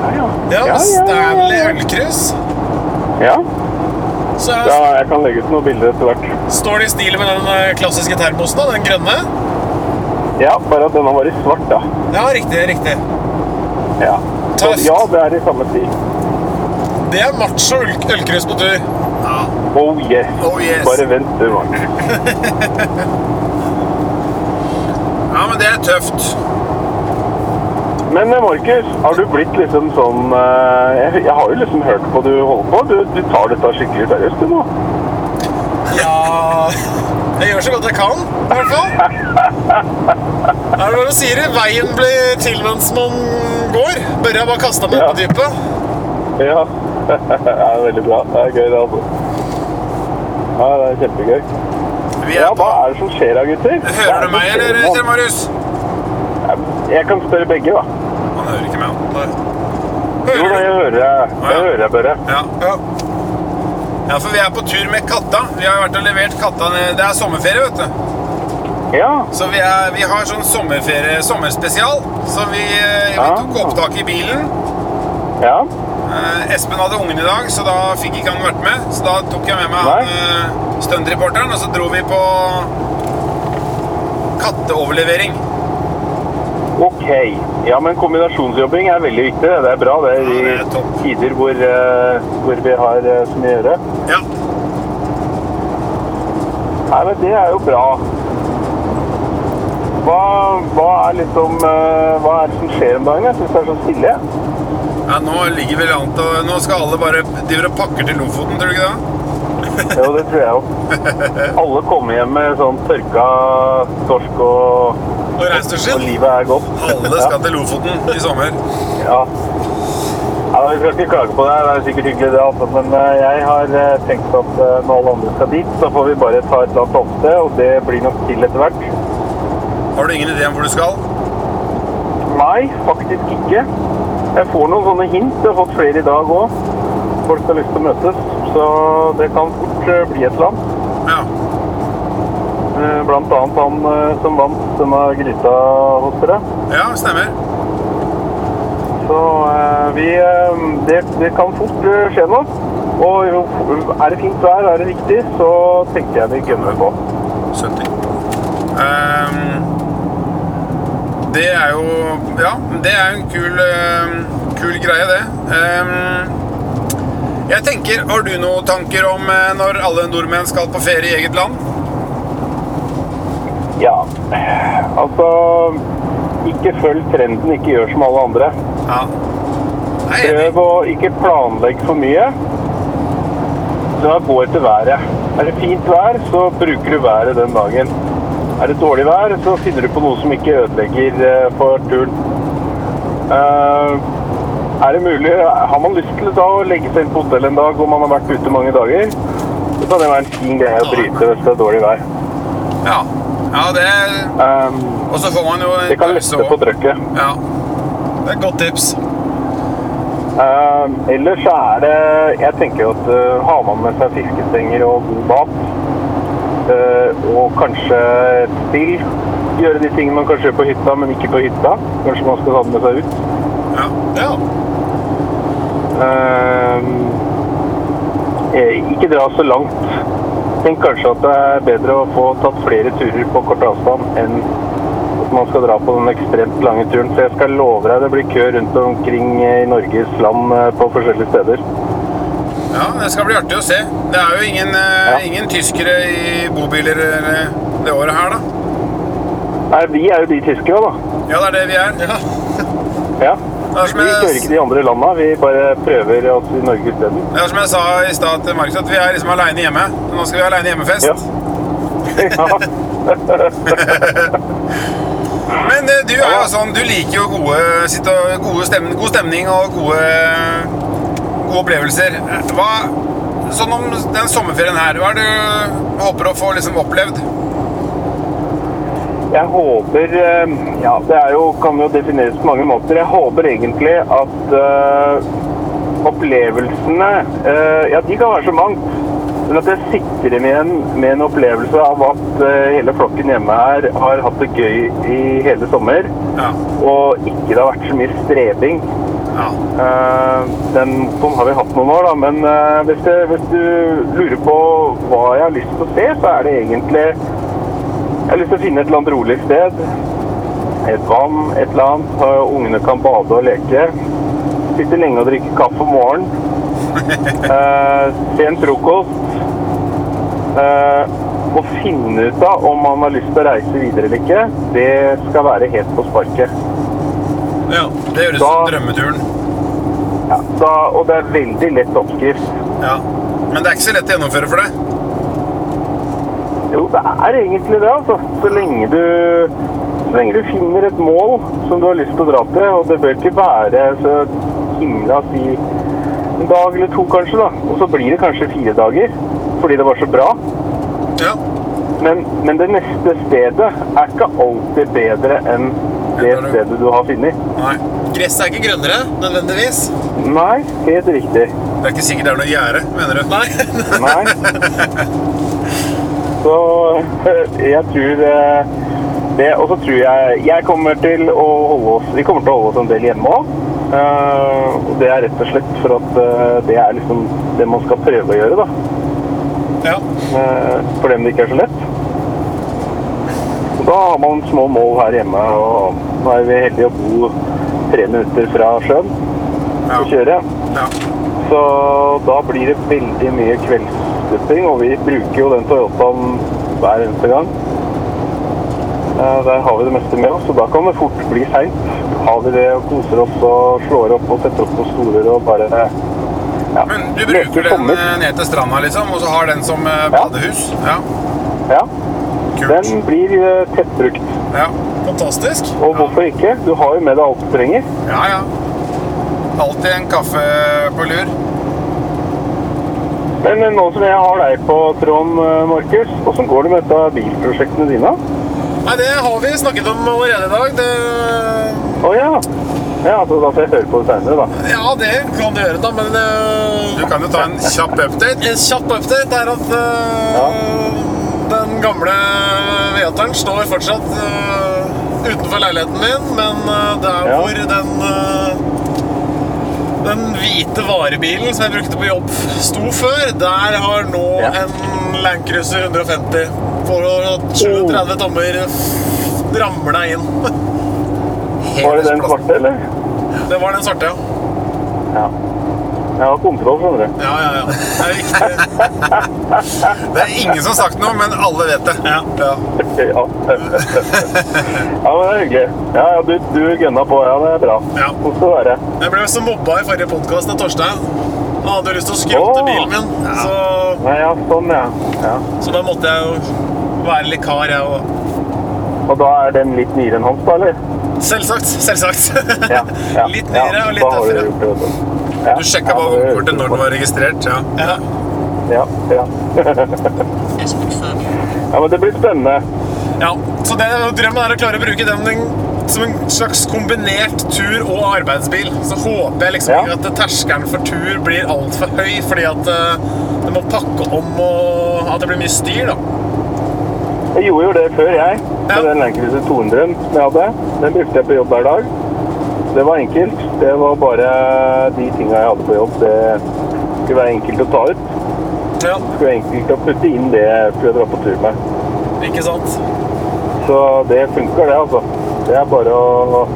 S6: Ja, ja.
S2: Ja,
S6: ja,
S2: Stanley ølkrus.
S6: ja.
S2: Så er-
S6: ja, jeg kan legge ut noen bilder etter hvert.
S2: står det i stil med den eh, klassiske termosen, da, den grønne.
S6: Ja, bare at denne var i svart, da.
S2: Ja, riktig, riktig.
S6: Ja. Så,
S2: Tøft.
S6: ja, det er i samme tid.
S2: Det er macho øl- ølkrus på tur.
S6: Oh yes.
S1: Oh, yes.
S6: Bare vent, du, Mark.
S1: Ja, men det er tøft.
S6: Men eh, Markus, har du blitt liksom sånn eh, jeg, jeg har jo liksom hørt på du holder på. Du, du tar dette skikkelig seriøst, du nå.
S2: Ja Jeg gjør så godt jeg kan, i hvert fall. Er det hva du sier? Veien blir til mens man går. Børre har bare kasta meg
S6: Ja.
S2: på dypet.
S6: Ja. det er veldig bra. Det er gøy, det, altså. Ja, det er kjempegøy.
S1: Vi
S6: Ja,
S1: er
S6: hva
S1: på.
S6: er det som skjer da, gutter? Hva
S1: Hører du
S6: er det
S1: meg,
S6: som skjer
S1: eller,
S6: nå?
S1: Kjell Marius?
S6: Jeg kan spørre begge, da.
S1: Han hører ikke meg. han.
S6: Jo, da,
S1: Hører du?
S6: jeg hører deg.
S1: Ja.
S6: Jeg hører deg, Børre.
S1: Ja. ja, for vi er på tur med katta. Vi har vært og levert katta ned. Det er sommerferie, vet du.
S5: Ja.
S1: Så vi, er, vi har sånn sommerferie, sommerspesial. Så vi, eh, vi
S5: Ah.
S1: tok opptak i bilen.
S5: Ja.
S1: Eh, Espen hadde ungen i dag, så da fikk ikke han vært med. Så da tok jeg med meg
S5: Nei.
S1: han, eh, stuntreporteren, og så dro vi på katteoverlevering.
S5: Ok. Ja, men kombinasjonsjobbing er veldig viktig. Det er bra. Det er i
S1: Ja, det er topp.
S5: tider hvor, eh, hvor vi har eh, så mye å gjøre.
S1: Ja.
S5: Nei, men det er jo bra. Hva, hva er liksom eh, Hva er det som skjer om dagen? Jeg syns det er så stille.
S1: ja, nå ligger vel an til å- Nå skal alle bare driver og pakker til Lofoten, tror du ikke det?
S5: Jo, det tror jeg jo. Alle kommer hjem med sånn tørka torsk, og,
S1: Og reinsdyrskinn?
S5: og livet er godt.
S1: Alle skal til Lofoten i sommer.
S5: Ja. ja vi skal ikke klage på det. Det er sikkert hyggelig, det. Altså. Men eh, jeg har eh, tenkt at eh, når alle andre skal dit, så får vi bare ta et eller annet oppsted, og det blir nok til etter hvert.
S1: Har du ingen idé om hvor du skal?
S5: Nei, faktisk ikke. Jeg får noen sånne hint. Jeg har fått flere i dag òg. Folk har lyst til å møtes, så det kan fort eh, bli et eller annet.
S1: Ja.
S5: Eh, Blant annet han eh, som vant denne gryta hos dere.
S1: Ja, stemmer.
S5: Så eh, vi eh, det, det kan fort eh, skje noe. Og jo, er det fint vær, er det riktig, så tenker jeg vi gønner på.
S1: 70. Ehm, det er jo Ja, det er jo en kul, ehm, kul greie, det. Ehm, jeg tenker, Har du noen tanker om eh, når alle nordmenn skal på ferie i eget land?
S5: Ja. Altså Ikke følg trenden, ikke gjør som alle andre.
S1: Ja. Nei, jeg er enig.
S5: Prøv å ikke planlegge for mye. Så gå etter været. Er det fint vær, så bruker du været den dagen. Er det dårlig vær, så finner du på noe som ikke ødelegger eh, for turen. Eh, er det mulig Har man lyst til da å legge seg inn på hotell en dag og man har vært ute mange dager, så kan det være en fin greie å bryte hvis det er dårlig vær.
S1: Ja. ja, det er
S5: Eh,
S1: Og så får man jo en
S5: det kan
S1: pause
S5: lette på
S1: også.
S5: trøkket.
S1: Ja.
S2: Det er et godt tips.
S5: Eh, ellers så er det Jeg tenker jo at eh, har man med seg fiskestenger og god mat, eh, og kanskje et spill Gjøre de tingene man kanskje gjør på hytta, men ikke på hytta. Kanskje man skal ta den med seg ut.
S1: ja.
S2: Ja.
S5: Eh, Ehm, eh, ikke dra så langt. Tenk kanskje at det er bedre å få tatt flere turer på kort avstand enn at man skal dra på den ekstremt lange turen. Så jeg skal love deg det blir kø rundt omkring eh, i Norges land eh, på forskjellige steder.
S1: ja, det skal bli artig å se. Det er jo ingen, eh,
S5: Ja.
S1: ingen tyskere i bobiler eh, det året her, da.
S5: Nei, vi er jo de tyskere, da.
S1: Ja, det er det vi er.
S5: Ja.
S1: Det er som
S5: Vi
S1: jeg-
S5: kjører ikke de andre landa, vi bare prøver oss i Norge isteden.
S1: Det er som jeg sa i stad til Markus, at vi er liksom aleine hjemme. Nå skal vi ha aleine hjemmefest.
S5: Ja. ja.
S1: Men eh, du er jo
S5: Ja.
S1: sånn, du liker jo gode, sitte, og- gode stemning, god stemning og gode, gode opplevelser. Hva, sånn om den sommerferien her, hva er det du håper å få liksom opplevd?
S5: Jeg håper eh, Ja, det er jo, kan jo defineres på mange måter. Jeg håper egentlig at eh, opplevelsene eh, Ja, de kan være så mangt. Men at jeg sitter igjen med en opplevelse av at eh, hele flokken hjemme her har hatt det gøy i hele sommer.
S1: Ja.
S5: Og ikke det har vært så mye strebing.
S1: ja.
S5: Eh, Den motoren har vi hatt noen år, da, men eh, hvis, det, hvis du lurer på hva jeg har lyst til å se, så er det egentlig Jeg har lyst til å finne et eller annet rolig sted. Et vann, et eller annet. eh, Ungene kan bade og leke. Sitte lenge og drikke kaffe om morgenen. Eh, se en frokost. Eh, og finne ut av om man har lyst til å reise videre eller ikke, det skal være helt på sparket.
S1: Det høres ut som
S5: Da-
S1: drømmeturen.
S5: Ja, da, og det er veldig lett oppskrift.
S1: Ja. Men det er ikke så lett å gjennomføre for deg.
S5: Jo, det er egentlig det, altså. Så lenge du, så lenge du finner et mål som du har lyst til å dra til, og det bør ikke være så
S6: eh,
S5: himla si en dag eller to kanskje, da. Og så blir det kanskje fire dager fordi det var så bra.
S1: Ja.
S5: Men, men det neste stedet er ikke alltid bedre enn det stedet du har funnet.
S1: Nei.
S2: Gresset er ikke grønnere, nødvendigvis.
S5: Nei, helt riktig.
S1: Det er ikke sikkert det er noe gjerde, mener du?
S2: Nei.
S5: Nei.
S6: Så jeg tror eh, det. Og så tror jeg Jeg kommer til å holde oss Vi kommer til å holde oss en del hjemme òg. og det er rett og slett for at eh, det er liksom det man skal prøve å gjøre, da.
S2: Ja.
S6: Eh, for dem det ikke er så lett. Og Da har man små mål her hjemme, og nå er vi heldige å bo tre minutter fra sjøen
S1: Ja.
S6: og kjøre.
S1: Ja.
S6: Så da blir det veldig mye kveldsdutting, og vi bruker jo den Toyotaen hver eneste gang. Eh, Der har vi det meste med oss, og da kan det fort bli seint. Har vi det og koser oss og slår opp og setter opp noen stoler og bare ja,
S1: Men du
S6: leker
S1: bruker den
S6: sommer.
S1: eh, ned til stranda, liksom, og så har den som eh, badehus? Ja.
S6: Ja,
S1: Kult.
S6: den blir eh, tettbrukt.
S1: Ja,
S2: Fantastisk.
S6: Og hvorfor ikke? Du har jo med deg alt du trenger.
S1: ja. ja. Alltid en kaffe på lur.
S6: Men eh, nå som jeg har deg på tråden, eh, Markus, åssen går det med dette bilprosjektene dine?
S2: Nei, det har vi snakket om allerede i dag. Det,
S6: Å ja. ja. Altså, da får jeg høre på det seinere, da.
S2: ja, det kan du gjøre, da, men eh,
S1: Du kan jo ta en kjapp update.
S2: En kjapp update er at eh, den gamle vedteren står fortsatt eh, utenfor leiligheten min, men eh, det er
S6: Ja.
S2: hvor den eh, den hvite varebilen som jeg brukte på jobb, sto før. Der har nå
S6: Ja.
S2: en Land Cruiser 150 på
S6: Oh.
S2: 37 tommer ramla inn.
S6: Var det den svarte, eller?
S2: Det var den svarte, ja.
S6: Ja. Jeg har kontroll, skjønner du.
S2: Ja, ja, ja. Det er viktig.
S1: Det er ingen som har sagt noe, men alle vet det.
S2: Ja.
S6: Ja. ja, men det er hyggelig. Ja, ja, du, du gønna på. Ja, det er bra.
S2: Ja.
S6: Sånn skal det være.
S2: Jeg ble så mobba i forrige podkast av Torstein. Han hadde jo lyst til å skrote
S6: Åh.
S2: bilen min, så,
S6: Nei, ja, sånn, ja. ja.
S2: så da måtte jeg jo være litt kar, jeg òg.
S6: Og da er den litt nyere enn hans, da, eller?
S2: Selvsagt. Selvsagt.
S6: Ja. ja.
S2: Litt nyere og litt
S6: da har du
S2: tøffere.
S6: gjort det, vet du. Ja.
S1: Du sjekka
S6: Ja,
S1: bare
S6: det-
S1: kortet når den var registrert. Ja.
S2: Ja.
S6: Ja, ja. ja, men det blir spennende.
S2: ja. Så det, drømmen er å klare å bruke den en- som en slags kombinert tur- og arbeidsbil. Så håper jeg liksom
S6: Ja.
S2: ikke at terskelen for tur blir altfor høy, fordi at eh, det må pakke om og at det blir mye styr, da.
S6: Jeg gjorde jo det før, jeg. Med
S2: Ja.
S6: den Land Cruiser 200-en som jeg hadde. Den brukte jeg på jobb hver dag. Det var enkelt. Det var bare de tinga jeg hadde på jobb. Det skulle være enkelt å ta ut.
S2: Ja,
S6: Skulle være enkelt å putte inn det jeg skulle dra på tur med.
S2: ikke sant?
S6: Så det funker, det, altså. Det er bare å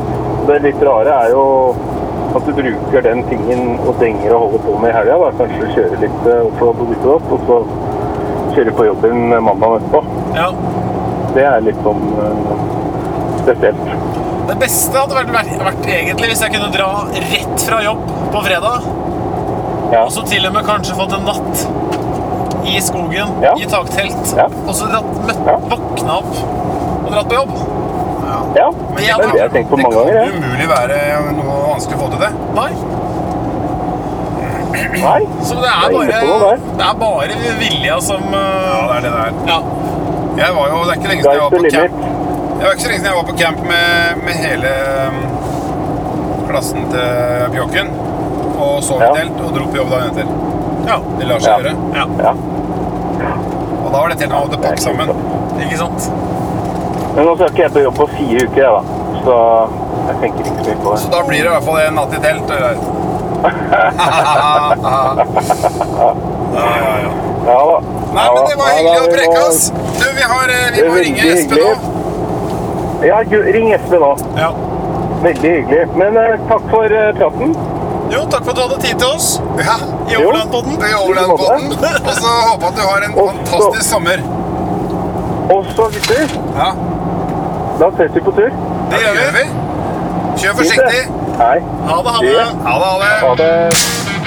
S6: Det litt rare er jo at du bruker den tingen og denger og holder på med i helga. da. Kanskje kjøre litt eh, oppå på ditt og datt, og så kjøre på jobben mandag etterpå.
S2: Ja.
S6: Det er litt sånn eh, spesielt.
S2: Det beste hadde vært, vært, vært egentlig hvis jeg kunne dra rett fra jobb på fredag,
S6: Ja.
S2: og så til og med kanskje fått en natt i skogen,
S6: Ja.
S2: i taktelt,
S6: Ja.
S2: og så dratt, møtt,
S6: Ja.
S2: våkna opp og dratt på jobb.
S6: Ja,
S2: Men
S6: det
S2: jeg
S6: er det jeg har tenkt på mange ganger.
S1: Det
S6: Jeg.
S1: kan umulig være noe vanskelig å få til det.
S2: Nei,
S6: Nei,
S2: så det er,
S6: Det er inne
S2: bare,
S6: på noe der.
S2: det er bare vilja som
S1: Ja,
S2: eh,
S1: det er det der.
S2: ja.
S1: Jeg var jo, det er ikke lenge siden jeg
S6: guys
S1: var
S6: to
S1: på camp.
S6: limit.
S1: Det var ikke så lenge siden jeg var på camp med, med hele um, klassen til Bjåken. Og sov i
S6: Ja.
S1: telt og dro på jobb dagen etter.
S2: Ja.
S1: Det lar seg
S6: Ja.
S1: gjøre.
S6: Ja.
S1: Og da var det til og med å pakke sammen.
S2: ikke sant?
S6: Men nå skal ikke jeg på jobb på fire uker, jeg, da. Så jeg tenker ikke så mye på det.
S1: Så da blir det i hvert fall en natt i telt. Eller? ja, ja, ja.
S6: Ja da.
S1: Nei,
S6: Ja,
S1: men
S6: da.
S1: det var
S6: Ja, da,
S1: hyggelig å
S6: vi
S1: preke,
S6: må-
S1: ass. Du, vi, har, eh, vi
S6: Det er
S1: må ringe
S6: veldig
S1: Espen nå.
S6: hyggelig. Ja, gu- ring Espen nå.
S2: Ja.
S6: Veldig hyggelig. Men eh, takk for eh, praten.
S2: Jo, takk for at du hadde tid til oss
S1: Ja,
S2: i
S6: Jo.
S2: Overlandpodden.
S1: det gjør den båten. Og så håper jeg at du har en
S6: Og så-
S1: fantastisk sommer.
S6: Og så, gutter,
S1: Ja,
S6: da ses vi på tur.
S1: det gjør vi. Kjør forsiktig.
S6: Hei.
S2: Ha det, ha det.
S6: Ja.
S1: Ha det, ha det.
S6: Ha det.